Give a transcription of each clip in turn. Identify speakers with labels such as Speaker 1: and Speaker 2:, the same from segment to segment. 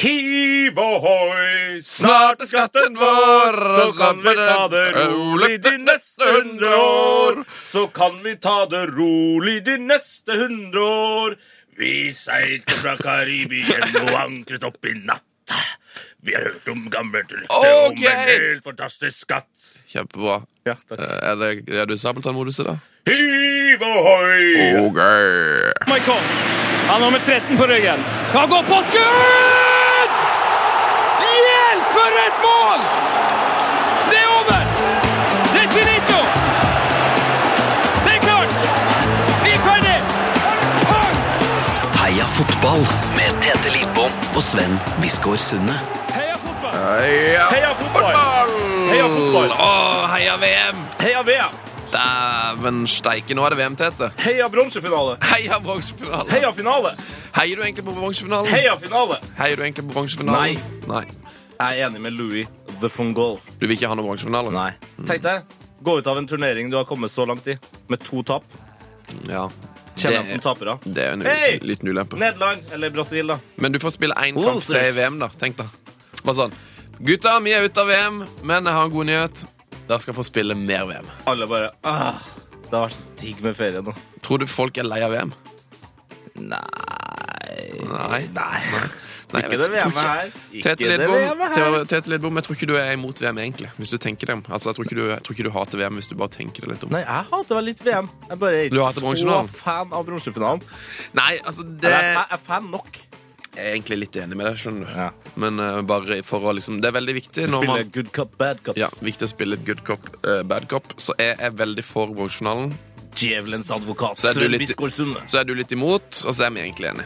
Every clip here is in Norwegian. Speaker 1: Hiv ohoi!
Speaker 2: Snart er skatten vår,
Speaker 1: Så
Speaker 2: og så
Speaker 1: kan vi
Speaker 2: blir
Speaker 1: ta det
Speaker 2: den
Speaker 1: rolig de neste hundre år. Så kan vi ta det rolig de neste hundre år. Vi seilte fra Karibien og ankret opp i natt. Vi har hørt om gammelt rykte om
Speaker 2: Ok.
Speaker 1: en helt fantastisk skatt.
Speaker 2: Kjempebra.
Speaker 1: Ja,
Speaker 2: Eh,
Speaker 1: takk.
Speaker 2: Er, det, er du i Sabeltann-moduset, da?
Speaker 1: Hiv ohoi!
Speaker 2: OK.
Speaker 3: Michael. Han har med 13 på ryggen. Han går på skudd! Hjelp for et mål! Det er over! Det er finito! Det er klart! Vi er ferdig!
Speaker 4: Heia fotball med Tete Lidbom og Sven Biskår Sunne.
Speaker 3: Heia fotball!
Speaker 2: Heia
Speaker 1: Heia fotball! Heia fotball!
Speaker 2: Å, heia VM!
Speaker 1: Heia VM!
Speaker 2: Dæven steike, nå er det VM-tete.
Speaker 1: Heia bronsefinale!
Speaker 2: Heia bronsefinalen!
Speaker 1: Heia finale!
Speaker 2: Heier du egentlig på bronsefinalen?
Speaker 1: Heia finale!
Speaker 2: Heier du egentlig på bronsefinalen? Nei.
Speaker 1: Jeg er enig med Louis the Fungol.
Speaker 2: Du vil ikke ha noen bronsefinale?
Speaker 1: Nei. Tenk deg, gå ut av en turnering du har kommet så langt i, med to tap.
Speaker 2: Ja.
Speaker 1: Kjenn dem
Speaker 2: Det-
Speaker 1: som tapere.
Speaker 2: Det er jo en
Speaker 1: Hei!
Speaker 2: liten ulempe.
Speaker 1: Nederland eller Brasil, da.
Speaker 2: Men du får spille én kamp
Speaker 1: Losers.
Speaker 2: til i VM, da. Tenk da. Bare sånn. Gutta, vi er ute av VM, men jeg har en god nyhet. Dere skal få spille mer VM.
Speaker 1: Alle bare ah, Det har vært så digg med ferie nå.
Speaker 2: Tror du folk er lei av VM?
Speaker 1: Nei
Speaker 2: Nei.
Speaker 1: Nei.
Speaker 2: Nei, jeg
Speaker 1: Ikke
Speaker 2: vet
Speaker 1: det VM-et
Speaker 2: tror ikke-
Speaker 1: her. Ikke
Speaker 2: Tete
Speaker 1: det
Speaker 2: Lidbom,
Speaker 1: VM-et her.
Speaker 2: Tete- Tete Lidbom, jeg tror ikke du er imot VM, egentlig. Hvis du tenker deg om. Altså, jeg tror ikke du, jeg tror ikke du hater VM hvis du bare tenker deg litt om.
Speaker 1: Nei, jeg hater vel litt VM. Jeg bare er
Speaker 2: Du
Speaker 1: ikke
Speaker 2: hater
Speaker 1: så
Speaker 2: bronsefinalen?
Speaker 1: fan av bronsefinalen.
Speaker 2: Nei, altså, det
Speaker 1: Eller jeg
Speaker 2: Jeg
Speaker 1: jeg er fan nok.
Speaker 2: er egentlig litt enig med deg, skjønner du.
Speaker 1: Ja.
Speaker 2: Men eh, bare for å liksom Det er veldig viktig når
Speaker 1: Spiller
Speaker 2: man
Speaker 1: good cup, bad cup.
Speaker 2: ja, viktig å spille et good cop, eh, bad cop. Så jeg er veldig for bronsefinalen.
Speaker 1: Djevelens advokat.
Speaker 2: Så er du
Speaker 1: Sven
Speaker 2: litt-
Speaker 1: Biskår Sunde.
Speaker 2: Så er du litt imot, og så er vi egentlig enige.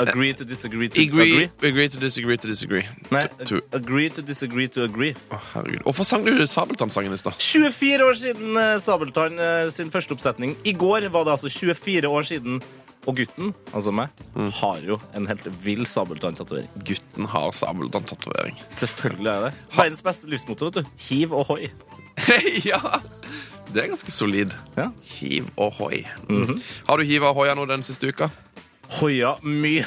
Speaker 1: Agree to disagree to
Speaker 2: Agree, agree to disagree to disagree.
Speaker 1: Nei,
Speaker 2: to, to,
Speaker 1: agree to disagree to agree.
Speaker 2: å, herregud. Hvorfor sang du Sabeltann-sangen i stad?
Speaker 1: 24 år siden eh, Sabeltann eh, sin første oppsetning. I går var det altså 24 år siden. Og gutten, altså meg, har jo en helt vill Sabeltann-tatovering.
Speaker 2: Gutten har Sabeltann-tatovering.
Speaker 1: Selvfølgelig er det. Verdens beste livsmotto, vet du. Hiv ohoi.
Speaker 2: ja! Det er ganske solid.
Speaker 1: Ja. Mhm.
Speaker 2: Hiv og hoi. Mm. Har du hiv og hoia nå den siste uka?
Speaker 1: Hoia mye.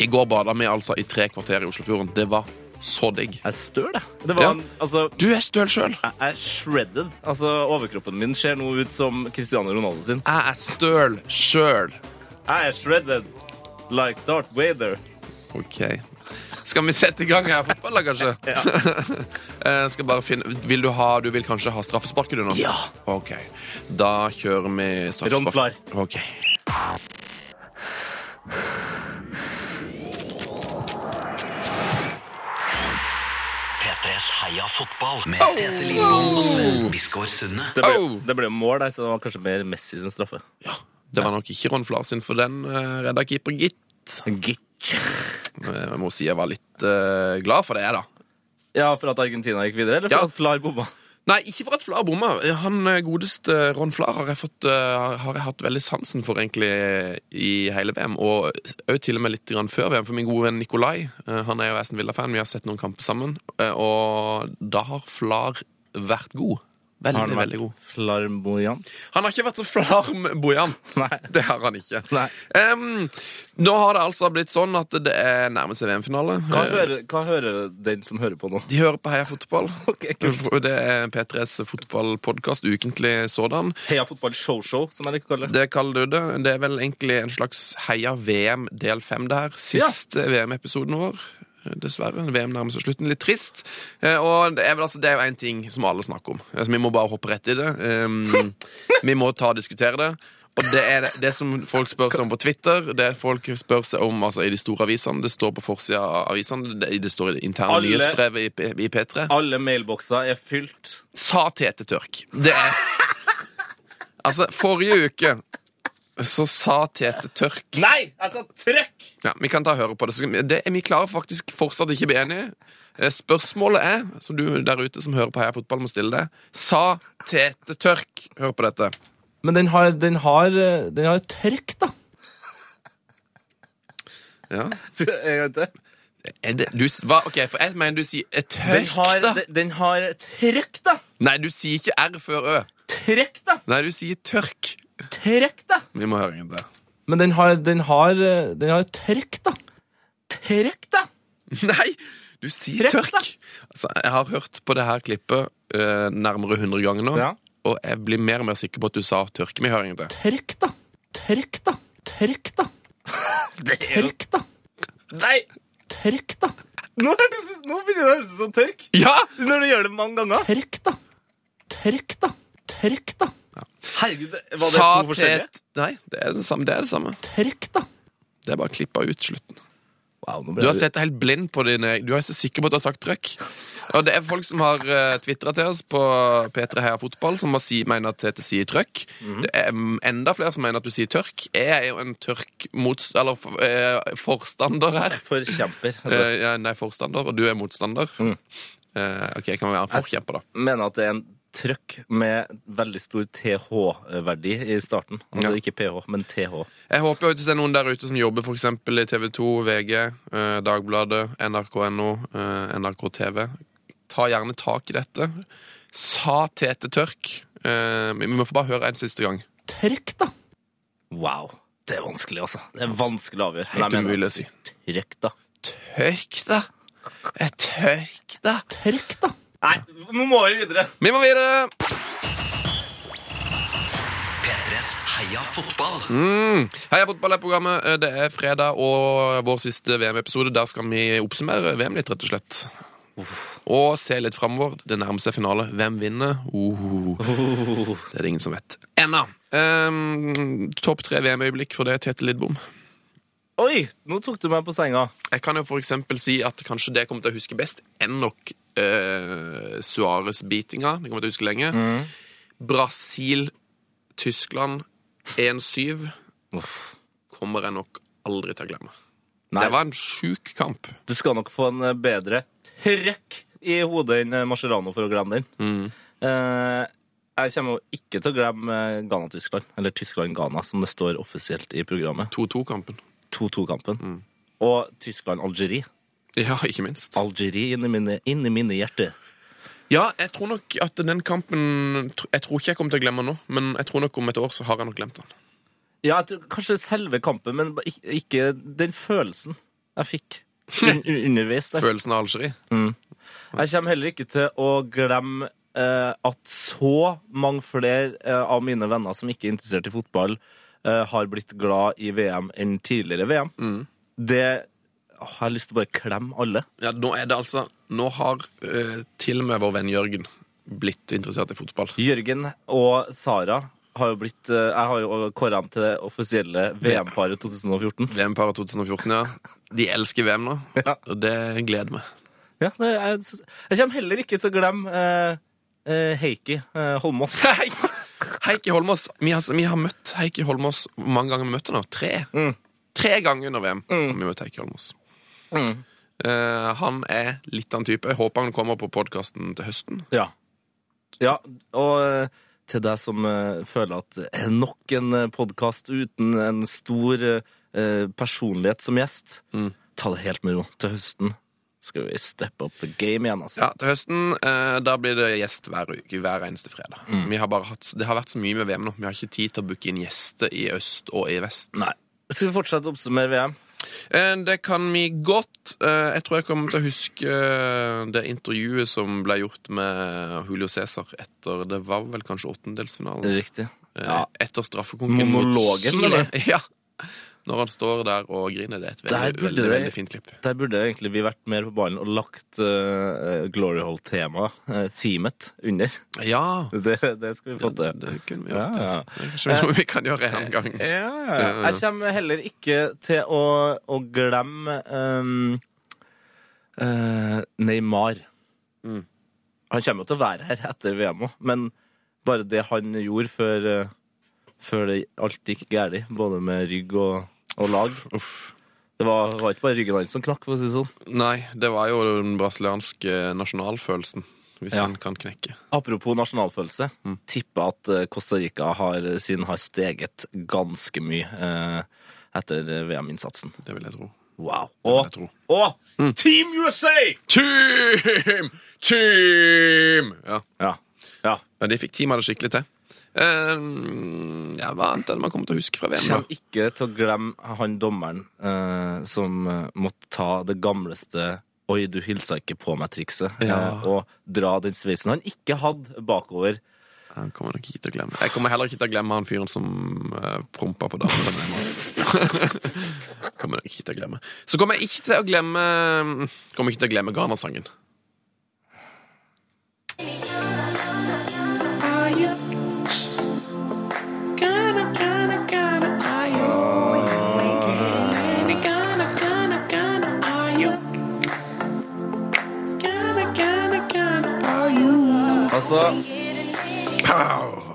Speaker 2: I går bada vi altså i tre kvarter i Oslofjorden. Det var så digg.
Speaker 1: Jeg er støl, jeg. Det var
Speaker 2: Ja.
Speaker 1: en, altså,
Speaker 2: Du er støl sjøl.
Speaker 1: jeg er shredded. Altså, overkroppen min ser nå ut som Cristiano Ronaldo sin.
Speaker 2: Jeg er støl sjøl.
Speaker 1: Jeg er shredded like Darth Vader.
Speaker 2: OK. Skal vi sette i gang her fotballet, kanskje? Eh, Skal bare finne Vil du ha Du vil kanskje ha straffesparket, du nå?
Speaker 1: Ja.
Speaker 2: OK. Da kjører vi straffespark.
Speaker 1: Ron Flar.
Speaker 2: OK.
Speaker 4: P3s Heia fotball med Tete Lidbom og Sven Biskår Sunne.
Speaker 1: Det ble,
Speaker 2: Au!
Speaker 1: det ble mål der, så det var kanskje mer Messi sin straffe.
Speaker 2: Det var nok ikke Ron Flar sin, for den eh, redda keeper, gitt.
Speaker 1: Gitt.
Speaker 2: Eh, Jeg må si jeg var litt eh, glad for det, jeg, da.
Speaker 1: Ja, for at Argentina gikk videre, eller for
Speaker 2: Ja.
Speaker 1: at Flar bomma?
Speaker 2: Nei, ikke for at Flar bomma. Han eh, godeste Ron Flar har jeg, fått, eh, har jeg hatt veldig sansen for egentlig i hele VM, og òg til og med litt grann før VM. For min gode venn Nikolai, eh, han er jo Aston Villa-fan, vi har sett noen kamper sammen, eh, og da har Flar vært god. Veldig,
Speaker 1: Har han vært
Speaker 2: veldig god.
Speaker 1: flarmoyant?
Speaker 2: Han har ikke vært så flarmbojant.
Speaker 1: Nei.
Speaker 2: Det har han ikke.
Speaker 1: Nei.
Speaker 2: Em, nå har det altså blitt sånn at det er nærmest VM-finale.
Speaker 1: Hva
Speaker 2: Eh,
Speaker 1: hører, hva hører den som hører på nå?
Speaker 2: De hører på Heia fotball.
Speaker 1: Ok, kult.
Speaker 2: Og Det er P3s fotballpodkast, ukentlig sådan.
Speaker 1: Heia fotball show-show, som jeg liker å kalle det.
Speaker 2: Det kaller du det. Det er vel egentlig en slags Heia VM del fem, det her. Siste VM-episoden vår. Dessverre. VM nærmer seg slutten. Litt trist. Eh, Og det er, vel, altså, det er jo én ting som alle snakker om. Altså, vi må bare hoppe rett i det. Um, vi må ta og diskutere det. Og det er det, det som folk spør seg om på Twitter, det folk spør seg om altså, i de store avisene. Det står på forsida av avisene, det, det står i det interne
Speaker 1: Alle-
Speaker 2: nyhetsbrevet i, P- i P3.
Speaker 1: Alle mailbokser er fylt.
Speaker 2: Sa Tete Tørk. Det er Altså, forrige uke så sa Tete Tørk
Speaker 1: Nei! Jeg sa trøkk!
Speaker 2: Ja, Vi kan ta og høre på det. Så, det vi klarer faktisk fortsatt ikke å bli enige. Eh, Spørsmålet er, som du der ute som hører på Heia Fotball, må stille deg Sa Tete Tørk Hør på dette.
Speaker 1: Men den har, den har, den har trøkk, da.
Speaker 2: Ja.
Speaker 1: En gang til.
Speaker 2: Er det, du, s- hva, ok, for jeg mener du sier eh,
Speaker 1: Den
Speaker 2: tørk,
Speaker 1: har,
Speaker 2: da.
Speaker 1: den- den har trøkk, da.
Speaker 2: Nei, du sier ikke R før Ø.
Speaker 1: Trøkk, da.
Speaker 2: Nei, du sier tørk.
Speaker 1: Trøkk, da.
Speaker 2: Vi må høre en til.
Speaker 1: Men den har, den har, den har trøkk, da. Trøkk, da.
Speaker 2: Nei, du sier
Speaker 1: Treff, da.
Speaker 2: tørk. Altså, jeg har hørt på det her klippet eh, nærmere 100 ganger nå,
Speaker 1: Ja.
Speaker 2: og jeg blir mer og mer sikker på at du sa tørke med høringen til.
Speaker 1: Trykk, da. Trykk, da. Trykk, da. Trykk, da. Nei. Trykk, da. Nå, er det, så- nå begynner det å høres ut som tørk.
Speaker 2: Ja!
Speaker 1: Når du gjør det mange ganger. Trykk, da. Trykk, da. Trykk, da. Herregud, det- var det
Speaker 2: Sa
Speaker 1: to forskjellige?
Speaker 2: tet- Nei, det er det samme. Det er, det samme.
Speaker 1: Trykk, da.
Speaker 2: Det er bare klippa ut slutten.
Speaker 1: Wow, nå ble
Speaker 2: Du har
Speaker 1: det-
Speaker 2: sett deg helt blind på dine Du er så sikker på at du har sagt trøkk. Og det er folk som har uh, tvitra til oss på P3 Heia Fotball, som har si, mener at Tete sier trøkk.
Speaker 1: Mhm.
Speaker 2: Det er mm, enda flere som mener at du sier tørk. Jeg er jo en tørk mot, eller, for- eh, forstander her.
Speaker 1: Forkjemper.
Speaker 2: Eh, ja, nei, forstander, og du er motstander. Eh, ok, jeg kan være en forkjemper, da.
Speaker 1: Mener at det er en trøkk med veldig stor TH-verdi i starten. Altså ikke PH, men TH.
Speaker 2: Jeg håper jo at hvis det er noen der ute som jobber for eksempel i TV 2, VG, eh, Dagbladet, NRK.no, eh, NRK TV, ta gjerne tak i dette. Sa Tete Tørk. Eh, vi må få bare høre en siste gang.
Speaker 1: Trykk, da. Wow. Det er vanskelig, altså. Det er vanskelig å avgjøre.
Speaker 2: Helt
Speaker 1: Men jeg mener-
Speaker 2: umulig å si.
Speaker 1: Trykk, da.
Speaker 2: Tørk, da. Eh, Tørk, da.
Speaker 1: Trykk, da. Nei, nå må vi videre.
Speaker 2: Vi må videre.
Speaker 4: P3s Heia fotball.
Speaker 2: Mm. Heia fotball er programmet. Eh, Det er fredag og vår siste VM-episode. Der skal vi oppsummere VM litt, rett og slett. Og se litt framover. Det nærmer seg finale. Hvem vinner? Oho. Det er det ingen som vet. Ennå. Ehm, Topp tre VM-øyeblikk for det, Tete Lidbom.
Speaker 1: Oi, nå tok du meg på senga.
Speaker 2: Jeg kan jo for eksempel si at kanskje det jeg kommer til å huske best, er nok eh, Suárez-bitinga. Det kommer jeg til å huske lenge. Brasil-Tyskland 1-7
Speaker 1: Uff.
Speaker 2: kommer jeg nok aldri til å glemme.
Speaker 1: Nei,
Speaker 2: Det var en sjuk kamp.
Speaker 1: du skal nok få en eh, bedre trekk i hodet enn eh, Mascherano for å glemme den.
Speaker 2: Mm.
Speaker 1: Eh, jeg kommer jo ikke til å glemme eh, Ghana-Tyskland, eller Tyskland-Ghana, som det står offisielt i programmet.
Speaker 2: 2-2-kampen.
Speaker 1: 2-2-kampen.
Speaker 2: Mm.
Speaker 1: Og Tyskland-Algerie.
Speaker 2: Ja, ikke minst.
Speaker 1: Algerie inni mine, inn i mine hjerter.
Speaker 2: Ja, jeg tror nok at den kampen Jeg tror ikke jeg kommer til å glemme den nå, men jeg tror nok om et år så har jeg nok glemt den.
Speaker 1: Ja, jeg tror, kanskje selve kampen, men ba- ik- ikke den følelsen jeg fikk un underveis der.
Speaker 2: Følelsen av Algerie.
Speaker 1: Jeg kommer heller ikke til å glemme eh, at så mange flere eh, av mine venner som ikke er interessert i fotball, eh, har blitt glad i VM enn tidligere VM. Det åh, jeg har lyst til å bare klemme alle.
Speaker 2: Ja, nå er det altså Nå har eh, til og med vår venn Jørgen blitt interessert i fotball.
Speaker 1: Jørgen og Sara har jo blitt eh, Jeg har jo kåra dem til det offisielle VM-paret 2014.
Speaker 2: VM-paret 2014, ja. De elsker VM nå,
Speaker 1: Ja.
Speaker 2: og det gleder meg.
Speaker 1: Ja, det, jeg, jeg kommer heller ikke til å glemme eh, eh, Heikki eh, Holmås.
Speaker 2: Heikki Holmås. Vi har, vi har møtt Heikki Holmås Hvor mange ganger har vi møtt han nå? Tre. Tre ganger under VM har vi møtt Heikki Holmås. Eh, han er litt av en type. Jeg håper han kommer på podkasten til høsten.
Speaker 1: Ja. ja. Og eh, til deg som eh, føler at eh, nok en podkast uten en stor eh, eh, personlighet som gjest, ta det helt med ro. Til høsten skal vi step up the game igjen, altså.
Speaker 2: Ja, til høsten eh, da blir det gjest hver uke, hver eneste fredag. Vi har bare hatt, det har vært så mye med VM nå. Vi har ikke tid til å booke inn gjester i øst og i vest.
Speaker 1: Nei. Skal vi fortsette å oppsummere VM?
Speaker 2: Eh, det kan vi godt. Eh, jeg tror jeg kommer til å huske eh, det intervjuet som ble gjort med Julio Cæsar etter Det var vel kanskje åttendelsfinalen?
Speaker 1: Riktig.
Speaker 2: Eh,
Speaker 1: Ja.
Speaker 2: Etter straffekonken
Speaker 1: Monologen,
Speaker 2: mot
Speaker 1: eller?
Speaker 2: Chile. Ja. Når han står der og griner. Det er et
Speaker 1: Der
Speaker 2: veldig,
Speaker 1: burde
Speaker 2: veldig,
Speaker 1: det-
Speaker 2: veldig fint klipp.
Speaker 1: Der burde egentlig vi vært mer på ballen og lagt eh, Glory Hole-temaet, eh, themet, under.
Speaker 2: Ja.
Speaker 1: Det, det skal vi få
Speaker 2: Det,
Speaker 1: til.
Speaker 2: det kunne vi
Speaker 1: Ja,
Speaker 2: gjort.
Speaker 1: ja. Eh,
Speaker 2: Kanskje noe vi kan gjøre en gang.
Speaker 1: Ja. Eh, Jeg kommer heller ikke til å, å glemme ehm, eh, Neymar.
Speaker 2: Mm.
Speaker 1: Han kommer jo til å være her etter VM òg, men bare det han gjorde før, eh, før det alt gikk galt, både med rygg og, og lag
Speaker 2: Uff.
Speaker 1: Det var, var ikke bare ryggen hans som knakk, for å si det sånn.
Speaker 2: Nei, det var jo den brasilianske nasjonalfølelsen. Hvis
Speaker 1: Ja.
Speaker 2: den kan knekke.
Speaker 1: Apropos nasjonalfølelse.
Speaker 2: Mm.
Speaker 1: Tipper at eh, Costa Rica har, siden har steget ganske mye eh, etter VM-innsatsen.
Speaker 2: Det vil jeg tro.
Speaker 1: Wow.
Speaker 2: jeg tro.
Speaker 1: Team USA!
Speaker 2: Team! Team! Ja.
Speaker 1: Ja. ja.
Speaker 2: Ja, de fikk teamet det skikkelig til. Eh, ja, hva annet er det man kommer til å huske fra VM? da?
Speaker 1: Kjem ikke til å glemme han dommeren eh, som eh, måtte ta det gamleste 'oi, du hilsa ikke på meg'-trikset
Speaker 2: Ja.
Speaker 1: eh, og dra den sveisen han ikke hadde, bakover.
Speaker 2: Han kommer nok ikke til å glemme Jeg kommer heller ikke til å glemme han fyren som uh, prompa på damen. kommer nok ikke til å glemme. Så kommer jeg ikke til å glemme Kommer ikke til å glemme Ghana-sangen.
Speaker 1: Altså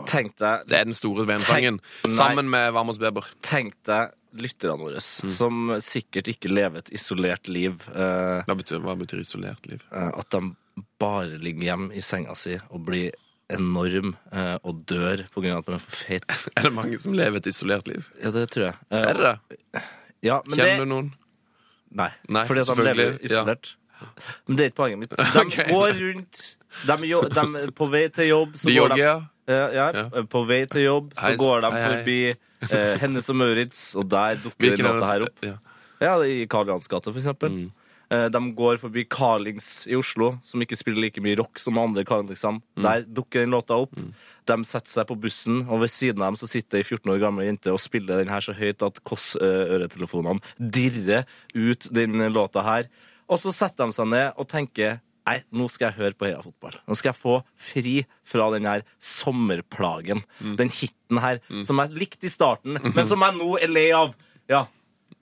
Speaker 1: Tenk deg
Speaker 2: Det er den store VM-sangen.
Speaker 1: Nei.
Speaker 2: Sammen med Vamos Beber.
Speaker 1: Tenk deg lytterne våre, som sikkert ikke lever et isolert liv. eh,
Speaker 2: Hva betyr, hva betyr isolert liv?
Speaker 1: eh, at de bare ligger hjemme i senga si og blir enorm eh, og dør på grunn av at de er for feite.
Speaker 2: Er det mange som lever et isolert liv?
Speaker 1: Ja, det tror jeg. Eh,
Speaker 2: Er det det?
Speaker 1: Ja, men det,
Speaker 2: Kjenner du noen?
Speaker 1: Nei,
Speaker 2: Nei,
Speaker 1: fordi at de
Speaker 2: selvfølgelig,
Speaker 1: lever isolert. Men det er ikke poenget mitt. De
Speaker 2: Ok.
Speaker 1: går rundt, de, jo, de er på vei til jobb, så
Speaker 2: De
Speaker 1: går
Speaker 2: jogger,
Speaker 1: de
Speaker 2: ja.
Speaker 1: Eh, ja,
Speaker 2: Ja.
Speaker 1: På vei til jobb, så
Speaker 2: Hei,
Speaker 1: går de
Speaker 2: hei, hei.
Speaker 1: forbi eh, Hennes og Maurits, og der dukker den
Speaker 2: Hvilken er
Speaker 1: låta her opp.
Speaker 2: Ja.
Speaker 1: Ja, i Karl Johans gate, for eksempel. Eh, De går forbi Carlings i Oslo, som ikke spiller like mye rock som andre Carlingsene. Der dukker den låta opp. De setter seg på bussen, og ved siden av dem så sitter ei 14 år gamle jente og spiller den her så høyt at Kåss-øretelefonene dirrer ut den låta her. Og så setter de seg ned og tenker Nei, nå skal jeg høre på Heia fotball. Nå skal jeg få fri fra den her sommerplagen. Den hiten her, som jeg likte i starten, men som jeg nå er lei av. Ja,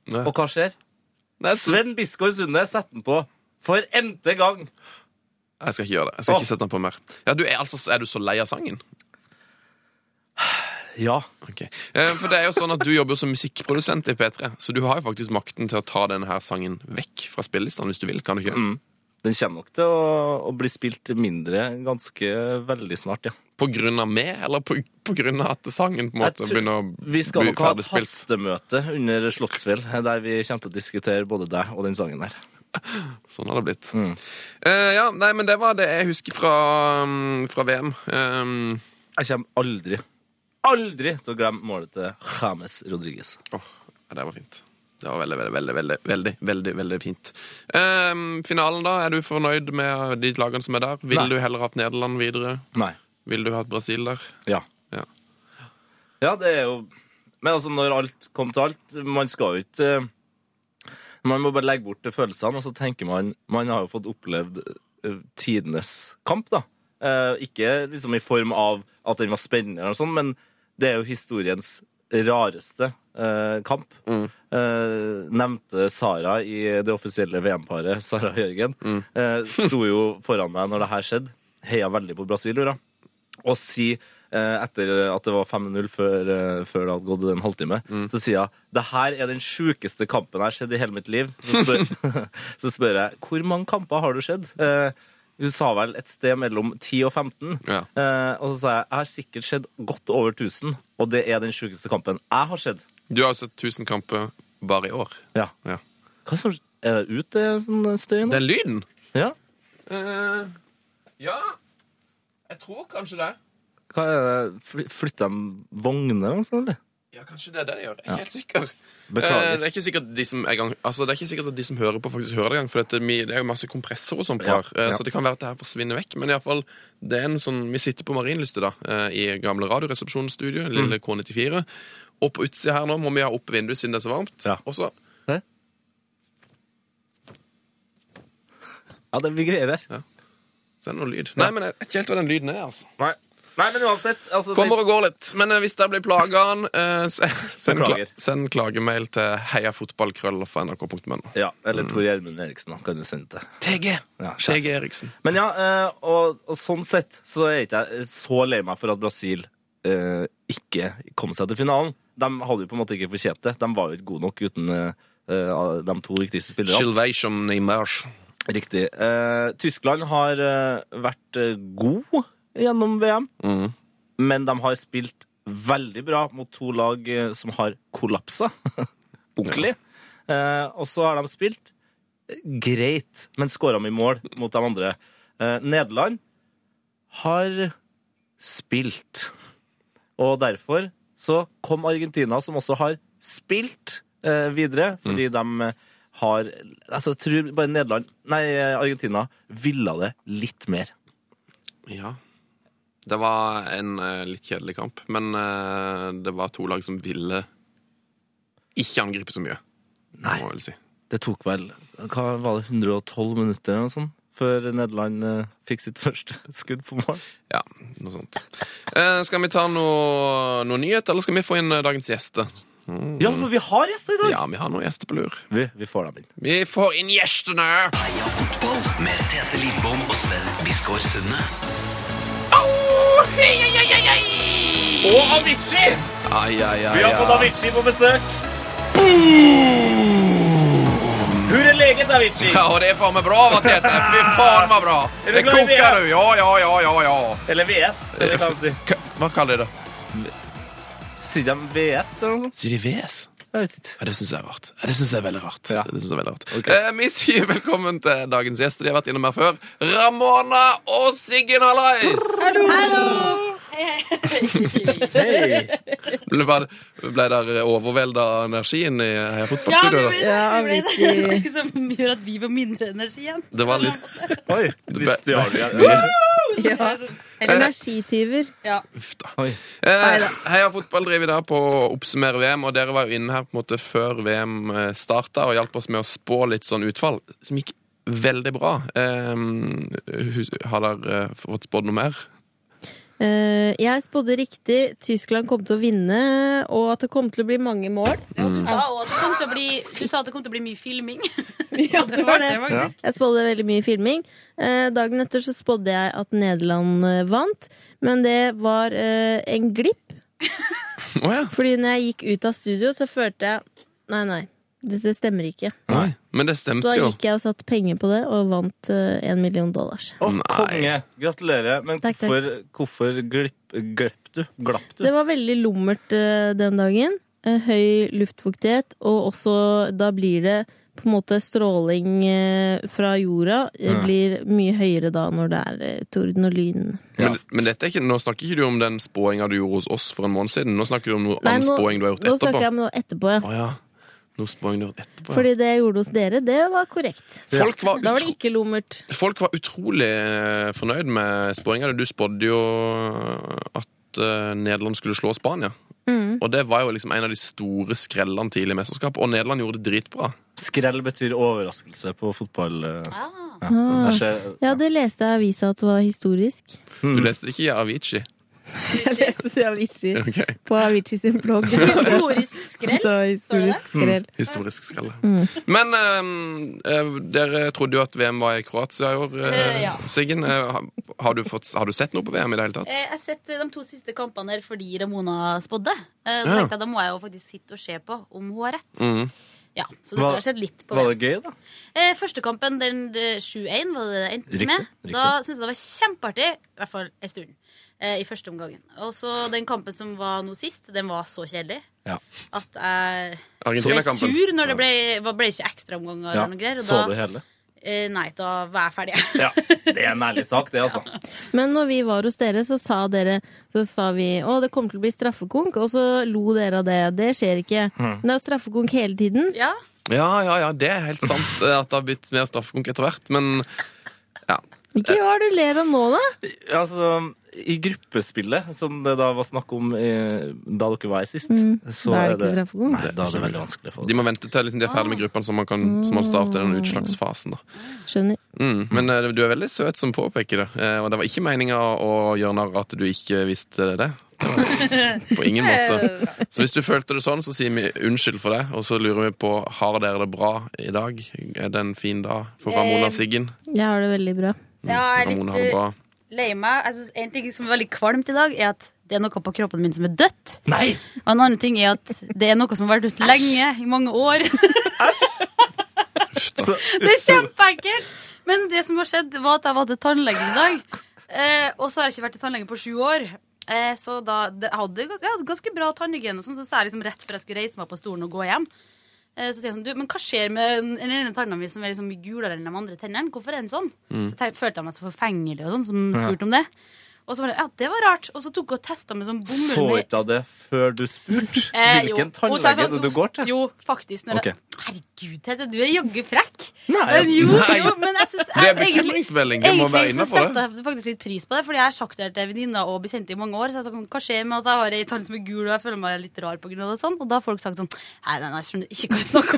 Speaker 2: Ja.
Speaker 1: og hva skjer?
Speaker 2: Nei, så-
Speaker 1: Sven Biskår Sunde setter den på for n-te gang.
Speaker 2: Jeg skal ikke gjøre det. Jeg skal
Speaker 1: Åh.
Speaker 2: ikke sette den på mer. Ja, du er, altså, er du så lei av sangen?
Speaker 1: Ja.
Speaker 2: Ok. Eh, For det er jo sånn at Du jobber som musikkprodusent i P3, så du har jo faktisk makten til å ta denne her sangen vekk fra spillelistene hvis du vil. kan du ikke?
Speaker 1: Mm. Den kommer nok til å, å bli spilt mindre ganske veldig snart, ja.
Speaker 2: På grunn av meg, eller på, på grunn av at sangen på en
Speaker 1: Jeg
Speaker 2: måte
Speaker 1: tror-
Speaker 2: begynner å
Speaker 1: Vi skal
Speaker 2: bli
Speaker 1: nok ha et
Speaker 2: ferdigspilt?
Speaker 1: hastemøte under Slottsfjell, der vi kommer til å diskutere både deg og den sangen her.
Speaker 2: Sånn har det blitt.
Speaker 1: Mm.
Speaker 2: Eh, ja, nei, men Det var det jeg husker fra, mm, fra VM. Um,
Speaker 1: Jeg kommer aldri, aldri til å glemme målet til James Rodriguez.
Speaker 2: Åh, ja, det var fint. Det var veldig, veldig, veldig, veldig, veldig, veldig, veldig fint. Ehm, finalen, da? Er du fornøyd med de lagene som er der? Vil
Speaker 1: Nei.
Speaker 2: du heller hatt Nederland videre?
Speaker 1: Nei.
Speaker 2: Vil du hatt Brasil der?
Speaker 1: Ja.
Speaker 2: Ja.
Speaker 1: Ja, det er jo Men altså, når alt kom til alt, man skal jo ikke eh, Man må bare legge bort til følelsene, og så tenker man Man har jo fått opplevd eh, tidenes kamp, da. Eh, ikke liksom i form av at den var spennende, eller noe sånt, men det er jo historiens rareste eh, kamp. Eh, nevnte Sara i det offisielle VM-paret, Sara Jørgen, eh, sto jo foran meg når det her skjedde. Heia veldig på Brasil, gjorde jeg og si eh, etter at det var 5-0 før, eh, før det hadde gått en halvtime, så sier jeg det her er den sjukeste kampen jeg har sett i hele mitt liv. Så spør, så spør jeg hvor mange kamper har du sett? Eh, hun sa vel et sted mellom 10 og 15.
Speaker 2: Ja.
Speaker 1: Eh, og så sa jeg jeg har sikkert sett godt over 1000, og det er den sjukeste kampen jeg har sett.
Speaker 2: Du har jo sett 1000 kamper bare i år.
Speaker 1: Ja.
Speaker 2: Ja.
Speaker 1: Hva som er det ut, det sånn støy nå?
Speaker 2: Den lyden
Speaker 1: Ja.
Speaker 2: Ja, jeg tror kanskje det.
Speaker 1: Hva er det? Fly- Flytter de vogner eller noe sånt, eller?
Speaker 2: Ja, kanskje det er det de gjør. Jeg er ikke helt sikker. Eh,
Speaker 1: Beklager.
Speaker 2: det, er ikke sikkert de som er gang, altså, det er ikke sikkert at de som hører på, faktisk hører det gang, for dette, vi- det er jo masse kompressor og sånn på
Speaker 1: Ja,
Speaker 2: her, eh,
Speaker 1: ja.
Speaker 2: så det kan være at det her forsvinner vekk. Men i alle fall, det er en sånn, vi sitter på Marienlyste da, eh, i gamle radioresepsjonsstudio, lille
Speaker 1: Mm.
Speaker 2: K94, og på utsida her nå må vi ha opp vinduet siden det er så varmt.
Speaker 1: Ja.
Speaker 2: Og så,
Speaker 1: Ja, det, vi greier det.
Speaker 2: så er det noe lyd. Nei, men jeg vet ikke helt hva den lyden er, altså.
Speaker 1: Nei. Nei, men uansett altså,
Speaker 2: Kommer og går litt, men eh, hvis det blir plagene, eh, se- send, kla
Speaker 1: Beklager.
Speaker 2: send klagemail til heiafotballkrøll.nrk.no.
Speaker 1: Ja, eller Tor Gjermund Eriksen, da, kan du sende til.
Speaker 2: TG!
Speaker 1: Ja, sjef.
Speaker 2: TG Eriksen.
Speaker 1: Men ja, eh, og, og sånn sett så er ikke jeg så lei meg for at Brasil eh, ikke kom seg til finalen. De hadde jo på en måte ikke fortjent det. De var jo ikke gode nok uten eh, eh, de to viktigste spillerne.
Speaker 2: Chilvation Neymar.
Speaker 1: Riktig. Eh, Tyskland har eh, vært eh, god gjennom VM, men de har spilt veldig bra mot to lag eh, som har kollapsa. Ordentlig. Eh, og så har de spilt eh, greit, men skåra mye mål mot de andre. Eh, Nederland har spilt. Og derfor så kom Argentina, som også har spilt eh, videre, fordi de eh, har altså, Jeg tror bare Nederland Nei, eh, Argentina ville det litt mer.
Speaker 2: Ja. Det var en eh, litt kjedelig kamp, men eh, det var to lag som ville ikke angripe så mye.
Speaker 1: Nei.
Speaker 2: Må jeg vel si.
Speaker 1: Det tok vel hva var det, 112 minutter eller noe sånt før Nederland eh, fikk sitt første skudd på mål.
Speaker 2: Ja, noe sånt. Eh, skal vi ta noe, noe nyhet, eller skal vi få inn eh, dagens gjester?
Speaker 1: Ja, men vi har gjester i dag!
Speaker 2: Ja, vi har noen gjester på lur.
Speaker 1: Vi, vi får dem inn.
Speaker 2: Vi får inn gjestene!
Speaker 4: Heia fotball med Tete Lidbom og Sven Biskår Sunde.
Speaker 5: Og Avicii!
Speaker 2: Ai, ai, ai,
Speaker 5: Vi har fått
Speaker 2: ai.
Speaker 5: Avicii på besøk. Hvor er legen, Avicii?
Speaker 2: Ja, og det er faen meg bra, hva Tete. Fy faen, hva bra.
Speaker 5: Er du
Speaker 2: Det
Speaker 5: glad i
Speaker 2: koker,
Speaker 5: VM?
Speaker 2: du. Ja, ja, ja, ja. ja.
Speaker 5: Eller VS, eller hva man sier.
Speaker 2: K- Hva kaller de det?
Speaker 1: Sier de VS eller noe sånt?
Speaker 2: Sier de VS?
Speaker 1: Jeg vet ikke.
Speaker 2: Ja, det syns jeg er rart. Ja, det syns jeg er veldig rart.
Speaker 1: Ja.
Speaker 2: Det synes jeg er veldig rart.
Speaker 1: Ok.
Speaker 2: Eh, vi sier velkommen til dagens gjester. De har vært innom her før. Ramona og Siggen Hallais!
Speaker 1: Hei!
Speaker 2: Ble, bare- ble der overvelda av energien i her
Speaker 6: Ja, vi ble
Speaker 2: fotballstudioet?
Speaker 6: det.
Speaker 2: da?
Speaker 6: vi ble det. det er ikke som gjør at vi får mindre energi igjen.
Speaker 2: Det var litt
Speaker 1: Oi, vi
Speaker 2: Be-
Speaker 1: stjal det.
Speaker 6: Ja.
Speaker 7: Energityver.
Speaker 2: Uff da.
Speaker 1: Oi.
Speaker 2: Eh, Heia fotball driver i dag på å oppsummere VM, og dere var jo inne her på en måte før VM starta og hjalp oss med å spå litt sånn utfall, som gikk veldig bra. Eh, hus- har dere eh, fått spådd noe mer?
Speaker 7: Eh, jeg spådde riktig Tyskland kom til å vinne, og at det kom til å bli mange mål.
Speaker 6: Du sa også at det kom til å bli, du sa at det kom til å bli mye filming. Ja,
Speaker 7: det var det. Jeg spådde veldig mye filming. Eh, dagen etter så spådde jeg at Nederland eh, vant, men det var eh, en glipp.
Speaker 2: Å ja.
Speaker 7: Fordi når jeg gikk ut av studio, så følte jeg Nei, nei, dette stemmer ikke.
Speaker 2: Nei. Men det
Speaker 7: Så
Speaker 2: stemte
Speaker 7: da
Speaker 2: jo.
Speaker 7: gikk jeg og satte penger på det, og vant én million dollars.
Speaker 1: Å,
Speaker 2: Nei.
Speaker 1: konge! Gratulerer. Men
Speaker 7: Takk, takk.
Speaker 1: hvorfor, hvorfor glipp, glipp du? Glapp du?
Speaker 7: Det var veldig lummert eh, den dagen. Eh, høy luftfuktighet, og også da blir det på en måte stråling eh, fra jorda eh,
Speaker 1: Ja.
Speaker 7: blir mye høyere da når det er eh, torden og lyn.
Speaker 2: Men, men dette er ikke, nå snakker ikke du om den spåinga du gjorde hos oss for en måned siden. Nå snakker du om noe annen
Speaker 7: nå,
Speaker 2: spåing du har gjort
Speaker 7: nå
Speaker 2: etterpå.
Speaker 7: snakker jeg om noe etterpå, ja.
Speaker 2: Å ja. Noe spåing du har gjort etterpå.
Speaker 7: Fordi det jeg gjorde hos dere, det var korrekt.
Speaker 2: ja. folk, var
Speaker 7: Da var det
Speaker 2: utro,
Speaker 7: ikke lummert.
Speaker 2: folk var utrolig eh, fornøyd med spåinga. Du spådde jo at eh, Nederland skulle slå Spania.
Speaker 6: Mm.
Speaker 2: Og det var jo liksom en av de store skrellene tidlig i mesterskapet. Og Nederland gjorde det dritbra.
Speaker 1: Skrell betyr overraskelse på fotball. eh,
Speaker 6: Ah,
Speaker 1: Jeg
Speaker 7: Ah.
Speaker 1: ser,
Speaker 7: Ja, det leste jeg i avisa at det var historisk.
Speaker 2: Du leste det ikke i Avicii.
Speaker 7: Jeg leste det i avisa
Speaker 2: Ok.
Speaker 7: på Avicii sin blogg.
Speaker 6: historisk
Speaker 7: Det
Speaker 6: skrell.
Speaker 7: var
Speaker 6: historisk
Speaker 7: historisk skrell.
Speaker 2: Historisk skrelle.
Speaker 6: Mm.
Speaker 2: Men ehm, eh, dere trodde jo at VM var i Kroatia i år. eh,
Speaker 6: Eh, ja.
Speaker 2: Siggen, eh, ha- har, du fått, har du sett noe på VM i det hele tatt?
Speaker 6: Eh, Jeg har sett eh, de to siste kampene her fordi Ramona spådde. Eh, Da
Speaker 2: Ja.
Speaker 6: tenkte jeg da må jeg jo faktisk sitte og se på om hun har rett.
Speaker 2: Mhm.
Speaker 6: Ja, så det
Speaker 1: Hva-
Speaker 6: har jeg sett litt på.
Speaker 1: var det gøy, da?
Speaker 6: Eh, Første kampen, den eh, 7-1, var det det endte
Speaker 1: Riktig,
Speaker 6: med.
Speaker 1: riktig.
Speaker 6: Da syntes jeg det var kjempeartig, i hvert fall en stund, eh, i første omgangen. Og så den kampen som var nå sist, den var så kjedelig
Speaker 1: Ja.
Speaker 6: at jeg ble
Speaker 2: Argentina-kampen.
Speaker 6: sur når det ble, var- ble ikke ekstraomganger
Speaker 1: Ja.
Speaker 6: eller noe greier. Og
Speaker 1: Så du
Speaker 6: da,
Speaker 1: hele?
Speaker 6: eh, nei, da var jeg ferdig.
Speaker 1: Ja. Det er en ærlig sak, det, altså.
Speaker 7: Men når vi var hos dere, så sa dere Så sa vi å det kommer til å bli straffekonk, og så lo dere av det. Det skjer ikke.
Speaker 1: Mm.
Speaker 7: Men det er straffekonk hele tiden.
Speaker 6: Ja,
Speaker 2: Ja, ja, ja, det er helt sant eh, at det har blitt mer straffekonk etter hvert, men ja.
Speaker 7: Ikke hva er det du ler av nå, da?
Speaker 1: altså, I gruppespillet, som det da var snakk om eh, da dere var her sist,
Speaker 6: Mm.
Speaker 1: så
Speaker 7: Da
Speaker 1: er
Speaker 7: er det
Speaker 1: det
Speaker 7: ikke straffekonk.
Speaker 1: Nei, da er det veldig vanskelig å få
Speaker 2: De
Speaker 1: det.
Speaker 2: må vente til liksom, de er ferdig med
Speaker 6: Ah.
Speaker 2: gruppene, så man kan så man starter
Speaker 6: Mm.
Speaker 2: den utslagsfasen. Da.
Speaker 7: Skjønner.
Speaker 2: Mm. Men eh, du er veldig søt som påpeker det, eh, og det var ikke meninga å gjøre narr av at du ikke visste det. Det var- På ingen måte. Så hvis du følte det sånn, så sier vi unnskyld for det, og så lurer vi på har dere det bra i dag. Er det en fin dag for Ramona og Siggen?
Speaker 7: Jeg har det veldig bra.
Speaker 1: Mm.
Speaker 6: ja jeg er
Speaker 2: Ramona har det
Speaker 6: Eh, litt
Speaker 2: bra.
Speaker 6: eh, lei meg. Jeg synes En ting som er veldig kvalmt i dag, er at det er noe på kroppen min som er dødt.
Speaker 1: Nei!
Speaker 6: Og en annen ting er at det er noe som har vært dødt lenge, i mange år.
Speaker 1: Så,
Speaker 6: Det er kjempeenkelt! Men det som har skjedd, var at jeg var til tannlege i dag. Eh, og så har jeg ikke vært til tannlege på sju år. Eh, så da det jeg hadde, jeg hadde ganske bra tannhygiene, og sånn, så sa jeg liksom rett før jeg skulle reise meg på stolen og gå hjem. Eh, så sier jeg sånn, du, men hva skjer med den den ene tanna mi som er liksom
Speaker 1: Mm.
Speaker 6: mye gulere enn de andre tennene? Hvorfor er den sånn? Så tenk, følte jeg meg så forfengelig og sånn, som spurte om det. Og så var det, ja, det var rart. Og så tok hun og testa med sånn bomull.
Speaker 1: Så
Speaker 6: med-
Speaker 1: ikke av det før du spurte?
Speaker 6: Eh, jo.
Speaker 1: Hvilken
Speaker 6: Hun sa
Speaker 1: tannlege
Speaker 6: sånn,
Speaker 1: du går til?
Speaker 6: Jo, faktisk. Når jeg, Herregud, Tete, du er jaggu frekk.
Speaker 1: Nei,
Speaker 6: Men Eh, jo,
Speaker 2: Nei.
Speaker 6: jo, men jeg syns
Speaker 2: Det er
Speaker 6: egentlig
Speaker 2: bekymringsmelding. Det må være
Speaker 6: Egentlig så
Speaker 2: innafor
Speaker 6: setter
Speaker 2: det.
Speaker 6: jeg faktisk litt pris på det, fordi jeg har sagt det til venninner og bekjente i mange år. Så jeg har sagt sånn, hva skjer med at jeg har ei tann som er gul, og jeg føler meg litt rar på grunn av det? og Sånn. Og da har folk sagt sånn Nei, nei, nei, jeg skjønner ikke hva jeg snakker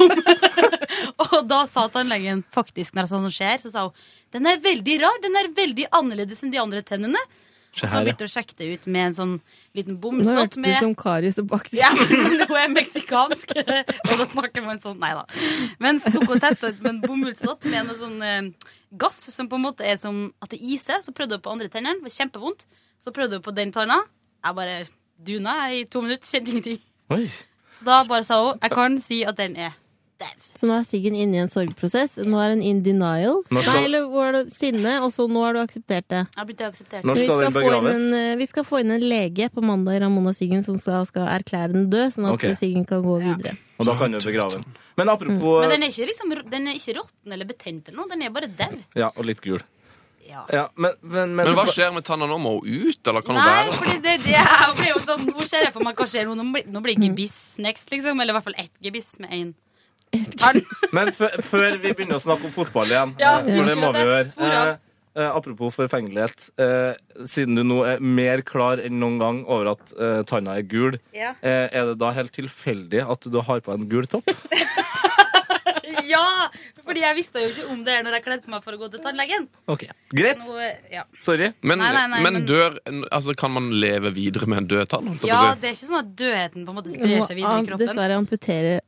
Speaker 6: om. og da sa tannlegen faktisk, når det sånn skjer, så sa hun den er veldig rar. Den er veldig annerledes enn de andre tennene. Og så
Speaker 1: her, ja.
Speaker 6: begynte hun å sjekke det ut med en sånn liten
Speaker 7: Nå hørtes
Speaker 6: bomstopp
Speaker 7: det
Speaker 6: med
Speaker 7: som Karius og Baktus.
Speaker 6: ja, hun er meksikansk, og da snakker man sånn. Nei da. Men så tok hun testa ut med en bomullsdott med noe sånn eh, gass som på en måte er som at det iser. Så prøvde hun på andre tennene, det var kjempevondt. Så prøvde hun på den tanna. Jeg bare duna jeg i to minutter, kjente ingenting.
Speaker 1: Oi.
Speaker 6: Så da bare sa hun jeg kan si at den er
Speaker 7: Så nå er Siggen inne i en sorgprosess. Nå er hun in denial.
Speaker 1: Nå skal-
Speaker 7: Nei, eller hvor er det sinne, og så nå har du akseptert det.
Speaker 6: Jeg begynte å akseptere
Speaker 1: Når
Speaker 6: det.
Speaker 7: Men vi
Speaker 1: skal den
Speaker 7: få inn
Speaker 1: begraves?
Speaker 7: en, eh, vi skal få inn en lege på mandag, Ramona Siggen, som skal, skal erklære den død, sånn at
Speaker 1: Ok.
Speaker 7: Siggen kan gå videre.
Speaker 1: Og da kan du begrave den. Men apropos
Speaker 6: Men den er ikke liksom, den er ikke råtten eller betent eller noe, den er bare dev.
Speaker 1: Ja, og litt gul.
Speaker 6: Ja.
Speaker 1: Ja, men, men,
Speaker 2: Men hva skjer med tanna nå? Må hun ut, eller kan hun
Speaker 6: Nei,
Speaker 2: være
Speaker 6: fordi det, det er jeg blir jo sånn Nå ser jeg for meg hva skjer nå. Nå blir- Nå blir det gebiss next, liksom. Eller i hvert fall ett gebiss med én.
Speaker 1: Men fø- før vi begynner å snakke om fotball igjen,
Speaker 6: Ja,
Speaker 1: eh, for det må vi
Speaker 6: unnskyld,
Speaker 1: gjøre
Speaker 6: det sporer
Speaker 1: eh, eh, Apropos forfengelighet. Eh, siden du nå er mer klar enn noen gang over at eh, tanna er gul,
Speaker 6: Ja.
Speaker 1: eh, er det da helt tilfeldig at du har på en gul topp?
Speaker 6: Ja! Fordi jeg visste jo ikke om det her når jeg kledde på meg for å gå til tannlegen.
Speaker 1: Greit.
Speaker 6: Nå, eh, ja.
Speaker 1: Sorry.
Speaker 2: men,
Speaker 6: Nei, nei, nei,
Speaker 2: men
Speaker 6: men-
Speaker 2: dør Altså, kan man leve videre med en død tann? holdt jeg på å
Speaker 6: ja,
Speaker 2: si?
Speaker 6: det er ikke sånn at dødheten på en måte
Speaker 7: Du
Speaker 6: sprer
Speaker 7: må
Speaker 6: seg videre i
Speaker 7: an-
Speaker 6: kroppen.
Speaker 7: dessverre amputere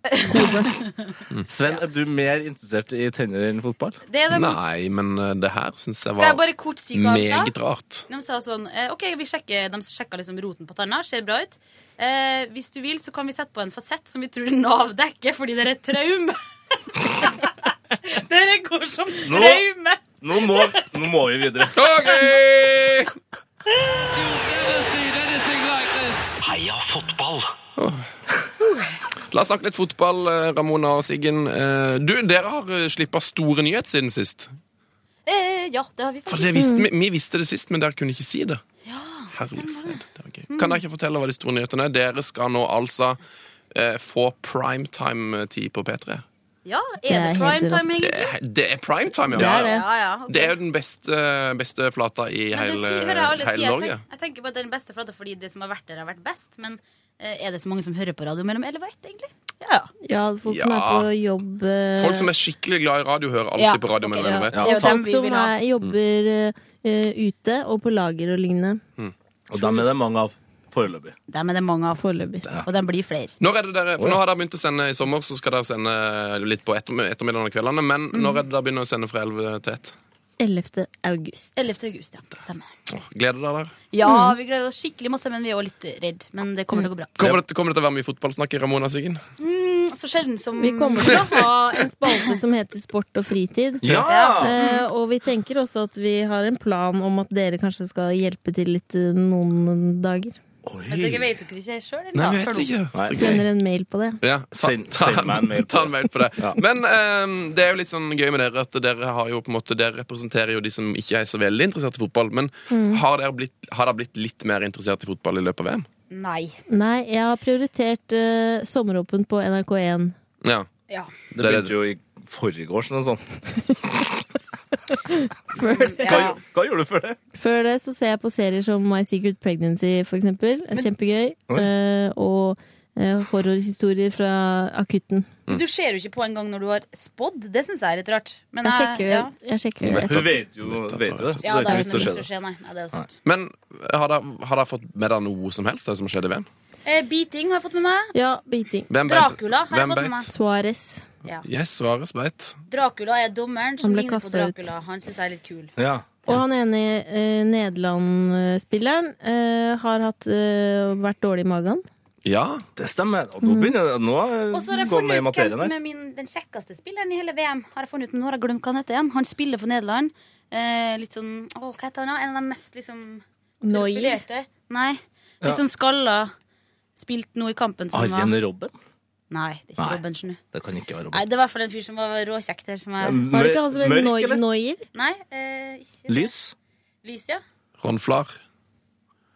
Speaker 1: Sven, er du mer interessert i tenner enn fotball?
Speaker 6: Det er det.
Speaker 2: Nei, men eh, det her syns jeg
Speaker 6: Skal jeg
Speaker 2: var
Speaker 6: bare kort si hva han sa?
Speaker 2: meget rart.
Speaker 6: De sa sånn eh, OK, vi sjekker, de sjekka liksom roten på tanna. Ser bra ut. Eh, hvis du vil, så kan vi sette på en fasett som vi tror den avdekker, fordi det er et traume. Dere går som traume.
Speaker 1: Nå må, nå må vi videre.
Speaker 2: Ok!
Speaker 4: Heia fotball!
Speaker 2: La oss snakke litt fotball, eh, Ramona og Siggen. Eh, Du, dere har slippa store nyhet siden sist.
Speaker 6: Eh, ja, det har vi
Speaker 2: For
Speaker 6: faktisk.
Speaker 2: det visste, vi, vi visste det sist, men dere kunne ikke si det. Herlig fred. Det var gøy.
Speaker 6: Mm.
Speaker 2: Kan dere ikke fortelle hva de store nyhetene er? Dere skal nå altså eh, få primetime-tid på P3.
Speaker 6: Ja,
Speaker 7: er
Speaker 6: er det
Speaker 7: helt
Speaker 6: primetime,
Speaker 7: rått.
Speaker 2: Det,
Speaker 6: egentlig?
Speaker 2: er- det er primetime,
Speaker 7: Det
Speaker 2: ja.
Speaker 7: er det.
Speaker 6: Ja, ja. ok.
Speaker 2: Det er jo den beste, beste flata i
Speaker 6: Men det
Speaker 2: hele,
Speaker 6: sier- hører jeg alle si.
Speaker 2: hele
Speaker 6: Jeg
Speaker 2: eh, Norge.
Speaker 6: tenk- Jeg tenker på at det er den beste flata fordi det som har vært der, har vært best. Men eh, er det så mange som hører på radio mellom 11 og 1, egentlig? Ja, ja.
Speaker 7: Ja, folk som
Speaker 2: Ja.
Speaker 7: er på jobb eh,
Speaker 2: Folk som er skikkelig glad i radio, hører alltid
Speaker 6: Ja,
Speaker 2: på radio. men
Speaker 6: ok,
Speaker 2: hvem
Speaker 7: ja.
Speaker 2: vet.
Speaker 6: Det er jo dem
Speaker 7: Folk
Speaker 6: vi
Speaker 7: som
Speaker 6: vil ha.
Speaker 7: er, jobber eh, ute og på lager og lignende.
Speaker 1: Og dem er det mange av foreløpig.
Speaker 6: Dem er det mange av,
Speaker 7: Foreløpig.
Speaker 6: og de blir flere.
Speaker 2: Når er det dere, for nå har dere begynt å sende i sommer, så skal dere sende litt på etterm- ettermiddagen og kveldene. Men når er det dere begynner å sende fra 11 til 1?
Speaker 7: 11. august.
Speaker 6: 11. august, ja. Stemmer. Mm.
Speaker 2: Åh, Gleder dere dere?
Speaker 6: Ja, vi gleder oss skikkelig masse, men vi er også litt redd. Men det kommer til å gå bra.
Speaker 2: Kommer, det, kommer det til å være mye fotballsnakk i Ramona Siggen?
Speaker 6: Så sjelden som
Speaker 7: Vi kommer til å ha en spalte som heter Sport og fritid.
Speaker 1: Ja!
Speaker 7: Eh, og vi tenker også at vi har en plan om at dere kanskje skal hjelpe til litt eh, noen dager.
Speaker 6: Men dere vet jo ikke det sjøl,
Speaker 2: Nei, jeg vet ikke. Så gøy.
Speaker 7: Sender en mail på det.
Speaker 2: Ja, ta,
Speaker 1: Send-
Speaker 2: ta,
Speaker 1: send meg en mail på
Speaker 2: ta
Speaker 1: det.
Speaker 2: en mail på det. Men ehm, det er jo litt sånn gøy med dere at dere har jo på en måte Dere representerer jo de som ikke er så veldig interessert i fotball. Men har dere blitt, har dere blitt litt mer interessert i fotball i løpet av VM?
Speaker 6: Nei.
Speaker 7: Nei, jeg har prioritert eh, sommeråpen på NRK1.
Speaker 2: Ja.
Speaker 6: Ja.
Speaker 1: Det begynte jo i forgårs eller noe sånt. Hva,
Speaker 6: ja.
Speaker 1: gjo- hva gjorde du før det?
Speaker 7: Før det så ser jeg på serier som My Secret Pregnancy, for eksempel. Kjempegøy.
Speaker 1: Oi.
Speaker 7: Eh, og eh, horrorhistorier fra akutten.
Speaker 6: Du ser jo ikke på engang når du har spådd. Det syns jeg er litt rart. Men
Speaker 7: Jeg
Speaker 6: jeg-
Speaker 7: sjekker det.
Speaker 6: ja.
Speaker 7: Jeg sjekker det.
Speaker 1: Hun vet jo, vet jo det.
Speaker 6: Ja, det er
Speaker 1: ikke så
Speaker 6: jo noe
Speaker 1: skjer
Speaker 6: som
Speaker 1: det.
Speaker 6: skjer, nei. nei det er jo sant.
Speaker 2: Men har dere, har dere fått med dere noe som helst av det som skjedde i VM?
Speaker 6: Eh, beating har jeg fått med meg.
Speaker 7: Ja, biting.
Speaker 2: Hvem beit?
Speaker 6: Dracula har jeg
Speaker 2: Hvem
Speaker 6: fått med
Speaker 2: beit?
Speaker 6: meg.
Speaker 7: Suárez.
Speaker 6: Ja.
Speaker 2: Yes, svaret speit.
Speaker 6: Dracula er dommeren som
Speaker 7: Han ble
Speaker 6: ligner på
Speaker 7: kastet ut.
Speaker 6: Dracula. Han syns jeg er litt kul.
Speaker 1: Ja.
Speaker 7: Og han ene eh, Nederland-spilleren eh, har hatt, eh, vært dårlig i magen.
Speaker 2: Ja.
Speaker 1: Det stemmer. Og nå begynner det. Nå
Speaker 6: Mm. Og så har
Speaker 1: eh,
Speaker 6: jeg
Speaker 1: går vi i
Speaker 6: funnet ut hvem
Speaker 1: materien
Speaker 6: som
Speaker 1: her.
Speaker 6: er min, den kjekkeste spilleren i hele VM. Har jeg funnet ut, Nå har jeg glemt hva han heter igjen. Han spiller for Nederland. Eh, litt sånn Å, hva heter han? da? En av de mest liksom
Speaker 7: Neuer.
Speaker 6: profilerte. Nei. Litt
Speaker 1: Ja.
Speaker 6: sånn skalla. Spilt nå i kampen som var
Speaker 1: Arjen Robben?
Speaker 6: Nei, det er ikke
Speaker 1: Nei.
Speaker 6: Robbensen. nå.
Speaker 1: Det kan ikke være
Speaker 6: Nei,
Speaker 1: Robben.
Speaker 6: det er i hvert fall en fyr som var råkjekk der. Som er,
Speaker 7: Var det ikke han som het
Speaker 1: Mørk,
Speaker 7: Neu-
Speaker 1: eller?
Speaker 7: Neuer?
Speaker 6: nei, eh, ikke
Speaker 1: Lys?
Speaker 6: Lys, ja.
Speaker 2: Ron Flar.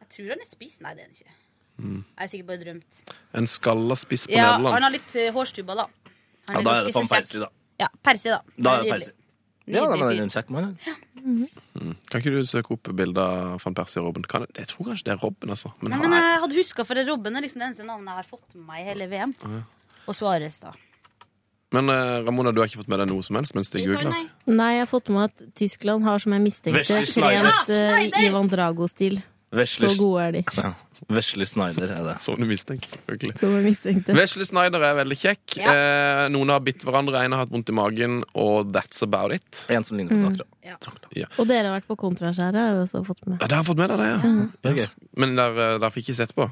Speaker 6: tror han er spiss. Nei, det er han ikke.
Speaker 1: Mm.
Speaker 6: Jeg er sikkert bare drømt.
Speaker 2: En skalla spiss på
Speaker 6: Ja, han
Speaker 2: Nederland.
Speaker 6: har litt eh, hårstubber, da.
Speaker 1: Ja, da
Speaker 6: Han
Speaker 1: er
Speaker 6: ganske
Speaker 1: det faen
Speaker 6: så kjekk.
Speaker 1: Persie, da.
Speaker 6: Ja, Persie, da.
Speaker 1: Da er det
Speaker 6: Nydelig.
Speaker 1: Persie. Ja,
Speaker 6: Nydelig
Speaker 1: men han
Speaker 6: fyr.
Speaker 1: er en kjekk mann. han.
Speaker 2: Kan ikke du søke opp bilder av van Persie og Robben? Kan, jeg tror kanskje det er Robben, altså. Men,
Speaker 6: Nei,
Speaker 2: han
Speaker 6: men eh,
Speaker 2: er-
Speaker 6: jeg hadde huska, for det er Robben er liksom det eneste navnet jeg har fått med meg i hele VM. Og Suárez, da.
Speaker 2: men eh, Ramona, du har ikke fått med deg noe som helst mens de
Speaker 6: Italia,
Speaker 2: googler?
Speaker 6: nei.
Speaker 7: Nei, jeg har fått med at Tyskland har, som jeg mistenkte,
Speaker 1: Wesley Snyder.
Speaker 7: trent eh,
Speaker 6: Snyder!
Speaker 7: Ivan Drago-stil. Så
Speaker 1: Vesle
Speaker 7: gode er de.
Speaker 1: Vesle Snyder er det.
Speaker 2: Som Sånn du mistenkte, selvfølgelig.
Speaker 7: Som jeg mistenkte.
Speaker 2: Wesley Snyder er veldig kjekk.
Speaker 6: Ja.
Speaker 2: Eh, noen har bitt hverandre, en har hatt vondt i magen, og that's about it.
Speaker 1: En som ligner
Speaker 6: Mm.
Speaker 1: på Dakra.
Speaker 7: Og dere har vært på Kontraskjæret, har jeg også fått med.
Speaker 2: Ja, det har jeg fått med deg, det, ja.
Speaker 1: Ok.
Speaker 2: Yes. Men der, eh, der fikk jeg sett på.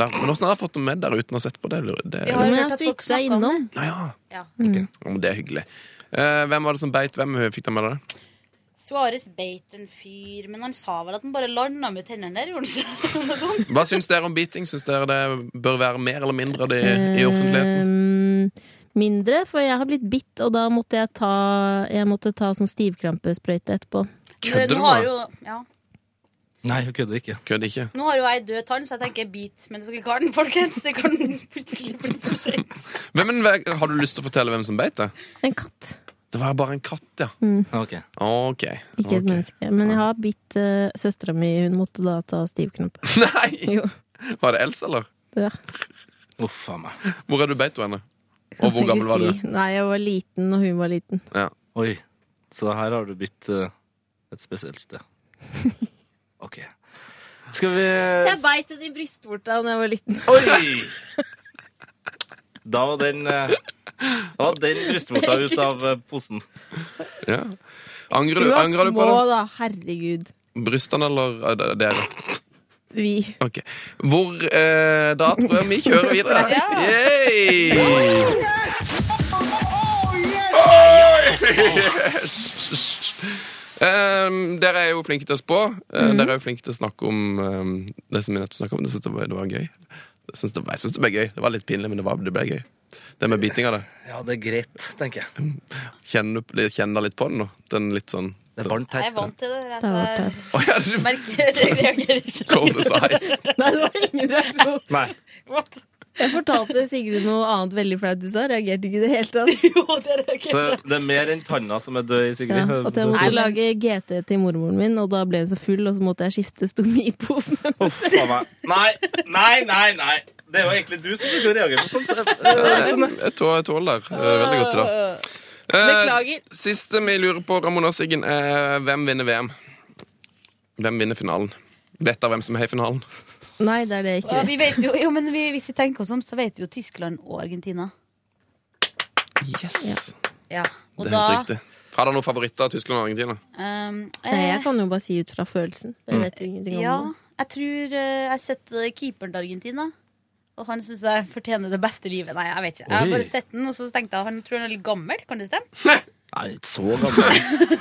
Speaker 2: Der, men åssen har dere fått det med der uten å ha sett på det? lurer- det
Speaker 6: Vi
Speaker 2: ja.
Speaker 6: har
Speaker 7: Men
Speaker 6: hørt
Speaker 7: jeg
Speaker 6: at folk
Speaker 7: switcha
Speaker 6: snakker om
Speaker 7: innom.
Speaker 2: ja.
Speaker 6: Ja.
Speaker 7: Mm.
Speaker 2: Ja, men det er hyggelig. Eh, hvem var det som beit hvem? Fikk dere med dere det?
Speaker 6: Suárez beit en fyr, men han sa vel at han bare landa med tennene der, gjorde han ikke? Sånn. Noe sånt.
Speaker 2: Hva syns dere om biting? Syns dere det bør være mer eller mindre av det
Speaker 7: Eh.
Speaker 2: i- i offentligheten?
Speaker 7: Ehm, mindre, for jeg har blitt bitt, og da måtte jeg ta, jeg måtte ta sånn stivkrampesprøyte etterpå.
Speaker 2: Kødder du
Speaker 6: nå har
Speaker 2: med
Speaker 6: jo, ja.
Speaker 1: Nei, hun kødder ikke.
Speaker 2: Kødd ikke.
Speaker 6: Nå har jo jeg død tann, så jeg tenker bit, men dere kan den, folkens. Det kan plutselig bli for sent.
Speaker 2: Hvem, men, hve- har du lyst til å fortelle hvem som beit det?
Speaker 7: En katt,
Speaker 2: Det var bare en katt, ja.
Speaker 1: Ok.
Speaker 2: Ok.
Speaker 7: Mm. ikke et
Speaker 2: ok.
Speaker 7: menneske. Men jeg har bitt uh, søstera mi, hun måtte da ta stivkrampe.
Speaker 2: Nei!
Speaker 7: Jo.
Speaker 2: Var det Else, eller?
Speaker 7: Ja.
Speaker 1: Uff a meg.
Speaker 2: Hvor er du beit du henne? Og hvor
Speaker 7: Kan jeg
Speaker 2: gammel
Speaker 7: ikke
Speaker 2: var du?
Speaker 7: si. Nei, jeg var liten, og hun var liten.
Speaker 1: Oi. Så her har du bytt eh, et spesielt sted. OK. Skal vi
Speaker 7: Jeg beit henne i brystvorta da jeg var liten.
Speaker 1: Oi! Da var den eh, Da var den brystvorta ut av eh, posen.
Speaker 2: Ja. Angrer
Speaker 7: Hun
Speaker 2: du,
Speaker 7: var
Speaker 2: angrer du på
Speaker 7: små,
Speaker 2: det?
Speaker 7: da. Herregud.
Speaker 2: Brystene eller eh, d- dere?
Speaker 7: Vi.
Speaker 2: Ok. Hvor eh, Da tror jeg vi kjører videre. Yay! Um, dere er jo flinke til å spå. Eh, Dere er jo flinke til å snakke om um, det som vi nettopp snakket om. Det synes jeg var, det var gøy. Jeg synes det, var- jeg synes det ble gøy. Det var litt pinlig, men det, var, det ble gøy. Det med biting av det.
Speaker 1: Ja, det er greit, tenker jeg.
Speaker 2: Kjenner du kjenner deg litt på den nå? Den litt sånn
Speaker 1: Det er varmt her.
Speaker 6: Jeg er vant til det. der,
Speaker 7: Det har vært
Speaker 6: Altså,
Speaker 2: Å ja, du
Speaker 6: jeg merker jeg reagerer
Speaker 2: Cold
Speaker 6: ikke.
Speaker 2: as ice.
Speaker 7: Nei, det var ingen reaksjon.
Speaker 1: Nei.
Speaker 6: What?
Speaker 7: Jeg fortalte Sigrid noe annet veldig flaut i stad. Reagerte ikke i det hele tatt.
Speaker 6: Jo, det reagerer
Speaker 1: Så det er mer enn tanna som er død i
Speaker 7: Ja,
Speaker 1: Sigrid.
Speaker 7: at jeg måtte lage GT til mormoren min, og da ble hun så full, og så måtte jeg skifte stomiposen.
Speaker 1: Uff a meg. Nei, nei, nei. nei. Det er jo egentlig du som bruker å reagere på sånt. Eh, sånn er-
Speaker 2: Jeg tå- jeg tåler det. Eh, Veldig godt i dag. Eh,
Speaker 7: Beklager.
Speaker 2: Siste vi lurer på, Ramona Siggen, er hvem vinner VM? Hvem vinner finalen? Vet dere hvem som er i finalen?
Speaker 7: Nei, det er det jeg
Speaker 6: Ja,
Speaker 7: ikke
Speaker 6: vi
Speaker 7: vet.
Speaker 6: vet jo, jo, men vi, hvis vi tenker oss om, så vet vi jo Tyskland og Argentina.
Speaker 2: Yes!
Speaker 6: Ja, og
Speaker 2: det er helt
Speaker 6: da
Speaker 2: riktig. Har dere noen favoritter av Tyskland og Argentina?
Speaker 6: ehm,
Speaker 7: Nei,
Speaker 6: eh,
Speaker 7: jeg kan jo bare si ut fra følelsen.
Speaker 2: Mm.
Speaker 7: Jeg vet jo ingenting om
Speaker 6: Ja,
Speaker 7: det.
Speaker 6: jeg tror eh, jeg har sett eh, keeperen til Argentina. Og han syns jeg fortjener det beste livet. Nei, jeg vet ikke. Jeg har
Speaker 1: Oi.
Speaker 6: bare sett den, og så tenkte jeg han tror han er litt gammel. Kan det stemme?
Speaker 1: Nei, ikke så gammel.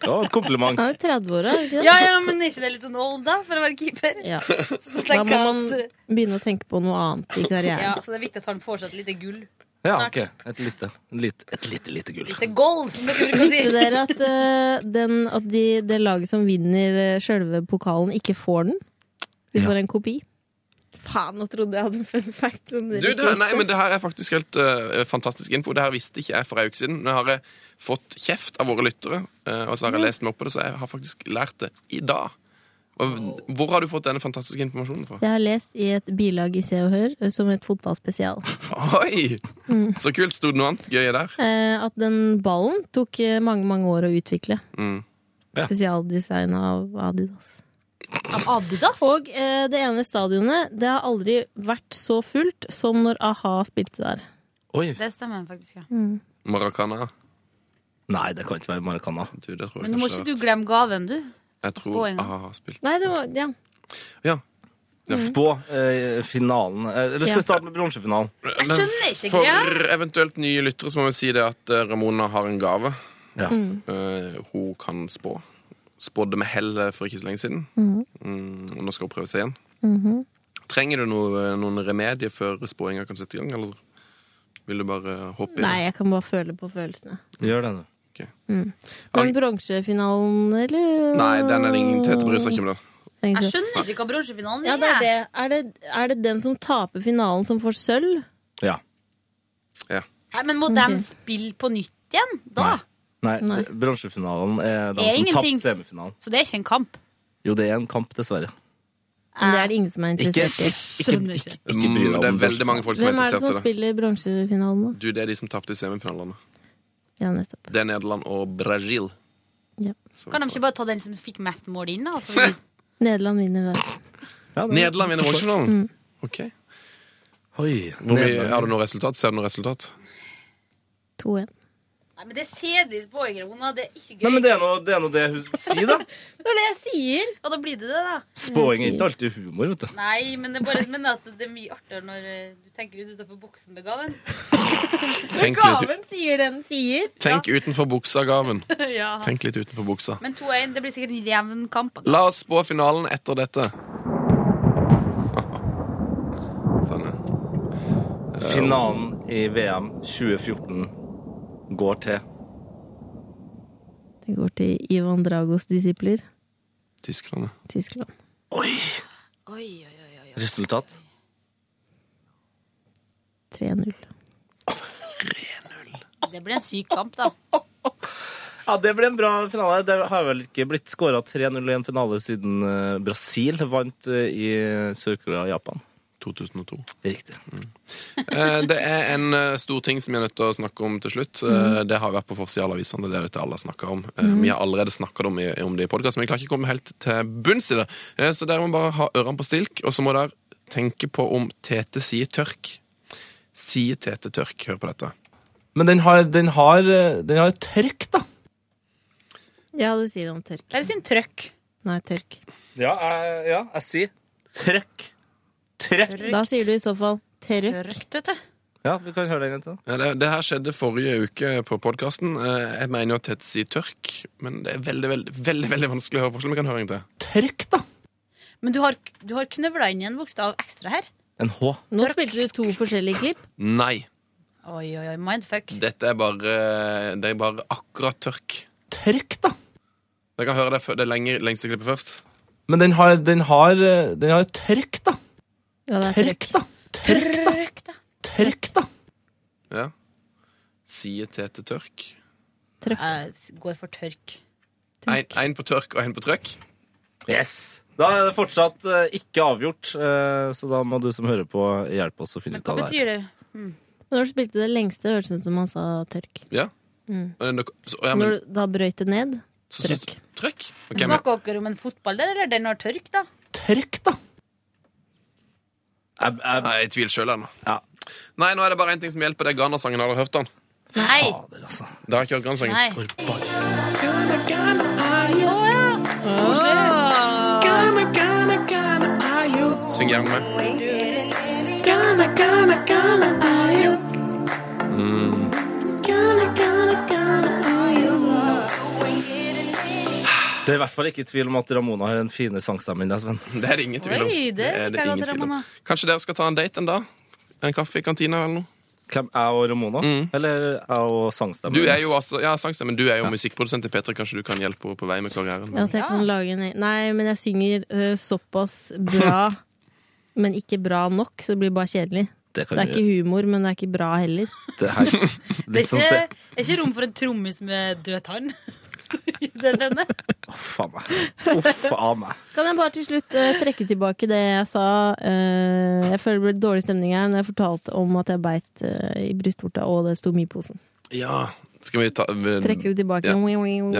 Speaker 1: Det var et kompliment.
Speaker 7: Han er 30-åra, er han ikke det?
Speaker 6: Ja, ja, men er ikke det litt sånn old, da, for å være keeper?
Speaker 7: Ja.
Speaker 6: Så da
Speaker 7: Da
Speaker 6: tenker
Speaker 7: må
Speaker 6: jeg
Speaker 7: man
Speaker 6: at,
Speaker 7: begynne å tenke på noe annet i
Speaker 6: ja,
Speaker 7: karrieren.
Speaker 6: så det er viktig at han får seg et lite gull.
Speaker 1: Ja, ok. Et lite, lite, et lite, lite gull.
Speaker 6: Lite gold, som dere bruker å si.
Speaker 7: Visste dere at, eh, den, at de, det laget som vinner uh, sjølve pokalen, ikke får den? De
Speaker 1: Ja.
Speaker 7: får en kopi. Faen, nå trodde jeg hadde en fun fact. Sånn som dere
Speaker 2: Du, det,
Speaker 7: ikke
Speaker 2: her- nei,
Speaker 7: visste.
Speaker 2: men det her er faktisk helt eh, fantastisk info. Det her visste ikke jeg for en uke siden. Nå har jeg fått kjeft av våre lyttere, eh, og så har jeg lest meg opp på det, så jeg har faktisk lært det i dag. Og, hvor har du fått denne fantastiske informasjonen fra?
Speaker 7: Jeg har lest i et bilag i Se og Hør eh, som et fotballspesial
Speaker 2: Oi! Så kult. Sto det noe annet gøy der?
Speaker 7: eh, at den ballen tok eh, mange, mange år å utvikle.
Speaker 2: Mm.
Speaker 1: Ja.
Speaker 7: Spesialdesign av Adidas.
Speaker 6: Av Adidas?
Speaker 7: Og eh, det ene stadionet det har aldri vært så fullt som når a-ha spilte der.
Speaker 1: Oi.
Speaker 6: Det stemmer faktisk, ja.
Speaker 2: Maracana.
Speaker 1: Nei, det kan ikke være Maracana.
Speaker 2: Du, det tror jeg
Speaker 6: Men nå må
Speaker 2: kanskje
Speaker 6: ikke du glemme gaven, du.
Speaker 2: Jeg tror
Speaker 6: Spåing, da.
Speaker 2: Aha har spilt
Speaker 7: Nei, det var, ja.
Speaker 1: Spå eh, finalen. Eh, Eller skal
Speaker 7: Ja.
Speaker 1: vi starte med bronsefinalen?
Speaker 6: Jeg skjønner ikke
Speaker 2: For
Speaker 6: greia.
Speaker 2: eventuelt nye lyttere så må vi si det at eh, Ramona har en gave.
Speaker 1: Ja.
Speaker 2: Eh, hun kan spå. Spådde med hell eh, for ikke så lenge siden. Mm, og nå skal hun prøve seg igjen. Trenger du noe, eh, noen remedier før spåinga kan sette i gang, eller vil du bare hoppe i
Speaker 7: Nei, jeg kan bare føle på følelsene.
Speaker 1: Gjør det, du.
Speaker 7: Men bronsefinalen, eller?
Speaker 2: det? Nei, den er det ingen Tete bryr seg ikke om den.
Speaker 7: Lenge
Speaker 6: Jeg
Speaker 7: siden.
Speaker 6: skjønner ikke hva bronsefinalen
Speaker 7: Ja, det er det. Er det, er det den som taper finalen, som får sølv?
Speaker 1: Ja.
Speaker 6: Nei, men må
Speaker 7: Ok.
Speaker 6: de spille på nytt igjen da?
Speaker 1: Nei,
Speaker 7: Nei.
Speaker 1: det- bronsefinalen er de
Speaker 6: Er
Speaker 1: som
Speaker 6: ingenting.
Speaker 1: tapte semifinalen.
Speaker 6: Så det er ikke en kamp.
Speaker 1: Jo, det er en kamp, dessverre.
Speaker 7: Men det er det ingen som er interessert i.
Speaker 6: Skjønner ikke.
Speaker 1: Ikke bry deg om
Speaker 2: Mm, Det er veldig mange folk som er
Speaker 7: Hvem er det som
Speaker 2: interessert i det.
Speaker 7: spiller bronsefinalen, da?
Speaker 2: Du, det er de som tapte i semifinalene.
Speaker 7: Ja, nettopp.
Speaker 2: Det er Nederland og Brasil.
Speaker 7: Ja.
Speaker 2: Som
Speaker 6: Kan de
Speaker 2: tar
Speaker 6: ikke bare ta den som fikk mest mål inn, da? og så vil de-
Speaker 7: Nederland vinner der.
Speaker 2: det. Nederland vinner Washington. Ok.
Speaker 1: Oi,
Speaker 2: Hvor mye,
Speaker 1: Nederland.
Speaker 2: har du noe resultat? Ser du noe resultat?
Speaker 7: 2-1.
Speaker 6: Nei, men det er kjedelig spåingrona. Det er ikke gøy.
Speaker 1: Nei, men det er nå det, er nå det hun sier, da.
Speaker 6: Det er det jeg sier. Ja, da blir det det, da.
Speaker 1: Spåing er ikke alltid humor, vet du.
Speaker 6: Nei, men det er bare men at det er mye artigere når eh, du tenker ut utenfor boksen med gaven.
Speaker 2: Tenk litt,
Speaker 7: Gaven sier det den sier!
Speaker 2: tenk utenfor buksa, Gaven.
Speaker 6: ja.
Speaker 2: Tenk litt utenfor buksa.
Speaker 6: Men 2-1, det blir sikkert en jevn kamp.
Speaker 2: La oss spå finalen etter dette. Sånn, ja.
Speaker 1: Finalen i VM 2014 går til
Speaker 7: Det går til Ivan Dragos disipler.
Speaker 2: Tyskerne.
Speaker 7: Tyskland.
Speaker 6: Oi, oi, oi, oi.
Speaker 1: resultat
Speaker 7: 3-0.
Speaker 6: Det blir en syk kamp, da.
Speaker 1: Ja, det ble en bra finale. Det har vel ikke blitt skåra 3-0 i en finale siden eh, Brasil vant eh, i Sør-Korea og Japan.
Speaker 2: 2002.
Speaker 1: Riktig.
Speaker 2: Eh, Det er en eh, stor ting som vi er nødt til å snakke om til slutt. Eh, Det har vært på forsida av avisene. Det er dette alle har snakket om. Eh, Vi har allerede snakka om, i- om det i podkast, men vi klarer ikke å komme helt til bunns i det. Eh, Så dere må bare ha ørene på stilk, og så må dere tenke på om Tete sier tørk. Sier Tete tørk? Hør på dette.
Speaker 1: Men den har, den har, eh, den har tørk, da.
Speaker 7: Ja, det sier han tørk.
Speaker 6: Det er sin trøkk.
Speaker 7: Nei, tørk.
Speaker 1: Ja, jeg, ja, jeg sier trøkk. Trøkk.
Speaker 7: Da sier du i så fall tørk.
Speaker 6: Trøkk, vet du.
Speaker 1: Ja, vi kan høre den igjen.
Speaker 2: Ja, Det, det her skjedde forrige uke på podkasten. Jeg mener jo at Tete sier tørk, men det er veldig, veldig, veldig, veldig vanskelig å høre forskjellen. Vi kan høre en til.
Speaker 1: Tørk, da.
Speaker 6: Men du har, du har knøvla inn en bokstav ekstra her.
Speaker 1: En H.
Speaker 7: Nå spilte du to forskjellige klipp.
Speaker 2: Nei.
Speaker 6: Oi, oi, oi. Mindfuck.
Speaker 2: Dette er bare, det er bare akkurat tørk.
Speaker 1: Tørk, da.
Speaker 2: Dere kan høre det, før- det lenger, lengste klippet først.
Speaker 1: Men den har, den har, eh, den har tørk, da.
Speaker 7: Ja, det er
Speaker 1: Tørk,
Speaker 7: tørk.
Speaker 1: da. Tørk, da.
Speaker 6: Trøkk, da.
Speaker 1: Tørk, da.
Speaker 2: Ja. Sier Tete tørk.
Speaker 6: Jeg går for tørk.
Speaker 2: Én på tørk og én på trøkk.
Speaker 1: Yes. Da er det fortsatt eh, ikke avgjort, eh, så da må du som hører på, hjelpe oss å finne
Speaker 6: Men
Speaker 1: ut
Speaker 6: hva
Speaker 1: av det. her.
Speaker 6: betyr det?
Speaker 7: Når du spilte det lengste, hørtes det ut som han sa tørk.
Speaker 2: Ja.
Speaker 7: Mm.
Speaker 2: Eh, dere- Så, ja, men,
Speaker 7: Når du da brøyt det ned,
Speaker 2: så syns
Speaker 7: trøkk.
Speaker 2: Trøkk? Ok, men,
Speaker 6: Snakker dere om en fotball der, eller den har tørk, da?
Speaker 1: Tørk, da. Jeg, jeg,
Speaker 2: nei, jeg tviler sjøl ennå.
Speaker 1: Ja.
Speaker 2: Nei, nå er det bare én ting som hjelper. Det er Ghana-sangen. Har dere hørt den?
Speaker 6: Nei.
Speaker 1: fader, altså.
Speaker 2: Det har ikke hørt Ghana-sangen.
Speaker 6: Nei.
Speaker 2: Syng gjerne med.
Speaker 1: Det er i hvert fall ikke tvil om at Ramona har en fine sangstemme enn deg, Sven.
Speaker 2: Det er det ingen tvil om.
Speaker 6: Oi, det
Speaker 2: er
Speaker 6: liker
Speaker 2: ingen
Speaker 6: jeg godt,
Speaker 2: tvil om.
Speaker 6: Ramona.
Speaker 2: Kanskje dere skal ta en date en dag? En kaffe i kantina eller noe?
Speaker 1: Hvem jeg og Ramona? Eller jeg og sangstemmen?
Speaker 2: Du er
Speaker 1: hennes?
Speaker 2: jo altså, ja, sangstemmen, du er jo musikkprodusent til Petra. Kanskje du kan hjelpe henne på vei med karrieren?
Speaker 7: Ja, at jeg kan lage en Nei, men jeg synger eh, såpass bra, men ikke bra nok, så det blir bare kjedelig.
Speaker 1: Det
Speaker 7: Det
Speaker 1: kan
Speaker 7: er
Speaker 1: vi
Speaker 7: ikke humor, men det er ikke bra heller.
Speaker 1: Det her.
Speaker 6: Det
Speaker 1: Litt sånn
Speaker 6: er
Speaker 1: se.
Speaker 6: ikke, det er ikke rom for en trommis med død tann. I den ene.
Speaker 1: Uff a meg. Uff a meg.
Speaker 7: Kan jeg bare til slutt eh, trekke tilbake det jeg sa? eh, jeg føler det ble dårlig stemning her når jeg fortalte om at jeg beit eh, i brystvorta og det sto mye i posen.
Speaker 2: Ja. Skal vi ta
Speaker 7: Trekker det tilbake.
Speaker 2: Ja. Men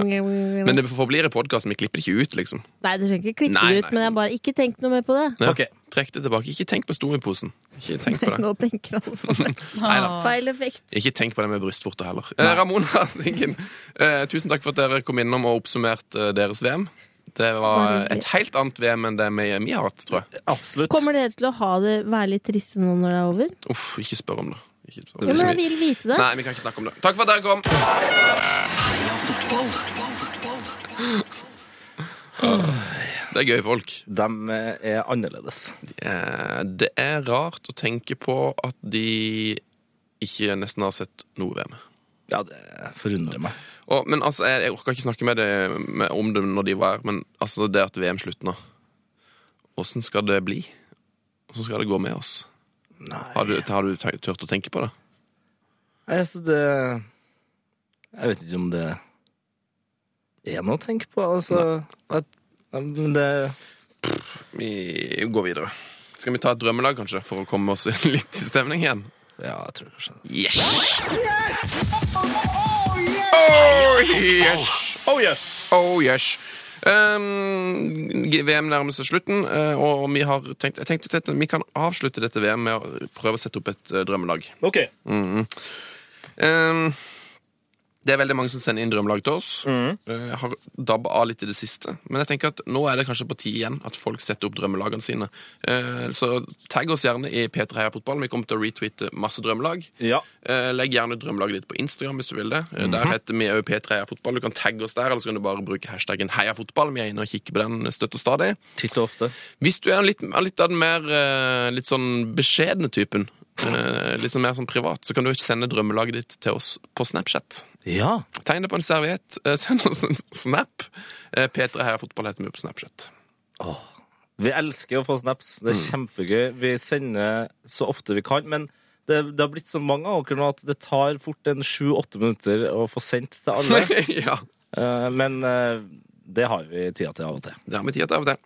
Speaker 7: Nei,
Speaker 2: det forblir i podkasten. Vi klipper det ikke ut, liksom.
Speaker 7: du trenger ikke klippe
Speaker 2: Nei,
Speaker 7: det ut,
Speaker 2: nei.
Speaker 7: men jeg bare ikke tenk noe mer på det.
Speaker 2: Ja.
Speaker 1: Ok.
Speaker 2: Trekk det tilbake. Ikke tenk på stomiposen. Ikke tenk på det.
Speaker 7: Nå tenker alle på det.
Speaker 2: Neida.
Speaker 7: Feil effekt.
Speaker 2: Ikke tenk på det med brystvorter heller. Eh, Ramona Siggen, eh, tusen takk for at dere kom innom og oppsummerte eh, deres VM. Det var
Speaker 7: Bare hyggelig.
Speaker 2: et helt annet VM enn det vi, vi har hatt, tror jeg.
Speaker 1: Absolutt.
Speaker 7: Kommer dere til å ha det, være litt triste nå når det er over?
Speaker 2: Uff, ikke spør om det. Ikke spør
Speaker 7: Ja,
Speaker 2: om
Speaker 7: men
Speaker 2: det.
Speaker 7: jeg vil vite det.
Speaker 2: Nei, vi kan ikke snakke om det. Takk for at dere kom. Det er gøy folk.
Speaker 1: De eh, er annerledes.
Speaker 2: Eh, Det er rart å tenke på at de ikke nesten har sett noe VM.
Speaker 1: Ja, det forundrer meg.
Speaker 2: Og, men altså, jeg, jeg orka ikke snakke med det, med, om det når de var her, men altså, det at VM slutta Åssen skal det bli? Åssen skal det gå med oss? Har du, har du te- turt å tenke på det?
Speaker 1: Nei, altså det Jeg vet ikke om det er noe å tenke på, altså. At, ja, men det
Speaker 2: Vi går videre. Skal vi ta et drømmelag, kanskje, for å komme oss litt i stemning igjen?
Speaker 1: Ja, jeg tror kanskje det. altså.
Speaker 2: Yes! Oh yes!
Speaker 5: Oh yes!
Speaker 2: Oh yes! Ehm, G- VM nærmer seg slutten, eh, og vi har tenkt, jeg tenkte at vi kan avslutte dette VM med å prøve å sette opp et eh, drømmelag.
Speaker 5: Ok.
Speaker 2: Ehm, det er veldig mange som sender inn drømmelag til oss. Eh, Jeg har dabba av litt i det siste, men jeg tenker at nå er det kanskje på tide igjen at folk setter opp drømmelagene sine. Eh, Så tagg oss gjerne i P3 Heia Fotball. Vi kommer til å retweete masse drømmelag.
Speaker 1: Ja.
Speaker 2: Eh, Legg gjerne drømmelaget ditt på Instagram hvis du vil det. Eh, Der heter vi òg P3 Fotball. Du kan tagge oss der, eller så kan du bare bruke hashtaggen Heia Fotball. Vi er inne og kikker på den støtt og stadig.
Speaker 1: Titt og ofte.
Speaker 2: Hvis du er litt, er litt av den mer eh, litt sånn beskjedne typen, eh, litt sånn mer sånn privat, så kan du ikke sende drømmelaget ditt til oss på Snapchat.
Speaker 1: Ja.
Speaker 2: Tegn det på en serviett, eh, send oss en snap. Eh, P3 Heia Fotball heter vi på Snapchat.
Speaker 1: Vi elsker å få snaps. Det er
Speaker 6: Mm.
Speaker 1: kjempegøy. Vi sender så ofte vi kan. Men det, det har blitt så mange av dere nå at det tar fort en sju-åtte minutter å få sendt til alle.
Speaker 2: ja.
Speaker 1: Eh, men eh, det har vi tida til av og til.
Speaker 2: Det har vi tid til av og til.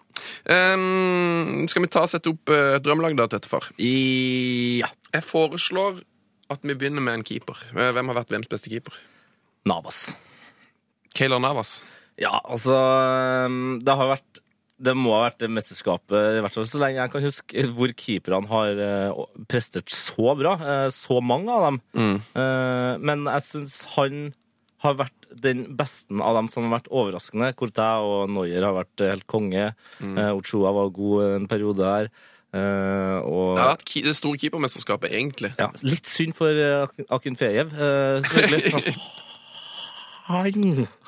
Speaker 2: Ehm, skal vi ta og sette opp eh, et drømmelag da, til dette for?
Speaker 1: I, ja.
Speaker 2: Jeg foreslår at vi begynner med en keeper. Eh, Hvem har vært VMs beste keeper?
Speaker 1: Navas.
Speaker 2: Keylor Navas.
Speaker 1: Ja, altså um, Det har vært det må ha vært det mesterskapet, i hvert fall så lenge jeg kan huske, hvor keeperne har eh, prestert så bra. eh, så mange av dem. Eh, men jeg syns han har vært den beste av dem som har vært overraskende. Courtæ og Noyer har vært helt konge. Eh, Ochoa var god en periode der. eh, og
Speaker 2: Det har vært ke- det store keepermesterskapet, egentlig.
Speaker 1: ja, litt synd for eh, Ak- Akinfejev, eh, selvfølgelig. Han,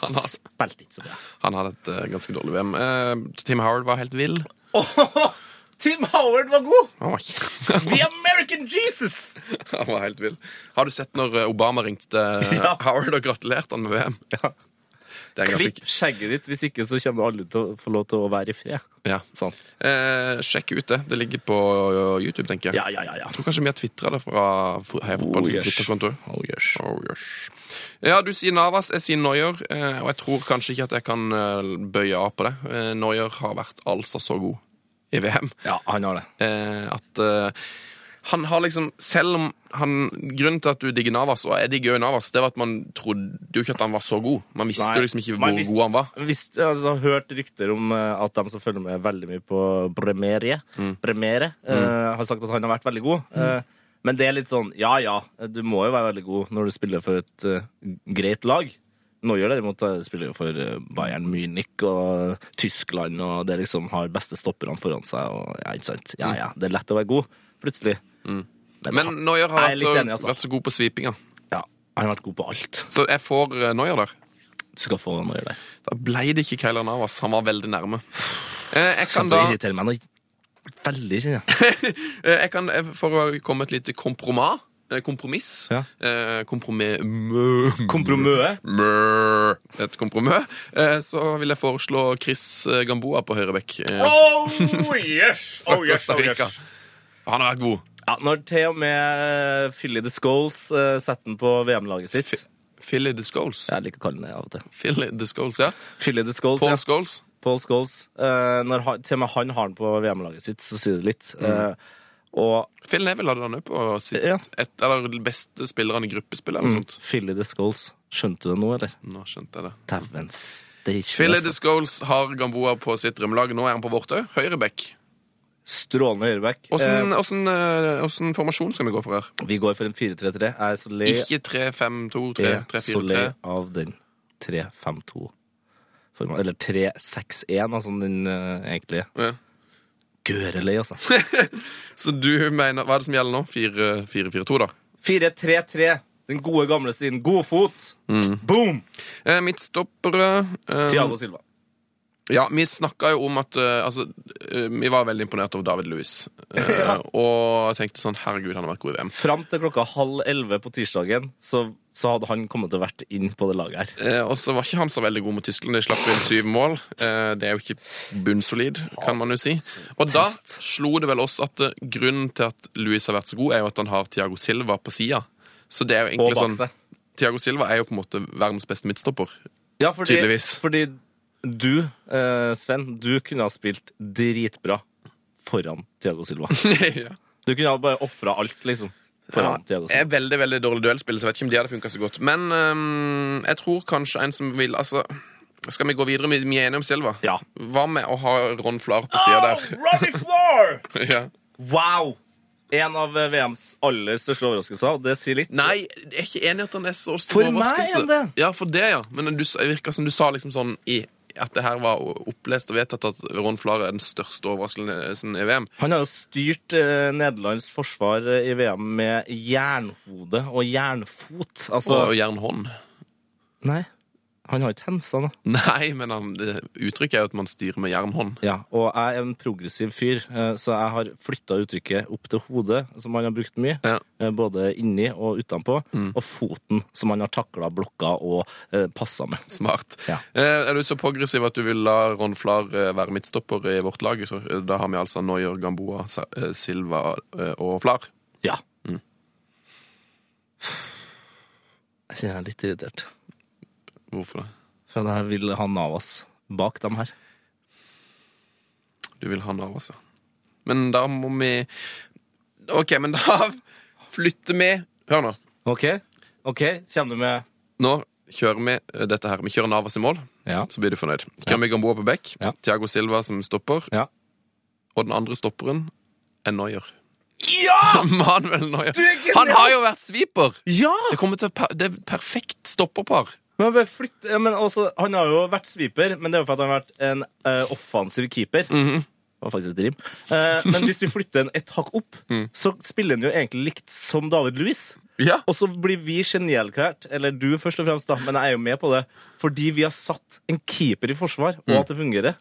Speaker 1: han
Speaker 2: har-
Speaker 1: spilte ikke så bra.
Speaker 2: Han hadde et eh, ganske dårlig VM. Eh, Tim Howard var helt vill.
Speaker 1: Tim Howard var god!
Speaker 2: Han var, ikke-
Speaker 1: The American Jesus!
Speaker 2: han var helt vill. Har du sett når eh, Obama ringte eh,
Speaker 1: Ja.
Speaker 2: Howard og gratulerte han med VM? Det er
Speaker 1: Klipp
Speaker 2: ganske...
Speaker 1: skjegget ditt, hvis ikke så kommer alle til å få lov til å være i fred.
Speaker 2: Ja.
Speaker 1: Sånn.
Speaker 2: Eh, sjekk ut det. Det ligger på eh, YouTube, tenker jeg.
Speaker 1: Ja, ja, ja, ja.
Speaker 2: Jeg tror kanskje vi har tvitra det fra Fo- Heia Fotballs
Speaker 1: yes.
Speaker 2: Twitter-konto.
Speaker 1: Oh, yes.
Speaker 2: Oh, yes. Ja, du sier Navas, jeg sier Neuer, eh, og jeg tror kanskje ikke at jeg kan eh, bøye av på det. Eh, Neuer har vært altså så god i VM
Speaker 1: Ja, han har det.
Speaker 2: eh, at eh, han har liksom Selv om han Grunnen til at du digger Navas, og jeg digger jo Navas, det var at man trodde jo ikke at han var så god. Man visste
Speaker 1: Nei,
Speaker 2: jo liksom ikke
Speaker 1: man
Speaker 2: hvor
Speaker 1: visste-
Speaker 2: god han var.
Speaker 1: Hvis, altså, jeg har hørt rykter om eh, at de som følger med veldig mye på Bremerie,
Speaker 2: Mm.
Speaker 1: Bremere, eh, har sagt at han har vært veldig god. Eh, men det er litt sånn, ja ja, du må jo være veldig god når du spiller for et eh, greit lag. Neuer derimot eh, spiller jo for eh, Bayern Munich og eh, Tyskland, og det liksom har beste stopperne foran seg. Og, ja, ikke sant? ja ja, det er lett å være god, plutselig.
Speaker 2: Mm. Men
Speaker 1: Jeg
Speaker 2: Neuer har
Speaker 1: er
Speaker 2: vært
Speaker 1: litt
Speaker 2: så,
Speaker 1: enig, altså.
Speaker 2: vært så god på svipinga.
Speaker 1: Ja, han har vært god på alt.
Speaker 2: Så jeg får eh, Neuer der.
Speaker 1: Du skal få Neuer der.
Speaker 2: Da ble det ikke Keiler Navas. Han var veldig nærme. Eh, Jeg kan
Speaker 1: Kjempe
Speaker 2: da
Speaker 1: irriterer meg noe veldig, kjenner jeg.
Speaker 2: Eh, jeg kan, eh, For å komme med et lite kompromat eh, Kompromiss.
Speaker 1: Ja.
Speaker 2: Eh, kompromi- mø-
Speaker 1: Kompromøet.
Speaker 2: mø- Et kompromiss. Eh, så vil jeg foreslå Chris eh, Gamboa på høyrebekk. Eh,
Speaker 5: Oh yes!
Speaker 2: fra
Speaker 5: Oh yes,
Speaker 2: Costa
Speaker 5: oh
Speaker 2: Rica.
Speaker 5: yes.
Speaker 2: Han har vært god.
Speaker 1: Ja, når til og med eh, Philly the Scholes eh, setter den på VM-laget sitt
Speaker 2: Philly the Scholes.
Speaker 1: Jeg liker å kalle den det av og til.
Speaker 2: Philly the Scholes, ja.
Speaker 1: Philly the Scholes,
Speaker 2: Paul
Speaker 1: ja.
Speaker 2: Scholes.
Speaker 1: Paul Scholes. Eh, når han, til og med han har den på VM-laget sitt, så sier det litt.
Speaker 2: Mm.
Speaker 1: Eh, og
Speaker 2: Phil Neville hadde han òg på sitt
Speaker 1: Ja. Mm.
Speaker 2: et, eller beste spilleren i gruppespill. Eller noe sånt.
Speaker 1: Philly the Scholes, skjønte du det nå, eller?
Speaker 2: Nå skjønte jeg det.
Speaker 1: Dæven steike.
Speaker 2: Philly the
Speaker 1: altså.
Speaker 2: Scholes har Gamboa på sitt drømmelag. Nå er han på vårt òg. Høyrebekk.
Speaker 1: Strålende høyreback.
Speaker 2: Åssen åssen, eh, åssen formasjon skal vi gå for her?
Speaker 1: Eh, vi går for en 4-3-3. Jeg er så le,
Speaker 2: Ikke 3, 5, 2, 3,
Speaker 1: jeg er
Speaker 2: 3,
Speaker 1: Eh. så
Speaker 2: 4,
Speaker 1: le
Speaker 2: 3.
Speaker 1: av den 3-5-2. forma- Eller 3-6-1, altså den eh, egentlig.
Speaker 2: Ja.
Speaker 1: Gørelei, altså.
Speaker 2: Så du mener Hva er det som gjelder nå? 4, 4, 4, 2, da?
Speaker 1: 4-3-3. Den gode gamle
Speaker 2: Mm.
Speaker 1: stilen. God fot. Boom!
Speaker 2: Eh, midtstoppere eh,
Speaker 1: Thiago Silva.
Speaker 2: Ja, vi snakka jo om at eh, Altså, eh, vi var veldig imponert over David Lewis. eh, Og tenkte sånn Herregud, han har vært god i VM.
Speaker 1: Fram til klokka halv elleve på tirsdagen så, så hadde han kommet til å vært inn på det laget her.
Speaker 2: Eh, Og så var ikke han så veldig god mot Tyskland. De slapp inn syv mål. Eh, Det er jo ikke bunnsolid, kan man jo si. Og da slo det vel oss at eh, grunnen til at Luis har vært så god, er jo at han har Tiago Silva på sida. Så det er jo
Speaker 1: Og
Speaker 2: egentlig
Speaker 1: bak
Speaker 2: sånn
Speaker 1: seg.
Speaker 2: Tiago Silva er jo på en måte verdens beste midtstopper.
Speaker 1: Ja, fordi,
Speaker 2: Tydeligvis.
Speaker 1: Fordi du, eh, Sven, du kunne ha spilt dritbra foran Thiago Silva.
Speaker 2: ja.
Speaker 1: Du kunne ha bare ofra alt, liksom. Foran Thiago
Speaker 2: er
Speaker 1: Silva.
Speaker 2: veldig veldig dårlig duellspill, så jeg vet ikke om de hadde funka så godt. Men øhm, jeg tror kanskje en som vil Altså, skal vi gå videre? Vi vi er enige om Silva.
Speaker 1: Ja.
Speaker 2: Hva med å ha Ron Flar på sida der?
Speaker 1: Ah, Ronny Floor!
Speaker 2: ja.
Speaker 1: Wow! En av eh, VMs aller største overraskelser, og det sier litt.
Speaker 2: Nei, jeg er ikke enig i at han er så stor
Speaker 1: For meg er det.
Speaker 2: Ja, for det, ja. Men du, det virka som du sa liksom sånn i at det her var opplest og vedtatt at Ron Flar er den største overraskelsen i VM.
Speaker 1: Han har jo styrt eh, Nederlands forsvar eh, i VM med jernhode og jernfot. Altså
Speaker 2: Og jernhånd.
Speaker 1: Nei. Han har ikke hensa, da.
Speaker 2: Nei, men han, det uttrykket er jo at man styrer med jernhånd.
Speaker 1: Ja, og jeg er en progressiv fyr, eh, så jeg har flytta uttrykket opp til hodet, som han har brukt mye,
Speaker 2: Ja.
Speaker 1: eh, både inni og utenpå, og foten, som han har takla blokka og eh, passa med.
Speaker 2: Smart.
Speaker 1: Ja.
Speaker 2: Eh, Er du så progressiv at du vil la Ron Flar eh, være midtstopper i vårt lag? Så eh, da har vi altså Noyer, Gamboa, Sa- eh, Silva eh, og Flar.
Speaker 1: Ja. Jeg kjenner jeg er litt irritert,
Speaker 2: Hvorfor det?
Speaker 1: for jeg vil ha Navas bak dem her.
Speaker 2: Du vil ha Navas, ja. Men da må vi OK, men da flytter vi Hør nå.
Speaker 1: OK? Ok, Kommer du med
Speaker 2: Nå kjører vi eh, dette her. Vi kjører Navas i mål,
Speaker 1: Ja.
Speaker 2: så blir du fornøyd. Så kjører vi Gamboa på bekk,
Speaker 1: Ja.
Speaker 2: Thiago Silva som stopper,
Speaker 1: Ja.
Speaker 2: og den andre stopperen er Noyer. Ja! Manuel Neuer. Han har jo vært sviper!
Speaker 1: Ja!
Speaker 2: Det kommer til å per, Det er perfekt stopperpar.
Speaker 1: Men, bare flytt, ja, men også, han har jo vært sviper, men det er jo for at han har vært en eh, offensiv keeper.
Speaker 2: Mhm.
Speaker 1: Det var faktisk et rim. Eh, men hvis vi flytter en et hakk opp,
Speaker 2: Mm.
Speaker 1: så spiller han jo egentlig likt som David Louis.
Speaker 2: Ja.
Speaker 1: Og så blir vi genierklært, eller du først og fremst, da, men jeg er jo med på det, fordi vi har satt en keeper i forsvar, og at det fungerer.
Speaker 2: Mm.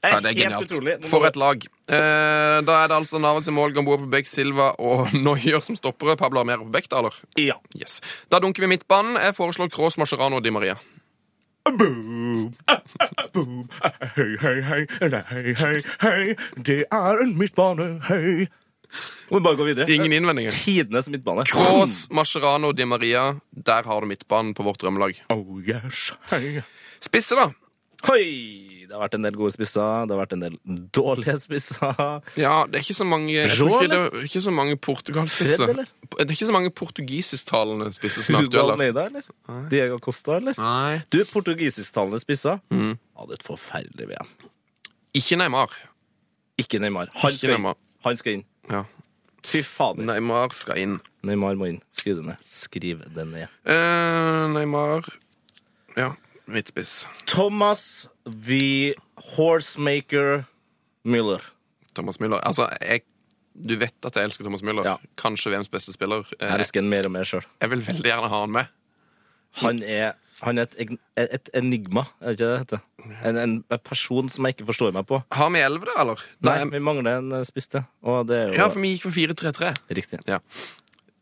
Speaker 2: Ja, det er
Speaker 1: Helt utrolig. Nå
Speaker 2: genialt.
Speaker 1: må
Speaker 2: For
Speaker 1: vi-
Speaker 2: et lag. Eh, da er det altså Navas i mål, Gamboa på bekk, Silva og Neuer som stoppere. Pablo Amero på bekk, da, eller?
Speaker 1: Ja.
Speaker 2: Yes. Da dunker vi midtbanen. Jeg foreslår Cross, Mascherano og Di Maria.
Speaker 1: Boom, ah, ah, boom, ah, hei, hei, hei, nei, hei, hei, det er en midtbane, hei. Må vi bare gå videre.
Speaker 2: Ingen innvendinger.
Speaker 1: Tidenes midtbane.
Speaker 2: Cross, Mascherano og Di Maria. Der har du midtbanen på vårt drømmelag.
Speaker 1: Oh yes, hei.
Speaker 2: Spisse, da?
Speaker 1: Hoi! Det har vært en del gode spisser, det har vært en del dårlige spisser.
Speaker 2: Ja, det er ikke så mange jeg
Speaker 1: Rå,
Speaker 2: tror ikke
Speaker 1: eller?
Speaker 2: det er ikke så mange portugalspisser.
Speaker 1: Fred, eller?
Speaker 2: Det er ikke så mange portugisisktalende spisser som
Speaker 1: Hugo
Speaker 2: er aktuelle.
Speaker 1: Almeida, eller? Diego Costa, eller?
Speaker 2: Nei.
Speaker 1: Du, portugisisktalende spisser hadde et forferdelig VM.
Speaker 2: Ikke Neymar.
Speaker 1: Ikke Neymar. Han
Speaker 2: Ikke
Speaker 1: skal inn.
Speaker 2: Neymar.
Speaker 1: Han skal inn.
Speaker 2: Ja.
Speaker 1: Fy fader.
Speaker 2: Neymar skal inn.
Speaker 1: Neymar må inn. Skriv det ned. Skriv det ned.
Speaker 2: Eh, Neymar Ja, midtspiss.
Speaker 1: Thomas the Horsemaker Müller.
Speaker 2: Thomas Müller. Altså, jeg, du vet at jeg elsker Thomas Müller.
Speaker 1: Ja.
Speaker 2: Kanskje VMs beste spiller. Eh,
Speaker 1: Jeg elsker han mer og mer sjøl.
Speaker 2: jeg vil veldig gjerne ha han med.
Speaker 1: Han er, han er et, egn- et enigma, er det ikke det det heter? En, en, en person som jeg ikke forstår meg på.
Speaker 2: Har vi elleve, da, eller?
Speaker 1: Nei,
Speaker 2: Da er-
Speaker 1: vi mangler en eh, spiss til, og det er jo
Speaker 2: ja, for vi gikk for 4-3-3.
Speaker 1: riktig.
Speaker 2: Eh,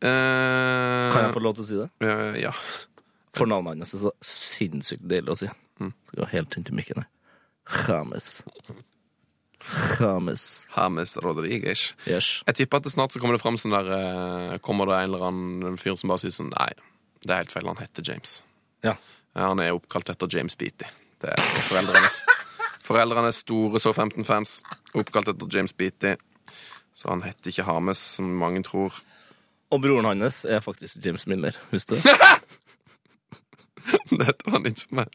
Speaker 1: Kan jeg få lov til å si det?
Speaker 2: eh, ja.
Speaker 1: For navnet hans er så sinnssykt deilig å si.
Speaker 2: Mm.
Speaker 1: Skal gå helt inn til mikken her. James. James.
Speaker 2: Hermes Rodriguez.
Speaker 1: Yes.
Speaker 2: Jeg tipper at det snart så kommer det fram sånn der eh, Kommer det en eller annen fyr som bare sier sånn Nei, det er helt feil. Han heter James.
Speaker 1: Ja.
Speaker 2: Ja, Han er oppkalt etter James Beatty. Det er foreldrenes, foreldrene er store Så 15-fans. Oppkalt etter James Beatty. Så han heter ikke Hames, som mange tror.
Speaker 1: Og broren hans er faktisk James Miller. Husker du det?
Speaker 2: Dette var han ikke for meg.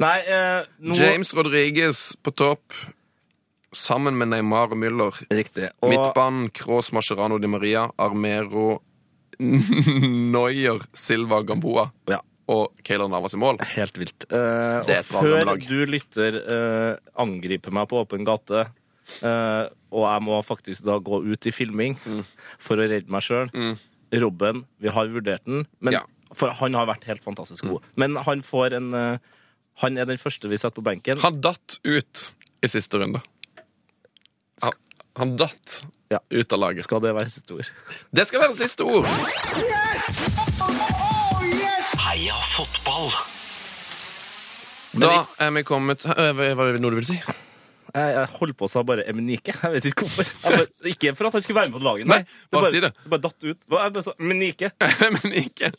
Speaker 1: Nei, eh, nå
Speaker 2: James Rodriguez på topp, sammen med Neymar og Müller.
Speaker 1: Riktig. Og
Speaker 2: Midtbanen Cross, Mascherano, Di Maria, Armero, Neuer, Silva, Gamboa
Speaker 1: Ja.
Speaker 2: og Keylor Navas i mål.
Speaker 1: helt vilt. Eh,
Speaker 2: Det
Speaker 1: og
Speaker 2: er et
Speaker 1: før
Speaker 2: vanlig lag.
Speaker 1: du lytter eh, angriper meg på åpen gate, eh, og jeg må faktisk da gå ut i filming
Speaker 2: Mm.
Speaker 1: for å redde meg sjøl Robben, vi har vurdert den, men
Speaker 2: Ja. Mm.
Speaker 1: for han har vært helt fantastisk god. Men han får en eh, Han er den første vi setter på benken.
Speaker 2: Han datt ut i siste runde. Han, han datt
Speaker 1: Ja.
Speaker 2: ut av laget.
Speaker 1: Skal det være siste ord?
Speaker 2: Det skal være siste ord.
Speaker 4: Heia fotball!
Speaker 2: Da er vi kommet Eh, Hva var det noe du ville si?
Speaker 1: Jeg, jeg holdt på å sa bare Emenike. Jeg vet ikke hvorfor. Jeg bare, ikke for at han skulle være med på laget.
Speaker 2: Nei, bare
Speaker 1: bare,
Speaker 2: si det.
Speaker 1: bare datt ut. Hva- Jeg bare sa Emenike.
Speaker 2: men ikke.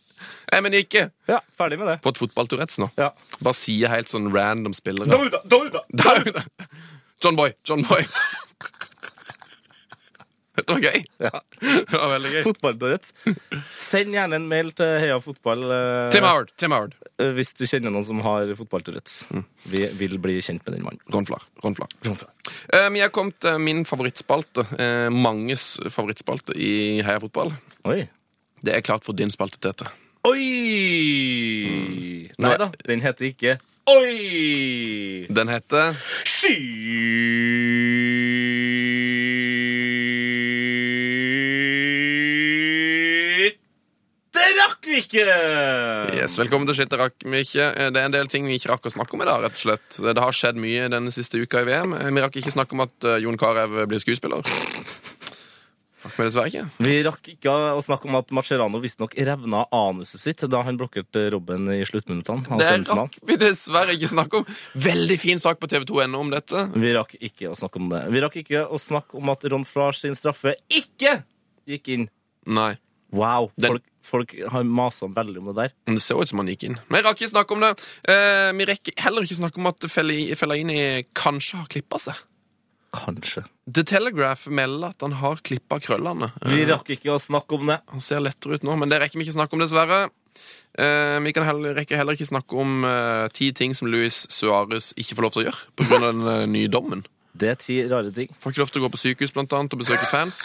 Speaker 2: Eh, men ikke.
Speaker 1: Ja, ferdig med det.
Speaker 2: Fått fotballtourettes nå.
Speaker 1: Ja.
Speaker 2: Bare sier helt sånn random spillere.
Speaker 5: Dauda, Dauda!
Speaker 2: Da- John Boy. John Boy. Dette var gøy.
Speaker 1: Ja.
Speaker 2: Det var veldig gøy.
Speaker 1: Fotballtourettes. Send gjerne en mail til Heia Fotball eh,
Speaker 2: Tim Howard. Tim Howard.
Speaker 1: eh, hvis du kjenner noen som har fotballtourettes.
Speaker 2: Mm.
Speaker 1: Vi vil bli kjent med den mannen.
Speaker 2: Ron Flar. Ron Flar. Eh, men jeg kom til min favorittspalte. eh, manges favorittspalte i Heia fotball.
Speaker 1: Oi.
Speaker 2: Det er klart for din spalte, Tete.
Speaker 1: Oi! Mm. Nei da, den heter ikke Oi!
Speaker 2: Den heter
Speaker 1: Skyt rakk vi ikke!
Speaker 2: Yes, eh, Velkommen til Shit, det rakk vi ikke. Eh, Det er en del ting vi ikke rakk å snakke om i dag, rett og slett. Eh, Det har skjedd mye den siste uka i VM. Eh, Vi rakk ikke snakke om at eh, Jon Carew blir skuespiller. Rakk vi dessverre ikke.
Speaker 1: Vi rakk ikke å snakke om at Macerano visstnok revna anuset sitt da han blokkerte Robben i sluttminuttene. av
Speaker 2: Det
Speaker 1: semifinalen.
Speaker 2: rakk vi dessverre ikke snakke om. Veldig fin sak på tv2.no om dette.
Speaker 1: Vi rakk ikke å snakke om det. Vi rakk ikke å snakke om at Ron Flars sin straffe ikke gikk inn.
Speaker 2: Nei.
Speaker 1: Wow,
Speaker 2: Den-
Speaker 1: folk, folk har masa veldig om det der.
Speaker 2: Men Det så ut som han gikk inn. Men jeg rakk ikke snakke om det. Eh, vi rekker heller ikke snakke om at Feli- Fellaini kanskje har klippa seg.
Speaker 1: Kanskje.
Speaker 2: The Telegraph melder at han har klippa krøllene.
Speaker 1: Vi
Speaker 2: Eh,
Speaker 1: rakk ikke å snakke om det.
Speaker 2: Han ser lettere ut nå, men det rekker vi ikke snakke om, dessverre. Eh, vi kan heller, rekker heller ikke snakke om eh, ti ting som Luis Suárez ikke får lov til å gjøre pga. den eh, nye dommen.
Speaker 1: Det er ti rare ting.
Speaker 2: Får ikke lov til å gå på sykehus blant annet, og besøke fans.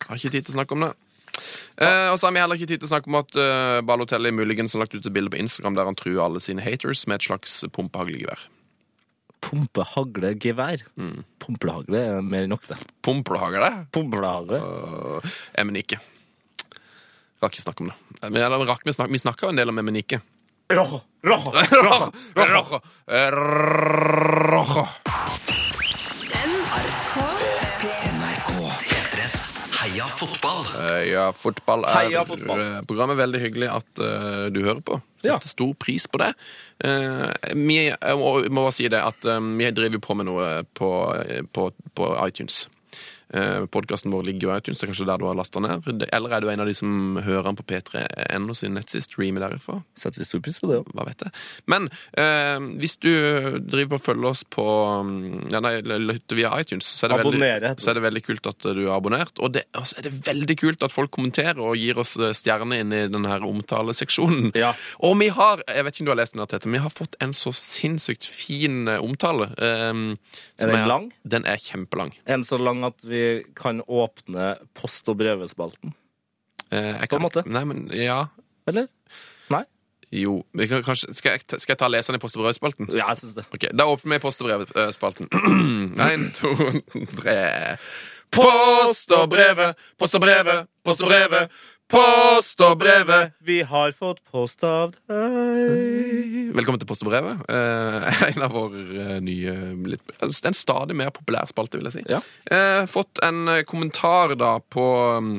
Speaker 2: Har ikke tid til å snakke om det. Eh, og så har vi heller ikke tid til å snakke om at eh, Balotelli muligens har lagt ut et bilde på Instagram der han truer alle sine haters med et slags pumpehaglegevær.
Speaker 1: Pumpehaglegevær. Mm. Pumplehagle er mer enn nok, det.
Speaker 2: Pumplehager, det?
Speaker 1: Pumplehagle.
Speaker 2: eh? Emenike. Rakk ikke snakke om det. Eh, Men, eller, rakk vi, snakke, vi snakka en del om Emenike.
Speaker 1: Rojo, rojo, rojo,
Speaker 2: Rojo, rojo, Eh, rojo.
Speaker 4: NRK P3s Heia fotball.
Speaker 2: Heia Eh, fotball er
Speaker 1: Heia fotball.
Speaker 2: eh, programmet. Veldig hyggelig at eh, du hører på. Setter
Speaker 1: Ja.
Speaker 2: stor pris på det. Eh, vi jeg må, jeg må bare si det at eh, vi driver jo på med noe eh, på, på, på iTunes. Uh, Podkasten vår ligger jo i iTunes, det er kanskje der du har lasta ned. Eller er du en av de som hører den på p3.no sin nettside? Streamer derifra?
Speaker 1: Setter vi stor pris på det òg.
Speaker 2: hva vet jeg. Men eh, hvis du driver på og følger oss på mm, ja, nei, lytter via iTunes, så er, det
Speaker 1: Abonnere, heter
Speaker 2: veldig,
Speaker 1: det.
Speaker 2: så er det veldig kult at du er abonnert. Og det, og så er det veldig kult at folk kommenterer og gir oss eh, stjerner inn i den her omtaleseksjonen.
Speaker 1: Ja.
Speaker 2: Og vi har jeg vet ikke om du har lest den, her, Tete, men vi har fått en så sinnssykt fin eh, omtale. eh, som
Speaker 1: den lang?
Speaker 2: Den er kjempelang.
Speaker 1: En så lang at vi kan åpne post- og brevespalten.
Speaker 2: Eh, jeg
Speaker 1: På en måte.
Speaker 2: Nei, men, ja,
Speaker 1: Eller?
Speaker 2: jo. Vi kan, kanskje, skal, jeg, ta- skal jeg ta leseren i post- og brevspalten?
Speaker 1: Ja, jeg syns det.
Speaker 2: Ok, Da åpner vi post- og brevspalten. Én, to, tre. Post og brevet, post og brevet, post og brevet. Post og brevet.
Speaker 1: Vi har fått post av deg.
Speaker 2: Velkommen til Post og brevet. Eh, en av våre eh, nye litt, En stadig mer populær spalte, vil jeg si.
Speaker 1: Ja.
Speaker 2: Eh, fått en eh, kommentar da på mm,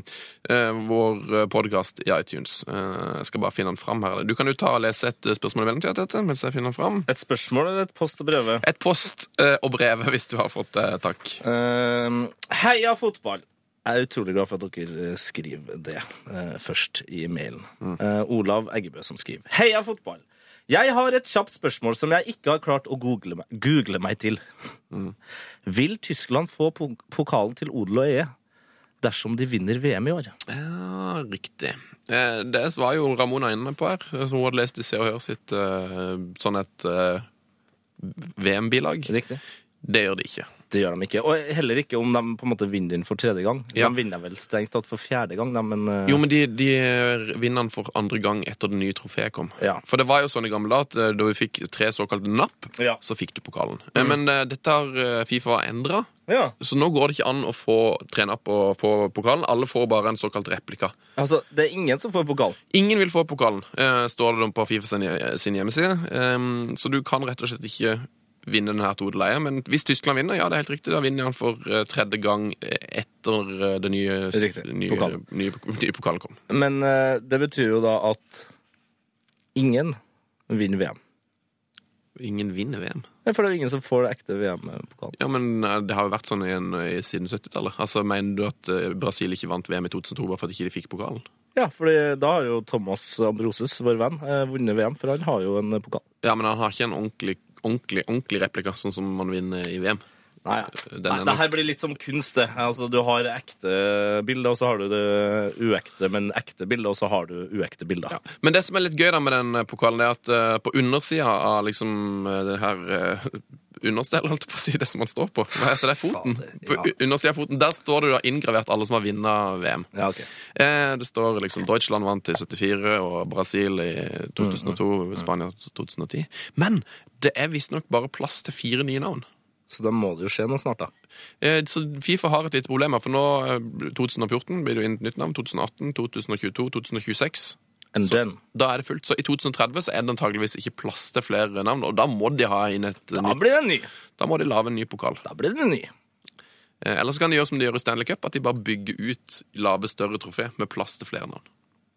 Speaker 2: eh, vår podkast i iTunes. Eh, jeg skal bare finne den fram her. Du kan jo ta og lese et eh, spørsmål i mellomtida Tete, mens jeg finner den fram.
Speaker 1: Et spørsmål eller et post- og breve?
Speaker 2: Et post eh, og brev, hvis du har fått det. takk.
Speaker 1: Ehm, heia fotball! Jeg er utrolig glad for at dere eh, skriver det eh, først i mailen.
Speaker 2: Mm.
Speaker 1: Eh, Olav Eggebø som skriver. Heia fotball! Jeg har et kjapt spørsmål som jeg ikke har klart å google meg, google meg til.
Speaker 2: Mm.
Speaker 1: Vil Tyskland få po- pokalen til odel og eie dersom de vinner VM i år?
Speaker 2: Ja, riktig. Eh, Det var jo Ramona inne på her. eh, Hun hadde lest i Se og Hør sitt eh, sånn et eh, VM-bilag.
Speaker 1: Riktig.
Speaker 2: Det gjør de ikke.
Speaker 1: Det gjør de ikke. Og heller ikke om de på en måte vinner den for tredje gang.
Speaker 2: Ja.
Speaker 1: De vinner vel strengt tatt for fjerde gang, de, men eh,
Speaker 2: Jo, men de, de vinner den for andre gang etter det nye trofeet kom.
Speaker 1: Ja.
Speaker 2: For det var jo sånn i gamle dager at eh, da vi fikk tre såkalte napp,
Speaker 1: Ja.
Speaker 2: så fikk du pokalen. Eh, Men eh, dette har eh, Fifa endra,
Speaker 1: ja.
Speaker 2: så nå går det ikke an å få tre napp og få pokalen. Alle får bare en såkalt replika.
Speaker 1: Altså, det er ingen som får pokal.
Speaker 2: Ingen vil få pokalen, eh, står det på Fifa sin, sin hjemmeside. Eh, Så du kan rett og slett ikke vinne denne todeleia. Men hvis Tyskland vinner, ja, det er helt riktig, da vinner han for eh, tredje gang eh, etter eh, det nye,
Speaker 1: Riktig.
Speaker 2: nye,
Speaker 1: Pokalen.
Speaker 2: nye, nye pokalen kom.
Speaker 1: Men eh, det betyr jo da at ingen vinner VM.
Speaker 2: Ingen vinner VM.
Speaker 1: Ja, For det er jo ingen som får det ekte VM-pokalen.
Speaker 2: Ja, men eh, det har jo vært sånn igjen eh, siden 70-tallet. Altså, Mener du at eh, Brasil ikke vant VM i 2002 bare fordi de ikke fikk pokalen?
Speaker 1: Ja, for da har jo Thomas Ambroses, vår venn, eh, vunnet VM, for han har jo en eh, pokal.
Speaker 2: Ja, men han har ikke en ordentlig, ordentlig, ordentlig replika, sånn som man vinner i VM.
Speaker 1: Nei,
Speaker 2: Den
Speaker 1: Nei,
Speaker 2: er
Speaker 1: det
Speaker 2: nok-
Speaker 1: her blir litt som kunst, det. Altså, du har ekte bilder, og så har du det uekte, men ekte bilder, og så har du uekte bilder.
Speaker 2: Ja. Men det som er litt gøy da med den eh, pokalen, det er at eh, på undersida av liksom eh, det her eh, understellet, holdt jeg på å si, det som man står på, hva heter det, foten?
Speaker 1: Fader,
Speaker 2: På
Speaker 1: ja.
Speaker 2: u- undersida av foten, der står det jo da inngravert alle som har vunnet VM.
Speaker 1: Ja, ok.
Speaker 2: Eh, Det står liksom Deutschland vant i 74 og Brasil i 2002,
Speaker 1: Mm,
Speaker 2: Spania 2010. Men det er visstnok bare plass til fire nye navn.
Speaker 1: Så da må det jo skje noe snart, da.
Speaker 2: Eh, Så Fifa har et lite problem her, for nå eh, 2014 blir det jo inn et nytt navn. 2018, 2022, 2026.
Speaker 1: And then.
Speaker 2: Da er det fullt. Så i 2030 så er det antageligvis ikke plass til flere navn, og da må de ha inn et
Speaker 1: Da
Speaker 2: nytt
Speaker 1: blir det en ny.
Speaker 2: Da må de lage en ny pokal.
Speaker 1: Da blir det en ny.
Speaker 2: Eh, Eller så kan de gjøre som de gjør i Stanley Cup, at de bare bygger ut, lager større trofé med plass til flere navn.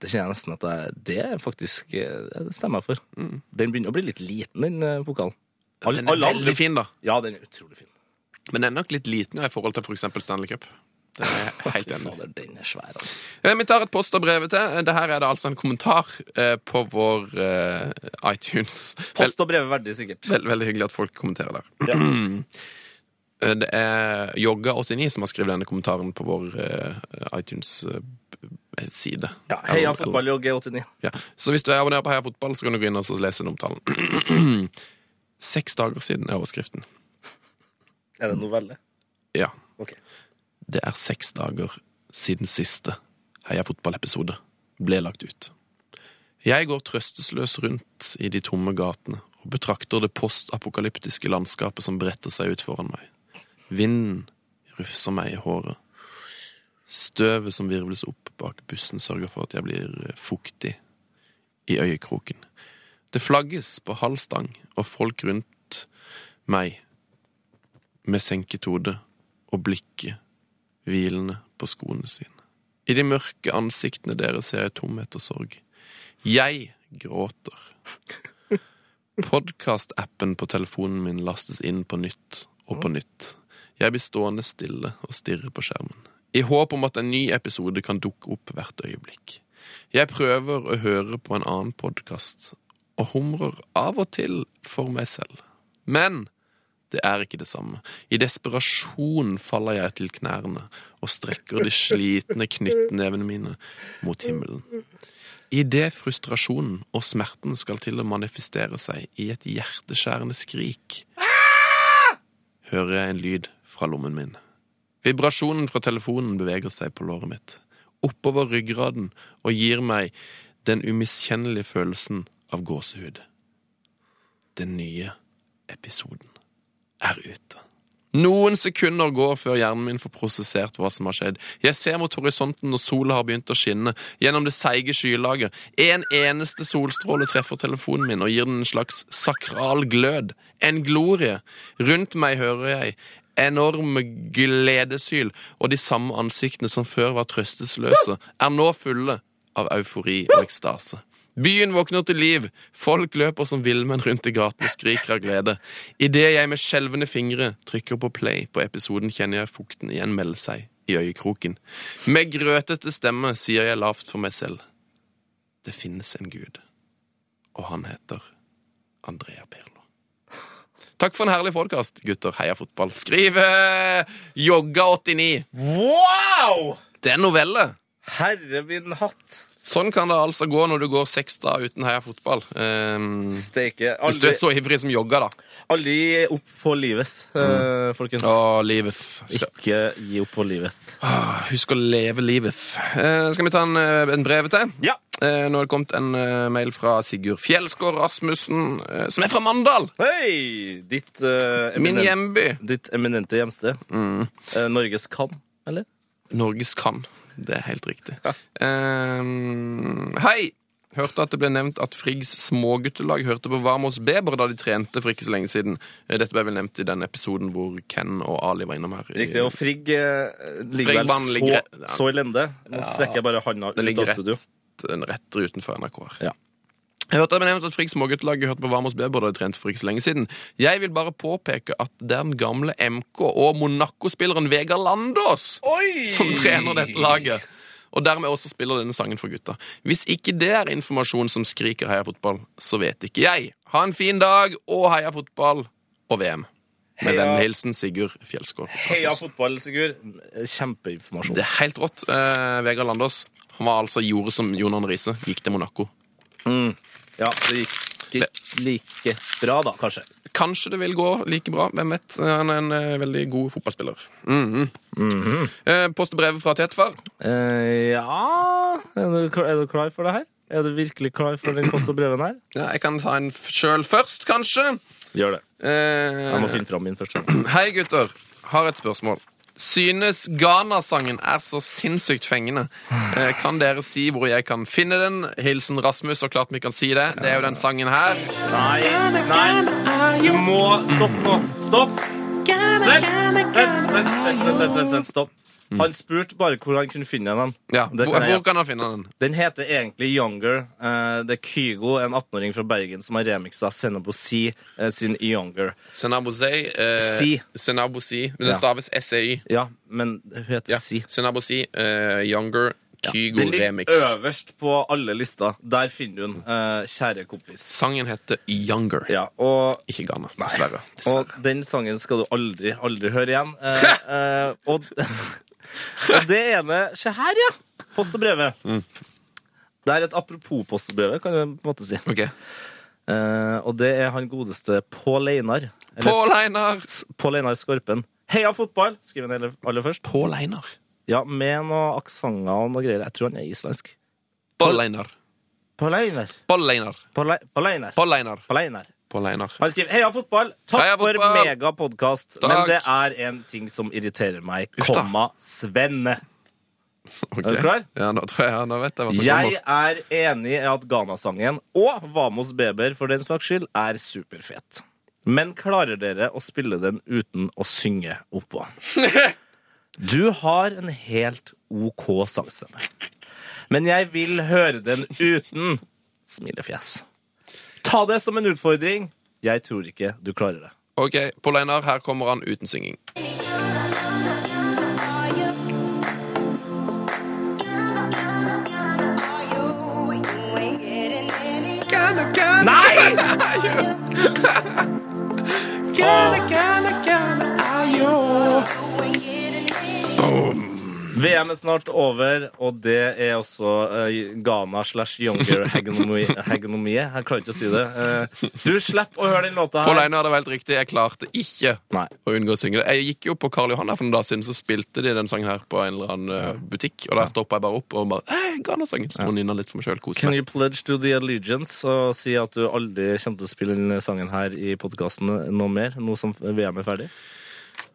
Speaker 1: Det kjenner jeg nesten at det, det er faktisk eh, Det stemmer jeg for. Den begynner å bli litt liten, den eh, pokalen. Alle-
Speaker 2: Mm. Den er
Speaker 1: alle andre-
Speaker 2: veldig fin, da.
Speaker 1: Ja, den er utrolig fin.
Speaker 2: Men den er nok litt liten ja, i forhold til f.eks. Stanley Cup. Det er jeg helt enig. i.
Speaker 1: Fader, den er svær, altså.
Speaker 2: Eh, Vi tar et post av brevet til. Det her er det altså en kommentar eh, på vår eh, iTunes. Vel,
Speaker 1: Post og brevet verdig, sikkert.
Speaker 2: vel, veldig hyggelig at folk kommenterer der. Eh, Det er Jogga89 som har skrevet denne kommentaren på vår eh, iTunes-side.
Speaker 1: Ja, Heia fotball og G89.
Speaker 2: Ja. Så hvis du er abonner på Heia Fotball, så kan du gå inn og så lese den omtalen. Seks dager siden er overskriften.
Speaker 1: Er det en novelle?
Speaker 2: Ja.
Speaker 1: Ok.
Speaker 2: Det er seks dager siden siste Heia Fotball-episode ble lagt ut. Jeg går trøstesløs rundt i de tomme gatene og betrakter det postapokalyptiske landskapet som bretter seg ut foran meg. Vinden rufser meg i håret. Støvet som virvles opp bak bussen, sørger for at jeg blir fuktig i øyekroken. Det flagges på halv stang, og folk rundt meg med senket hode og blikket hvilende på skoene sine. I de mørke ansiktene deres ser jeg tomhet og sorg. Jeg gråter. Podkast-appen på telefonen min lastes inn på nytt og på nytt. Jeg blir stående stille og stirre på skjermen, i håp om at en ny episode kan dukke opp hvert øyeblikk. Jeg prøver å høre på en annen podkast, og humrer av og til for meg selv. Men det er ikke det samme. I desperasjon faller jeg til knærne og strekker de slitne knyttnevene mine mot himmelen. Idet frustrasjonen og smerten skal til å manifestere seg i et hjerteskjærende skrik, hører jeg en lyd fra lommen min. Vibrasjonen fra telefonen beveger seg på låret mitt, oppover ryggraden, og gir meg den umiskjennelige følelsen av gåsehud. Den nye episoden er ute. Noen sekunder går før hjernen min får prosessert hva som har skjedd. Jeg ser mot horisonten når sola har begynt å skinne, gjennom det seige skylaget. En eneste solstråle treffer telefonen min og gir den en slags sakral glød. En glorie. Rundt meg hører jeg enorme gledesyl, og de samme ansiktene som før var trøstesløse, er nå fulle av eufori og ekstase. Byen våkner til liv. Folk løper som villmenn rundt i gaten og skriker av glede. Idet jeg med skjelvende fingre trykker på play på episoden, kjenner jeg fukten igjen melde seg i øyekroken. Med grøtete stemme sier jeg lavt for meg selv. Det finnes en gud, og han heter Andrea Perlo. Takk for en herlig podkast, gutter. Heia fotball. Skriver Jogga89.
Speaker 1: Wow!
Speaker 2: Det er en novelle.
Speaker 1: Herre min hatt.
Speaker 2: Sånn kan det altså gå når du går seks da uten heia fotball. Ehm,
Speaker 1: Steike.
Speaker 2: hvis du
Speaker 1: Aldri,
Speaker 2: er så ivrig som jogger, da.
Speaker 1: aldri gi opp på livet,
Speaker 2: Mm.
Speaker 1: eh, folkens.
Speaker 2: Å, livet. Skal-
Speaker 1: Ikke gi opp på livet.
Speaker 2: Ah, Husk å leve livet. Eh, skal vi ta en, eh, en brev til?
Speaker 1: Ja.
Speaker 2: Eh, nå har det kommet en eh, mail fra Sigurd Fjelsgaard Rasmussen, eh, som er fra Mandal.
Speaker 1: Hei! Ditt, eh,
Speaker 2: Min Mm.
Speaker 1: eminen-
Speaker 2: hjemby.
Speaker 1: ditt eminente hjemsted. Eh, Norges kan, eller?
Speaker 2: Norges kan. Det er helt riktig. Ehm, hei! Hørte at det ble nevnt at Friggs småguttelag hørte på Varmås Beber da de trente for ikke så lenge siden. Eh, Dette ble vel nevnt i den episoden hvor Ken og Ali var innom her. i-
Speaker 1: Riktig. Og Frigg eh, ligger vel
Speaker 2: Friggbanen ligger-
Speaker 1: så, så elende. Nå strekker jeg bare handa
Speaker 2: Den
Speaker 1: ut
Speaker 2: ligger
Speaker 1: av studio.
Speaker 2: rett, den rett utenfor NRK. her.
Speaker 1: Ja.
Speaker 2: Jeg hørte at jeg nevnte at Frigg småguttelaget hørte på Varmos Beber da de trente for ikke så lenge siden. Jeg vil bare påpeke at det er den gamle MK- og Monaco-spilleren Vegard Landås som trener dette laget. Og dermed også spiller denne sangen for gutta. Hvis ikke det er informasjon som skriker heia fotball, så vet ikke jeg. Ha en fin dag, og heia fotball og VM. Med
Speaker 1: Heia.
Speaker 2: vennlig hilsen Sigurd Fjellsgaard.
Speaker 1: Heia
Speaker 2: Rasmussen.
Speaker 1: fotball, Sigurd. Kjempeinformasjon.
Speaker 2: Det er helt rått. Eh, Vegard Landås han var altså gjorde som Jon Arne Riise. Gikk til Monaco.
Speaker 1: Ja, det gikk ikke like bra, da, kanskje.
Speaker 2: Kanskje det vil gå like bra. Hvem vet? Han er en eh, veldig god fotballspiller. Mhm. Eh, Post og brev fra Tetfar.
Speaker 1: Eh, ja er du, klar, er du klar for det her? Er du virkelig klar for den post og breven her?
Speaker 2: Ja, jeg kan ta en f- sjøl først, kanskje.
Speaker 1: Gjør det.
Speaker 2: Eh,
Speaker 1: Jeg må finne fram min først.
Speaker 2: Hei, gutter. Har et spørsmål. Synes Ghana-sangen er så sinnssykt fengende. Eh, Kan dere si hvor jeg kan finne den? Hilsen Rasmus, og klart vi kan si det. Det er jo den sangen her.
Speaker 1: Nei, nei. Du må stoppe nå. Stopp! Sett, sett, sett, sett, sett, sett, sett, sett. stopp. Han spurte bare hvor han kunne finne den.
Speaker 2: Ja,
Speaker 1: Det
Speaker 2: hvor,
Speaker 1: kan jeg
Speaker 2: hvor kan han finne den?
Speaker 1: Den heter egentlig Younger. Eh, Det er Kygo, en 18-åring fra Bergen, som har remixa Senabo Si eh, sin Younger.
Speaker 2: Senabosei eh,
Speaker 1: Si.
Speaker 2: Senabosi. Men
Speaker 1: Ja.
Speaker 2: det staves SEI.
Speaker 1: Ja, men hun heter
Speaker 2: Ja.
Speaker 1: Si.
Speaker 2: Senabosi, eh, Younger, Kygo
Speaker 1: Den ligger
Speaker 2: Remix.
Speaker 1: øverst på alle lister. Der finner du den, eh, kjære kompis.
Speaker 2: Sangen heter Younger,
Speaker 1: Ja, og
Speaker 2: ikke Ghana, dessverre.
Speaker 1: Og
Speaker 2: dessverre.
Speaker 1: den sangen skal du aldri, aldri høre igjen. Eh, eh, og, og det ene Se her, ja! Post og brevet.
Speaker 2: Mm.
Speaker 1: Det er et apropos post og brevet, kan jeg på en måte si.
Speaker 2: Ok.
Speaker 1: Eh, og det er han godeste Pål Einar. Eller
Speaker 2: Pål Einar!
Speaker 1: Pål Einar Skorpen. Heia fotball! skriver han aller- aller først.
Speaker 2: Pål Einar.
Speaker 1: Ja, Med noen aksenter og noe greier. Jeg tror han er islandsk.
Speaker 2: Pål Einar.
Speaker 1: Pål Einar.
Speaker 2: Pål Einar.
Speaker 1: Pål Ei- Pål Einar.
Speaker 2: Pål Einar.
Speaker 1: Pål Einar.
Speaker 2: Pål Einar.
Speaker 1: Han skriver 'Heia fotball'. Takk
Speaker 2: Heia fotball!
Speaker 1: for mega podcast, Men
Speaker 2: Takk.
Speaker 1: det er en ting som irriterer meg.
Speaker 2: Uff da.
Speaker 1: Komma Svenne.
Speaker 2: Ok.
Speaker 1: Er du klar?
Speaker 2: Ja, nå tror jeg, nå vet jeg hva som
Speaker 1: Jeg
Speaker 2: kommer.
Speaker 1: er enig i at Ghana-sangen, og Vamos Beber for den saks skyld, er superfet. Men klarer dere å spille den uten å synge oppå? Du har en helt OK sangstemme. Men jeg vil høre den uten smilefjes. Ta det som en utfordring. Jeg tror ikke du klarer det.
Speaker 2: Ok, Pål Einar, her kommer han uten synging.
Speaker 1: Nei! VM er snart over, og det er også eh, Ghana slash Younger hegemonie. hegemonie. Jeg klarer ikke å si det. Eh, du slipper å høre den låta
Speaker 2: Pål
Speaker 1: her.
Speaker 2: Einar, det var helt riktig. Jeg klarte ikke
Speaker 1: Nei.
Speaker 2: å unngå å synge. det. Jeg gikk jo på Karl Johan her for noen dager siden, så spilte de den sangen her på en eller annen eh, butikk, og der stoppa jeg bare opp og bare «Eh, Ghana-sangen. Så må jeg nynne litt for meg sjøl. Kose
Speaker 1: Can
Speaker 2: meg.
Speaker 1: you pledge to the allegiance og si at du aldri kommer til å spille denne sangen her i podkasten noe mer, nå som VM er ferdig?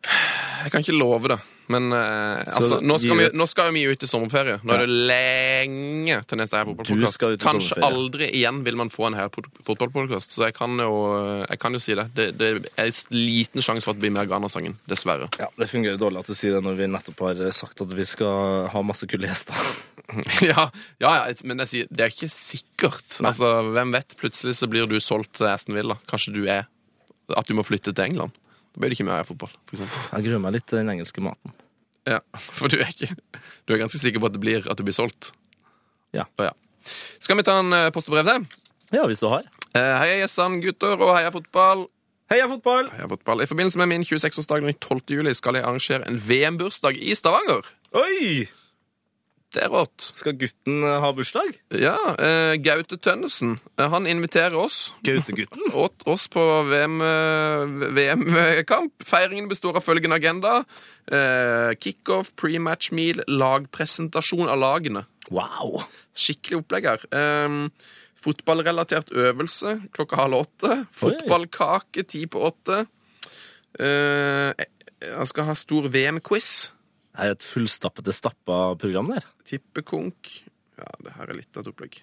Speaker 2: Jeg kan ikke love det. Men eh, altså,
Speaker 1: Så
Speaker 2: nå, skal
Speaker 1: gi
Speaker 2: vi,
Speaker 1: ut.
Speaker 2: nå skal jo vi ut i sommerferie. Nå er det lenge til neste her
Speaker 1: skal ut
Speaker 2: fotballpodkast.
Speaker 1: i
Speaker 2: Kanskje
Speaker 1: sommerferie.
Speaker 2: aldri igjen vil man få en her fotballpodkast, så jeg kan, jo, eh, jeg kan jo si det. Det, det er en liten sjanse for at det blir mer Ghana-sangen. Dessverre.
Speaker 1: Ja, Det fungerer dårlig at du sier det når vi nettopp har sagt at vi skal ha masse kule gjester.
Speaker 2: ja, ja, ja, men jeg sier, det er ikke sikkert. Altså, Hvem vet? Plutselig så blir du solgt til Aston Villa. Kanskje du er At du må flytte til England. Da blir det ikke mer fotball. For eksempel.
Speaker 1: Jeg gruer meg litt til den engelske maten.
Speaker 2: ja, for du er ikke Du er ganske sikker på at det blir, at det blir solgt?
Speaker 1: Ja.
Speaker 2: Å, ja. Skal vi ta en eh, post og brev til?
Speaker 1: Ja, hvis du har.
Speaker 2: Eh, Heia Jessand, gutter, og heia fotball.
Speaker 1: Heia fotball!
Speaker 2: Heia fotball. I forbindelse med min 26-årsdag den 12. juli skal jeg arrangere en VM-bursdag i Stavanger.
Speaker 1: Oi!
Speaker 2: Det er rått.
Speaker 1: Skal gutten eh, ha bursdag?
Speaker 2: Ja, eh, Gaute Tønnesen. eh, han inviterer oss
Speaker 1: Gautegutten?
Speaker 2: åt oss på VM-kamp. Feiringen består av følgende agenda. Eh, Kickoff, pre-match-meal, lagpresentasjon av lagene.
Speaker 1: Wow!
Speaker 2: Skikkelig opplegg her. Eh, fotballrelatert øvelse klokka halv åtte. Fotballkake ti på åtte. Eh, jeg skal ha stor VM-quiz.
Speaker 1: Det er jo et fullstappete stappa program der.
Speaker 2: Tippekonk. Ja, det her er litt av et opplegg.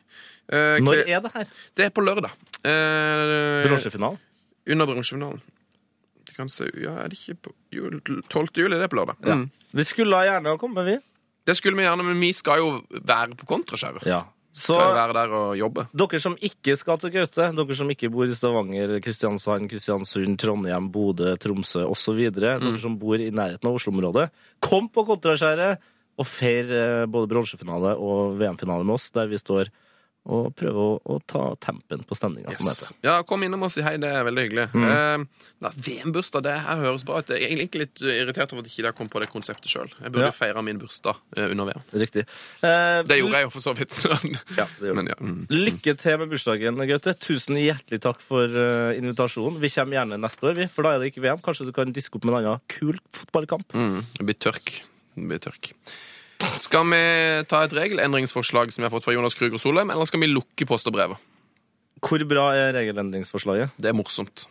Speaker 2: Eh,
Speaker 1: Når
Speaker 2: kle-
Speaker 1: er det her?
Speaker 2: Det er på lørdag. Eh,
Speaker 1: Bronsefinalen?
Speaker 2: Under bransjefinalen. Det kan se, ja, er det ikke på jul, 12. juli? Det er på lørdag. Mm.
Speaker 1: Vi skulle gjerne ha kommet, vi.
Speaker 2: Det skulle vi gjerne, men vi skal jo være på Kontraskjæret.
Speaker 1: Ja. Så
Speaker 2: Skal jo være der og jobbe.
Speaker 1: dere som ikke skal til Gaute, dere som ikke bor i Stavanger, Kristiansand, Kristiansund, Trondheim, Bodø, Tromsø osv., videre, dere som bor i nærheten av Oslo-området, kom på Kontraskjæret og feir eh, både bronsefinale og VM-finale med oss, der vi står og prøver å, å ta tempen på Mm. stemninga. som det
Speaker 2: Yes.
Speaker 1: heter.
Speaker 2: Ja, Kom innom og si hei, det er veldig hyggelig. Eh, da, VM-bursdag, det her høres bra ut. Jeg er egentlig litt irritert over at ikke jeg kom på det konseptet sjøl. Jeg burde
Speaker 1: Ja.
Speaker 2: feire min bursdag eh, under VM.
Speaker 1: Riktig. Eh,
Speaker 2: Det gjorde jeg jo for så vidt. sånn.
Speaker 1: Ja, det gjorde
Speaker 2: Men ja. Mm.
Speaker 1: Lykke til med bursdagen, Gaute. Tusen hjertelig takk for eh, invitasjonen. Vi kommer gjerne neste år, vi, for da er det ikke VM. Kanskje du kan diske opp med en annen kul fotballkamp.
Speaker 2: Mm. Det blir tørk. Det blir tørk. Skal vi ta et regelendringsforslag som vi har fått fra Jonas Krüger Solheim, eller skal vi lukke post og brevet?
Speaker 1: Hvor bra er regelendringsforslaget?
Speaker 2: Det er morsomt.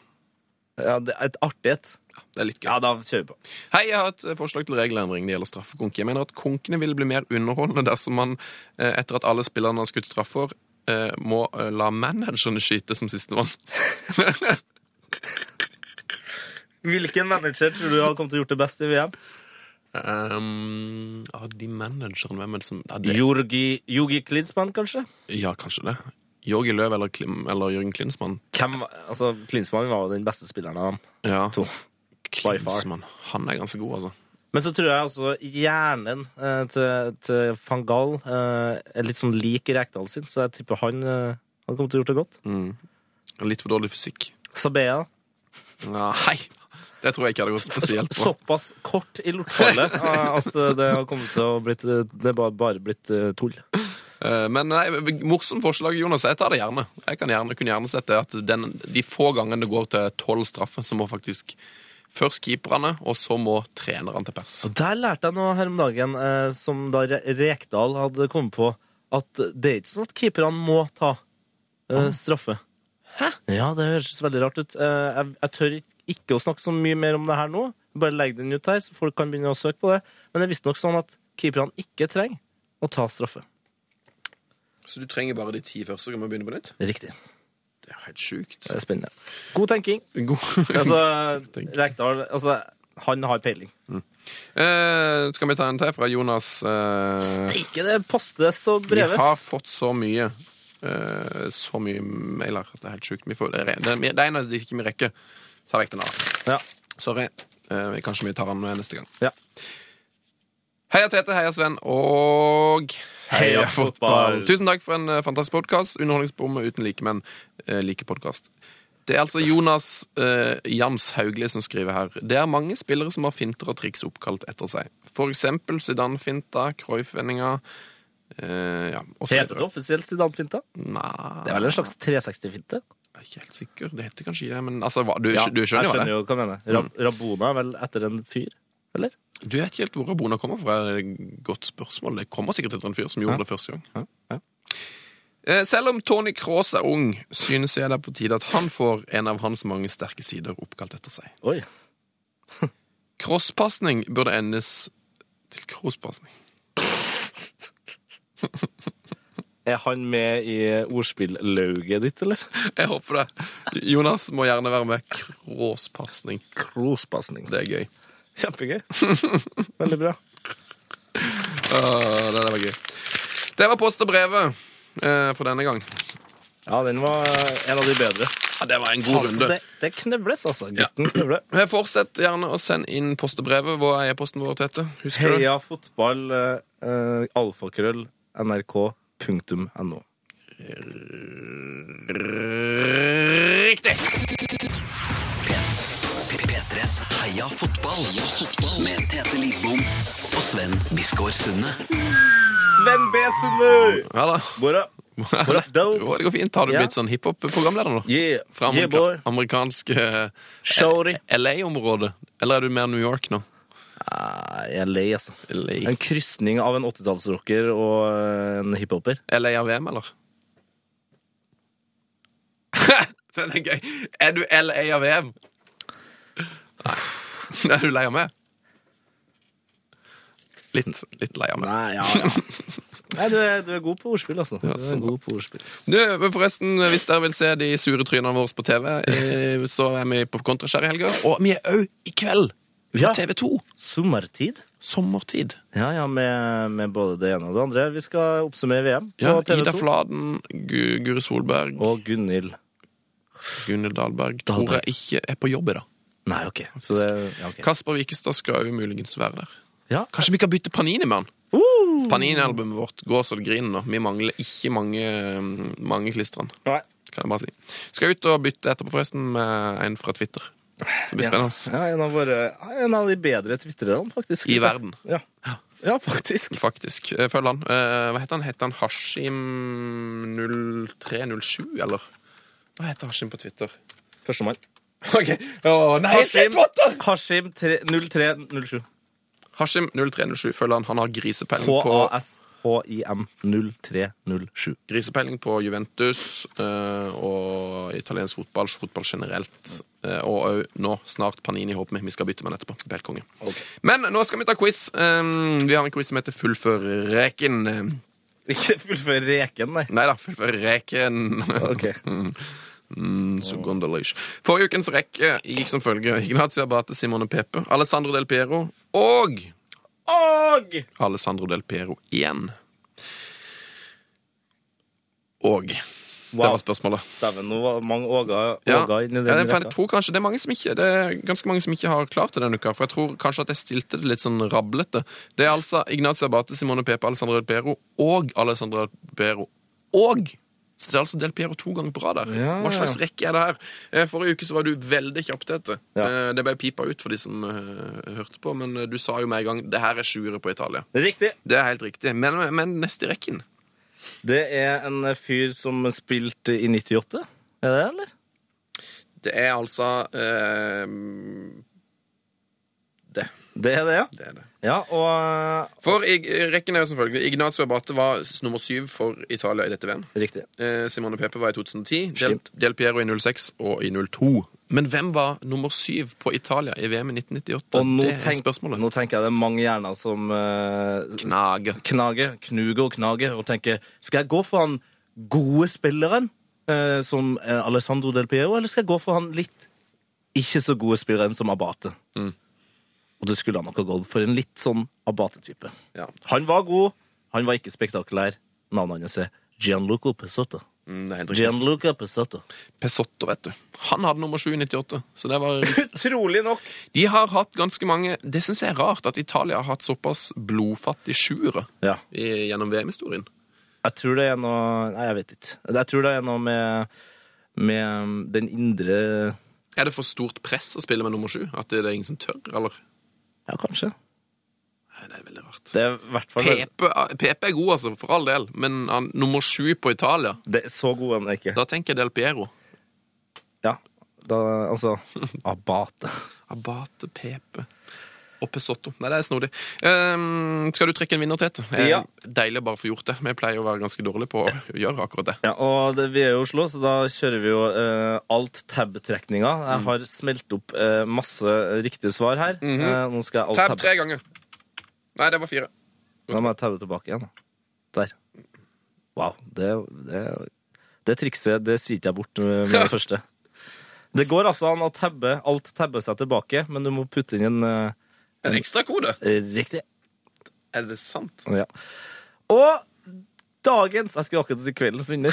Speaker 1: Ja, det er Et artig et.
Speaker 2: Det er litt gøy.
Speaker 1: Ja, da kjører vi på.
Speaker 2: Hei, jeg har et eh, forslag til regelendring det gjelder straffekonk. Jeg mener at konkene ville bli mer underholdende dersom man, eh, etter at alle spillerne har skutt straffer, eh, må eh, la managerne skyte som sistemann.
Speaker 1: Hvilken manager tror du hadde kommet til å gjort det best i VM?
Speaker 2: um, ah, de managerne, hvem er det som ja, det,
Speaker 1: Jorgi, Jogi Klinsmann, kanskje?
Speaker 2: ja, kanskje det. Jorgi Løv eller, Klim, eller Jørgen Klinsmann?
Speaker 1: Hvem, altså, Klinsmann var jo den beste spilleren av dem
Speaker 2: Ja,
Speaker 1: to. far.
Speaker 2: Klinsmann. Han er ganske god, altså.
Speaker 1: Men så tror jeg altså hjernen eh, til, til van Gaal eh, er litt sånn lik Rekdal sin, så jeg tipper han eh, hadde kommet til å gjort det godt.
Speaker 2: Og Litt for dårlig fysikk.
Speaker 1: Sabea.
Speaker 2: Nei, det tror jeg ikke hadde gått spesielt bra.
Speaker 1: Såpass kort i lortfallet eh, at eh, det har kommet til å blitt eh, Det er bare, bare blitt eh, tull.
Speaker 2: Eh, Men nei, morsomt forslag, Jonas. Jeg tar det gjerne. Jeg kan gjerne, kunne gjerne sett det at den, de få gangene det går til tolv straffer, så må faktisk først keeperne, og så må trenerne til pers.
Speaker 1: Og der lærte jeg noe her om dagen eh, som da Re- Rekdal hadde kommet på, at det er ikke sånn at keeperne må ta eh, straffe. Hæ? Ja, det høres veldig rart ut. Eh, jeg, jeg tør ikke- ikke å snakke så mye mer om det her nå. Bare legg den ut her, så folk kan begynne å søke på det. Men det er visstnok sånn at keeperne ikke trenger å ta straffe.
Speaker 2: Så du trenger bare de ti første, så kan vi begynne på nytt?
Speaker 1: Riktig.
Speaker 2: Det er helt sjukt.
Speaker 1: Det er spennende. God tenking.
Speaker 2: God.
Speaker 1: Altså,
Speaker 2: Tenk.
Speaker 1: Rekdal altså, han har peiling.
Speaker 2: Eh, skal vi ta en til fra Jonas? Eh,
Speaker 1: Steike, det postes og
Speaker 2: vi
Speaker 1: breves.
Speaker 2: har fått så mye. eh, så mye mailer at det er helt sjukt. Vi får, det, er, det er en av de ikke vi rekker. Ta vekk den av.
Speaker 1: Ja.
Speaker 2: Sorry. Eh, kanskje vi tar den med neste gang.
Speaker 1: Ja.
Speaker 2: Heia Tete, heia Sven og
Speaker 1: Heia fotball.
Speaker 2: Tusen takk for en eh, fantastisk podkast. Underholdningsbombe uten like, men eh, like podkast. Det er altså Jonas eh, Jams Haugli som skriver her. Det er mange spillere som har finter og triks oppkalt etter seg. For eksempel Zidane-finta, Cruyff-vendinga eh, ja, og så
Speaker 1: Heter det
Speaker 2: videre.
Speaker 1: offisielt Zidane-finta?
Speaker 2: Nei,
Speaker 1: Det er vel en slags 360-finte?
Speaker 2: jeg er ikke helt sikker. Det heter kanskje det, men altså, hva, du, du
Speaker 1: jeg
Speaker 2: skjønner jo hva
Speaker 1: skjønner
Speaker 2: det Mm. er.
Speaker 1: jo hva jeg mener. Rab Rabona er vel etter en fyr? Eller?
Speaker 2: Du vet ikke helt hvor Rabona kommer fra. Det er et Godt spørsmål. Det kommer sikkert etter en fyr som gjorde det første gang.
Speaker 1: ja.
Speaker 2: Eh, Selv om Tony Cross er ung, synes jeg det er på tide at han får en av hans mange sterke sider oppkalt etter seg.
Speaker 1: Oi.
Speaker 2: Crosspasning burde endes til crosspasning.
Speaker 1: Er han med i ordspillauget ditt, eller?
Speaker 2: Jeg håper det. Jonas må gjerne være med. Crosspasning.
Speaker 1: Krospasning.
Speaker 2: Det er gøy.
Speaker 1: Kjempegøy. Veldig bra.
Speaker 2: Åh, det der var gøy. Det var post og brevet eh, for denne gang.
Speaker 1: Ja, den var en av de bedre.
Speaker 2: Ja, det var en god
Speaker 1: Altså,
Speaker 2: runde.
Speaker 1: det, det knøvles, altså. Gutten knøvler.
Speaker 2: Eh, Fortsett gjerne å sende inn post og brevet. Hva er e-posten vår, Tete? Husker du?
Speaker 1: Heia fotball, eh, eh, alfakrøll, nrk.no.
Speaker 2: Riktig!
Speaker 4: P3s Heia fotball med Tete Lidbom og Sven Biskår Sunde.
Speaker 1: Sven B. Sundø!
Speaker 2: Ja da.
Speaker 1: Bora. Bora.
Speaker 2: Jo, det går fint. Har du
Speaker 1: Ja.
Speaker 2: blitt sånn hiphop-programleder nå?
Speaker 1: Yeah.
Speaker 2: Fra
Speaker 1: yeah,
Speaker 2: amerika
Speaker 1: boy.
Speaker 2: amerikansk eh,
Speaker 1: Shorty.
Speaker 2: LA-område? Eller er du mer New York nå?
Speaker 1: Nei, jeg er lei, altså.
Speaker 2: LA,
Speaker 1: En krysning av en 80-tallsrocker og eh, en hiphoper.
Speaker 2: LA av VM, eller? Den er gøy. Er du LA av VM? Nei. Er du lei av meg? Litt, litt lei av meg.
Speaker 1: Nei, ja, ja. Nei, du er, du er god på ordspill, altså. Du
Speaker 2: Ja, så
Speaker 1: er god på ordspill.
Speaker 2: Du, men forresten, Hvis dere vil se de sure trynene våre på TV, eh, så er vi på Kontraskjær i helga. Og vi er òg i kveld på
Speaker 1: Ja.
Speaker 2: TV2.
Speaker 1: Sommertid.
Speaker 2: Sommertid.
Speaker 1: Ja, ja, med, med både det ene og det andre. Vi skal oppsummere VM
Speaker 2: Ja,
Speaker 1: på TV2.
Speaker 2: Ida Fladen, Gu Guri Solberg,
Speaker 1: og Gunhild.
Speaker 2: Gunhild Dahlberg
Speaker 1: Dahlberg.
Speaker 2: tror jeg ikke er på jobb i dag.
Speaker 1: Nei, OK. Så det, ja, ok.
Speaker 2: Kasper Wikestad skal jo muligens være der.
Speaker 1: Ja. Uh.
Speaker 2: Kanskje vi kan bytte Panini med han? Panini-albumet vårt går så det griner nå. Vi mangler ikke mange, mm, mange klistrene.
Speaker 1: Nei.
Speaker 2: Kan jeg bare si. Skal ut og bytte etterpå, forresten, med en fra Twitter. Så det blir spennende. altså.
Speaker 1: Ja, en, av våre, en av de bedre twitrerne, faktisk.
Speaker 2: I verden.
Speaker 1: Ja. ja, faktisk.
Speaker 2: Faktisk. Eh, Følg han. Eh, hva heter han? Heter han Hashim0307, eller? Hva heter Hashim på Twitter?
Speaker 1: Førstemann.
Speaker 2: Ok. Å, nei,
Speaker 1: Hashim,
Speaker 2: Twitter!
Speaker 1: Hashim tre- 0307.
Speaker 2: Hashim0307. Følg han. Han har grisepeiling på,
Speaker 1: H-A-S-H-I-M 0307.
Speaker 2: grisepeiling på Juventus eh, og italiensk fotball, fotball generelt. Eh, og òg nå snart Panini, håper vi. Vi skal bytte med han etterpå. Helt konge. Men nå skal vi ta quiz. Eh, vi har en quiz som heter Fullfør reken.
Speaker 1: Ikke fullfør reken, nei.
Speaker 2: Nei da, Fullfør reken. Mm.
Speaker 1: Ok.
Speaker 2: Så gondolish. Forrige ukens rekke gikk som følger. Ignacio Abate, Simone Pepe, Alessandro Del Piero og
Speaker 1: Og
Speaker 2: Alessandro Del Piero igjen. Og Det
Speaker 1: Wow.
Speaker 2: var spørsmålet.
Speaker 1: Dæven, nå var mange Åga,
Speaker 2: Ja.
Speaker 1: åga inni
Speaker 2: Ja,
Speaker 1: den
Speaker 2: jeg
Speaker 1: rekka.
Speaker 2: tror kanskje det er, mange som ikke, det er ganske mange som ikke har klart det denne uka. For jeg tror kanskje at jeg stilte det litt sånn rablete. Det er altså Ignacio Abate, Simone Pepe, Alessandro Del Piero og Alessandro Del Piero og Så det er altså Del Piero to ganger på rad der.
Speaker 1: Ja,
Speaker 2: Hva
Speaker 1: ja.
Speaker 2: slags rekke er det her? Eh, Forrige uke så var du veldig kjapp til dette.
Speaker 1: Ja.
Speaker 2: Eh, Det ble pipa ut for de som eh, hørte på, men eh, du sa jo med en gang det her er sjuere på Italia.
Speaker 1: Riktig.
Speaker 2: Det er helt riktig. Men, men neste i rekken
Speaker 1: Det er en fyr som spilte i 98. Er det, eller?
Speaker 2: Det er altså eh, Det.
Speaker 1: Det er det, ja.
Speaker 2: Det er det.
Speaker 1: Ja, og
Speaker 2: For i, rekken er jo som følger. Ignacio Abate var s- nummer syv for Italia i dette VM.
Speaker 1: Riktig.
Speaker 2: Eh, Simone Pepe var i 2010. Del,
Speaker 1: Slimt.
Speaker 2: Del Piero i 06 og i 02. Men hvem var nummer syv på Italia i VM i 1998?
Speaker 1: Og nå,
Speaker 2: det er
Speaker 1: tenk,
Speaker 2: spørsmålet.
Speaker 1: nå tenker jeg det er mange hjerner som eh,
Speaker 2: Knage.
Speaker 1: knage, knuge og knage og tenke Skal jeg gå for han gode spilleren eh, som eh, Alessandro Del Piero, eller skal jeg gå for han litt ikke så gode spilleren som Abate? Og det skulle han nok ha gått for en litt sånn Abate-type.
Speaker 2: Ja.
Speaker 1: Han var god, han var ikke spektakulær. Navnet hans er Gianluca Pesotto.
Speaker 2: Mm, det er helt riktig.
Speaker 1: Gianluca Pesotto.
Speaker 2: Pesotto, vet du. Han hadde nummer 7 i 98. Så det var
Speaker 1: Utrolig nok.
Speaker 2: De har hatt ganske mange Det syns jeg er rart at Italia har hatt såpass blodfattig sjuere
Speaker 1: Ja.
Speaker 2: i- gjennom VM-historien.
Speaker 1: Jeg tror det er noe Nei, jeg vet ikke. Jeg tror det er noe med, med den indre
Speaker 2: Er det for stort press å spille med nummer sju? At det det er ingen som tør, eller?
Speaker 1: Ja, kanskje.
Speaker 2: Nei, det er veldig rart.
Speaker 1: Det er i hvert fall
Speaker 2: Pepe, Pepe er god, altså, for all del, men han, nummer sju på Italia
Speaker 1: Det er så god han er ikke.
Speaker 2: Da tenker jeg Del Piero.
Speaker 1: Ja, da, altså Abate.
Speaker 2: Abate, Pepe og Pesotto. Nei, det er snodig. Ehm, skal du trekke en vinner, Tete? Eh,
Speaker 1: Ja.
Speaker 2: Deilig å bare få gjort det. Vi pleier å være ganske dårlige på å gjøre akkurat det.
Speaker 1: Ja, og det, vi er jo i Oslo, så da kjører vi jo eh, alt tab-trekninga. Jeg
Speaker 2: Mm.
Speaker 1: har smelt opp eh, masse riktige svar her. Eh, nå skal jeg alt
Speaker 2: Mhm. Tab
Speaker 1: tabbe.
Speaker 2: tre ganger. Nei, det var fire.
Speaker 1: Nå må jeg tabbe tilbake igjen. da. Der. Wow. Det, det, det trikset det sier ikke jeg bort med med det første. Det går altså an å tabbe alt tabbe seg tilbake, men du må putte inn en eh,
Speaker 2: En ekstra kode.
Speaker 1: riktig.
Speaker 2: Er det sant?
Speaker 1: Ja. Og dagens Jeg skulle akkurat si kveldens vinner.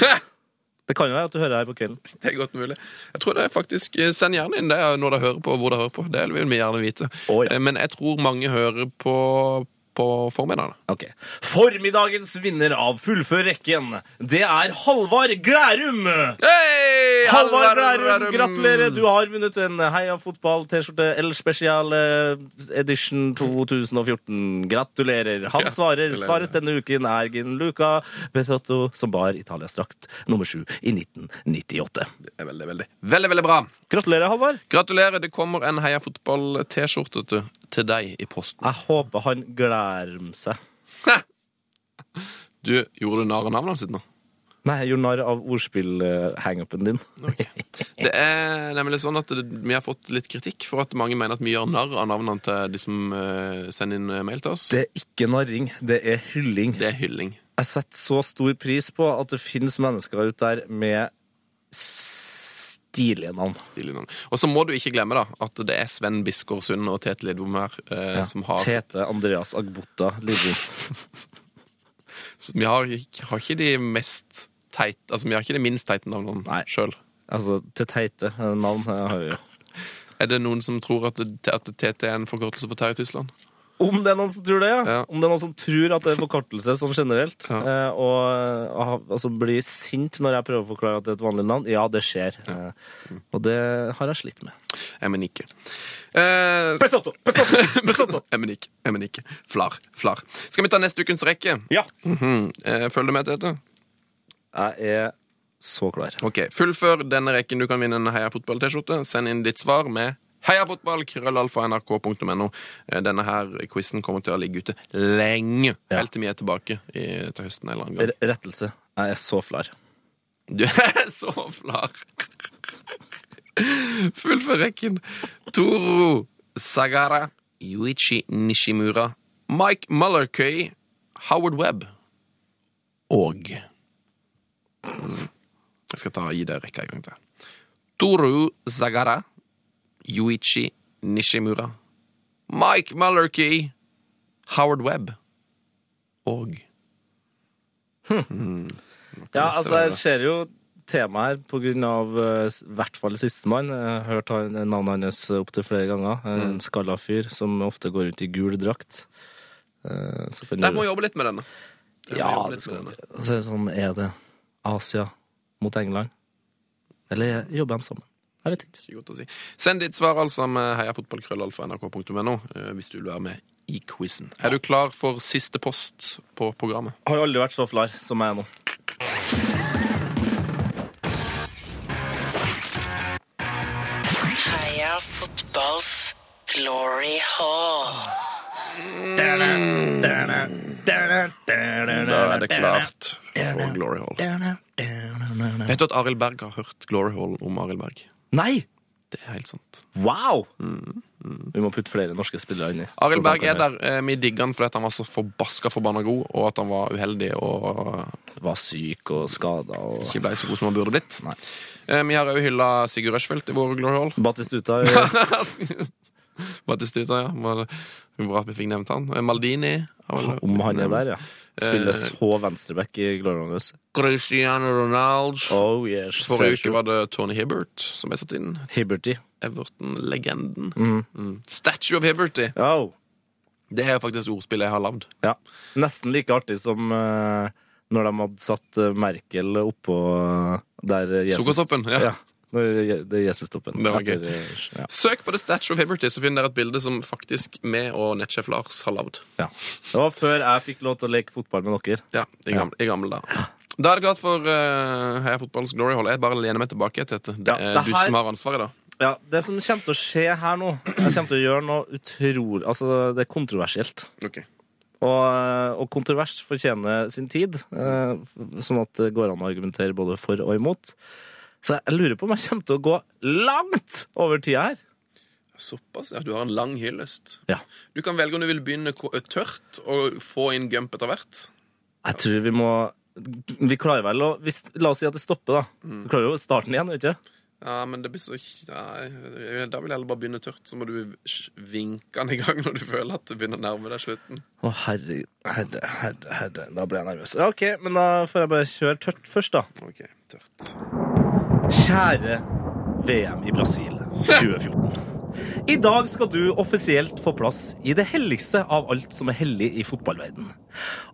Speaker 1: Det kan jo være at du hører her på kvelden.
Speaker 2: Det er godt mulig. Jeg tror det er faktisk eh, Send gjerne inn det når dere hører på, og hvor dere hører på. Det vil vi gjerne vite.
Speaker 1: Å, ja.
Speaker 2: Eh, Men jeg tror mange hører på på formiddagene.
Speaker 1: Ok. Formiddagens vinner av Fullfør rekken, det er Halvard Glærum!
Speaker 2: Hei!
Speaker 1: Halvard Glærum, gratulerer! Du har vunnet en Heia Fotball-T-skjorte El Special eh, Edition 2014. Gratulerer! Han svarer.
Speaker 2: Gratulerer.
Speaker 1: Svaret denne uken er Gianluca Besotto, som bar Italias drakt nummer sju i 1998.
Speaker 2: Det er Veldig, veldig, veldig, veldig bra.
Speaker 1: Gratulerer, Halvard.
Speaker 2: Gratulerer. Det kommer en Heia Fotball-T-skjorte til, til deg i posten.
Speaker 1: Jeg håper han glærm seg.
Speaker 2: Du gjorde narr av navnet hans nå.
Speaker 1: Nei, jeg gjorde narr av ordspill-hangupen din.
Speaker 2: Det er nemlig sånn at det, vi har fått litt kritikk for at mange mener at vi gjør narr av navnene til de som eh, sender inn eh, mail til oss.
Speaker 1: Det er ikke narring, det er hylling.
Speaker 2: det er hylling.
Speaker 1: Jeg setter så stor pris på at det finnes mennesker ute der med stilige navn.
Speaker 2: Stilig navn. Og så må du ikke glemme da, at det er Sven Biskår Sund og Tete Lidbom her eh, som har
Speaker 1: Tete Andreas Agbota Lidbom.
Speaker 2: som- Vi har, ikke- har ikke de mest teit, altså vi har ikke de minst teite navnene
Speaker 1: Nei.
Speaker 2: sjøl.
Speaker 1: Altså, til Teite eh, navn eh, har vi jo.
Speaker 2: Er det noen som tror at, det- at TT er en forkortelse for Terje Tysland?
Speaker 1: Om det er noen som tror det, ja.
Speaker 2: Ja.
Speaker 1: Om det er noen som tror at det er forkortelse sånn generelt,
Speaker 2: Ja.
Speaker 1: eh, og, eh, ha- altså, blir sint når jeg prøver å forklare at det er et vanlig navn, ja, det skjer. Eh, Og det har jeg slitt med.
Speaker 2: Jeg mener ikke. Eh, s-
Speaker 1: Pesotto! Pesotto! Pesotto!
Speaker 2: jeg mener ikke. Jeg mener ikke. Flar. Flar. Skal vi ta neste ukens rekke?
Speaker 1: Ja.
Speaker 2: Mhm. Eh, følger du med, Tete?
Speaker 1: Jeg er så klar.
Speaker 2: Ok, Fullfør denne rekken. Du kan vinne en Heia Fotball-T-skjorte. Send inn ditt svar med Heia fotball, krøllalfa, nrk.no. Eh, Denne her quizen kommer til å ligge ute lenge.
Speaker 1: Ja.
Speaker 2: Helt til vi er tilbake i, til høsten en eller annen gang.
Speaker 1: R rettelse. Jeg er så flar.
Speaker 2: Du er så flar! Fullfør rekken. Toro Sagara, Yuichi Nishimura, Mike Mullerkøy, Howard Webb og mm. Jeg skal ta gi det rekka en gang til. Toru Sagara, Yuichi Nishimura, Mike Mullerkøy, Howard Webb og
Speaker 1: Ja,
Speaker 2: Dette
Speaker 1: altså,
Speaker 2: var
Speaker 1: jeg
Speaker 2: det.
Speaker 1: ser jo temaet her på grunn av eh, s- hvert fall sistemann. Jeg har hørt han, navnet hans eh, opptil flere ganger. En
Speaker 2: Mm.
Speaker 1: skalla fyr som ofte går rundt i gul drakt. Eh, Så kan
Speaker 2: Nei,
Speaker 1: du-
Speaker 2: må jobbe litt med denne. Jeg må
Speaker 1: ja,
Speaker 2: jobbe
Speaker 1: det
Speaker 2: litt med
Speaker 1: skal
Speaker 2: denne.
Speaker 1: Og så er det sånn, er det Asia mot England? Eller jobber de sammen? Jeg vet ikke.
Speaker 2: Ikke godt å si. Send ditt svar altså med heiafotballkrøllalfa.nrk.no eh, hvis du vil være med i quizen. Er du klar for siste post på programmet?
Speaker 1: Har jo aldri vært så flar som jeg er nå.
Speaker 8: Heia fotballs glory hall.
Speaker 2: Da er det klart for Glory Hall. Vet du at Arild Berg har hørt Glory Hall om Arild Berg?
Speaker 1: Nei!
Speaker 2: Det er helt sant.
Speaker 1: Wow! Vi må putte flere norske spillere inni.
Speaker 2: Mm, Arild Berg er der. eh, Vi digger han fordi at han var så forbaska forbanna god, og at han var uheldig og
Speaker 1: Var syk og skada og
Speaker 2: ikke ble så god som han burde blitt. Eh, Vi har òg hylla Sigurd Rushfeldt i vår Glory Hall.
Speaker 1: Batistuta
Speaker 2: Batistuta, ja. Mal- Bra at vi fikk nevnt han. Eh, Maldini. har vel-
Speaker 1: Om han er der, ja. Spiller
Speaker 2: Eh,
Speaker 1: så venstreback i Glorious.
Speaker 2: Cristiano Ronaldo.
Speaker 1: Oh yes.
Speaker 2: Forrige uke var det Tony Hibbert som ble satt inn.
Speaker 1: Hibberty.
Speaker 2: Everton-legenden. Mm. Statue of Hibberty.
Speaker 1: Oh.
Speaker 2: Det er faktisk ordspillet jeg har lagd.
Speaker 1: Ja. Nesten like artig som eh, når de hadde satt eh, Merkel oppå eh, der eh, Jesus
Speaker 2: Sukkertoppen. Ja.
Speaker 1: Ja. Når Je- det er Jesus-toppen.
Speaker 2: Det var gøy.
Speaker 1: Etter, eh, Ja.
Speaker 2: Søk på The Statue of Hibberty, så finner dere et bilde som faktisk meg og nettsjef Lars har lagd.
Speaker 1: ja. Det var før jeg fikk lov til å leke fotball med dere.
Speaker 2: Ja, i gamle, i gamle dager. Da er det klart for eh, Heia Fotballs Glory Hall. Jeg bare lener meg tilbake til dette. Det
Speaker 1: Ja,
Speaker 2: er
Speaker 1: det
Speaker 2: du
Speaker 1: her-
Speaker 2: som har ansvaret, da.
Speaker 1: Ja, Det som kommer til å skje her nå Jeg kommer til å gjøre noe utrolig Altså, det er kontroversielt.
Speaker 2: Ok.
Speaker 1: Og, og kontrovers fortjener sin tid, eh, sånn at det går an å argumentere både for og imot. Så jeg lurer på om jeg kommer til å gå langt over tida her.
Speaker 2: Såpass, ja. Du har en lang hyllest.
Speaker 1: Ja.
Speaker 2: Du kan velge om du vil begynne ko- tørt og få inn gump etter hvert.
Speaker 1: Jeg tror vi må Vi klarer vel å hvis, La oss si at det stopper, da. Vi klarer jo starten igjen, vet du?
Speaker 2: Ja, men det blir så ja, Da vil jeg heller bare begynne tørt, så må du sj- vinke den i gang når du føler at det begynner å nærme deg slutten.
Speaker 1: Å, herre, herre, herre, herre Da ble jeg nervøs. Ja, OK, men da får jeg bare kjøre tørt først, da.
Speaker 2: Ok, tørt.
Speaker 1: Kjære VM i Brasil 2014. I dag skal du offisielt få plass i det helligste av alt som er hellig i fotballverden.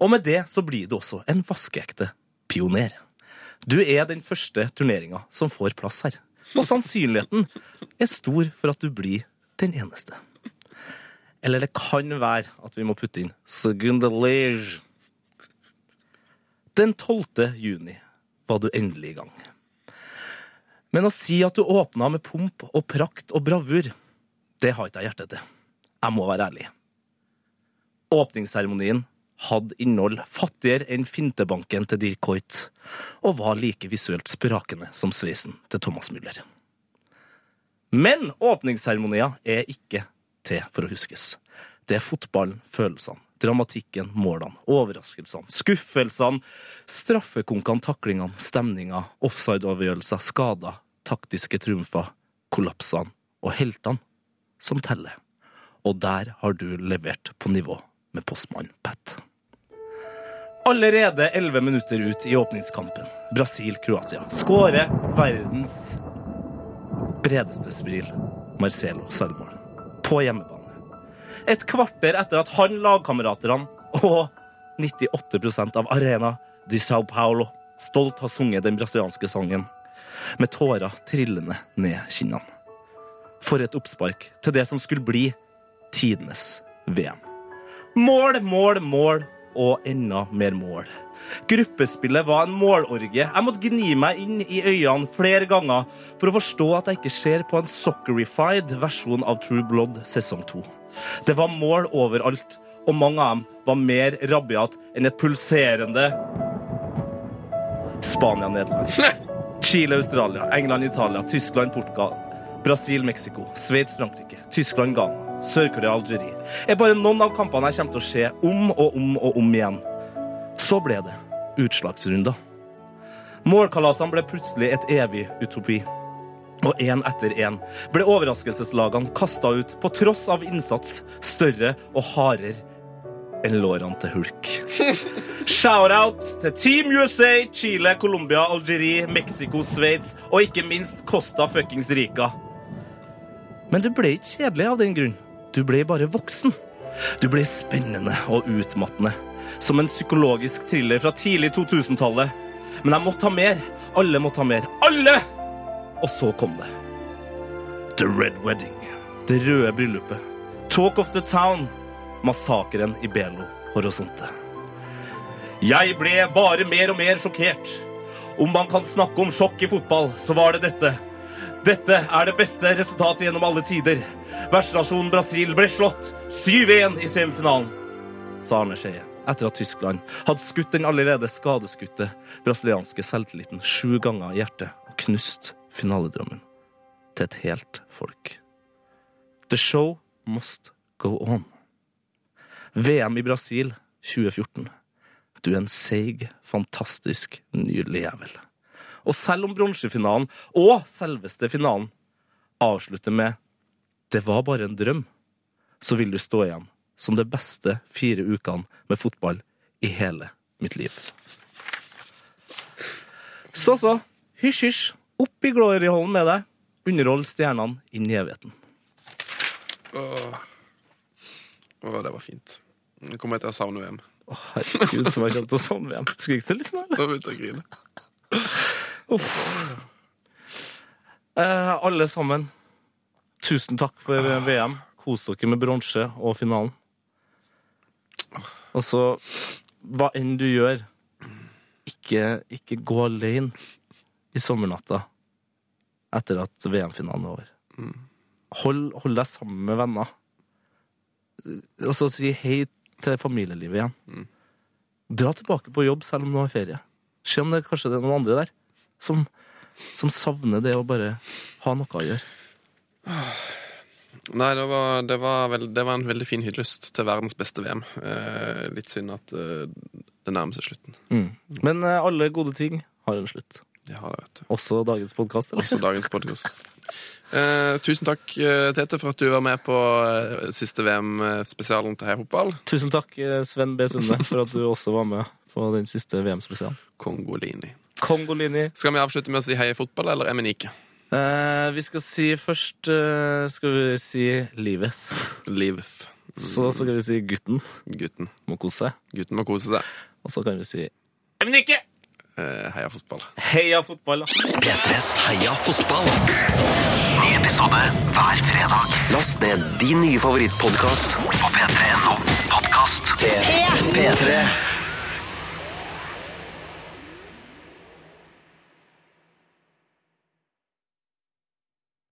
Speaker 1: Og med det så blir du også en vaskeekte pioner. Du er den første turneringa som får plass her. Og sannsynligheten er stor for at du blir den eneste. Eller det kan være at vi må putte inn Segundelege. Den 12. juni var du endelig i gang. Men å si at du åpna med pomp og prakt og bravur, det har ikke jeg hjerte til. Jeg må være ærlig. Åpningsseremonien hadde innhold fattigere enn fintebanken til Dirk Hoit, og var like visuelt sprakende som sveisen til Thomas Müller. Men åpningsseremonier er ikke til for å huskes. Det er fotballen, følelsene, dramatikken, målene, overraskelsene, skuffelsene, straffekonkene, taklingene, stemninga, offside-avgjørelser, skader, taktiske triumfer, kollapsene og heltene som teller. Og der har du levert på nivå med postmann Pat. Allerede 11 minutter ut i åpningskampen, Brasil-Kroatia, skårer verdens bredeste smil, Marcelo Selmål, på hjemmebane. Et kvarter etter at han, lagkameratene og 98 av Arena de Sao Paulo stolt har sunget den brasilianske sangen, med tårer trillende ned kinnene. For et oppspark til det som skulle bli tidenes VM. Mål, mål, mål og enda mer mål. Gruppespillet var en målorgie. Jeg måtte gni meg inn i øynene flere ganger for å forstå at jeg ikke ser på en soccerified versjon av True Blood sesong 2. Det var mål overalt, og mange av dem var mer rabiat enn et pulserende Spania-Nederland. Chile, Australia, England, Italia, Tyskland, Portugal, Brasil, Mexico, Sveits, Frankrike, Tyskland, Ghana, Sør-Korea, Algerie er bare noen av kampene jeg kommer til å se om og om og om igjen. Så ble det utslagsrunder. Målkalasene ble plutselig et evig utopi. Og én etter én ble overraskelseslagene kasta ut på tross av innsats større og hardere enn lårene til Hulk. Shout-out til Team USA, Chile, Colombia, Algerie, Mexico, Sveits og ikke minst Costa fuckings Rica. Men du ble ikke kjedelig av den grunn. Du ble bare voksen. Du ble spennende og utmattende. Som en psykologisk thriller fra tidlig 2000-tallet. Men jeg måtte ha mer. Alle måtte ha mer. Alle! Og så kom det. The Red Wedding. Det røde bryllupet. Talk of the Town. Massakren i Belo Horizonte. Jeg ble bare mer og mer sjokkert. Om man kan snakke om sjokk i fotball, så var det dette. Dette er det beste resultatet gjennom alle tider. Vertsnasjonen Brasil ble slått 7-1 i semifinalen. Sa Arne Skeie etter at Tyskland hadde skutt den allerede skadeskutte brasilianske selvtilliten sju ganger i hjertet og knust finaledrømmen til et helt folk. The show must go on. VM i Brasil 2014. Du er en seig, fantastisk, nydelig jævel. Og selv om bronsefinalen og selveste finalen avslutter med 'Det var bare en drøm', så vil du stå igjen som det beste fire ukene med fotball i hele mitt liv. Så, så. Hysj, hysj. Opp i Gloryhallen med deg. Underhold stjernene inn i evigheten.
Speaker 2: Åh. Åh, det var fint. Nå kommer jeg til å savne VM.
Speaker 1: Å, herregud, som jeg kjente å savne VM. Skrik til litt nå, eller?
Speaker 2: Nå begynte jeg å grine.
Speaker 1: Eh, alle sammen, tusen takk for eh, VM. Kos dere med bronse og finalen. Og så, hva enn du gjør, ikke, ikke gå alene i sommernatta etter at VM-finalen er over. Hold, hold deg sammen med venner. Og så si hei til familielivet igjen. Dra tilbake på jobb selv om du har ferie. Se om det kanskje det er noen andre der som, som savner det å bare ha noe å gjøre.
Speaker 2: Nei, det var, det, var vel- det var en veldig fin hyllest til verdens beste VM. Eh, litt synd at eh, det nærmer seg slutten.
Speaker 1: Men eh, alle gode ting har en slutt.
Speaker 2: Ja, det vet du.
Speaker 1: Også dagens podkast, eller?
Speaker 2: Også dagens podkast. Eh, tusen takk, eh, Tete, for at du var med på eh, siste VM-spesialen til Heia Fotball.
Speaker 1: Tusen takk, eh, Sven B. Sunde, for at du også var med på den siste VM-spesialen.
Speaker 2: Kongolini.
Speaker 1: Kongolini.
Speaker 2: Skal vi avslutte med å si Heia Fotball, eller er vi ikke?
Speaker 1: Eh, vi skal si først eh, skal vi si livet.
Speaker 2: Livet.
Speaker 1: Så skal vi si gutten
Speaker 2: Gutten.
Speaker 1: må kose seg.
Speaker 2: Gutten må kose seg.
Speaker 1: Og så kan vi si
Speaker 2: Eh, Heia fotball.
Speaker 1: heia fotball. da.
Speaker 4: P3s Heia fotball. Ny episode hver fredag. Last ned din nye favorittpodkast på p3.no. Podkast P3.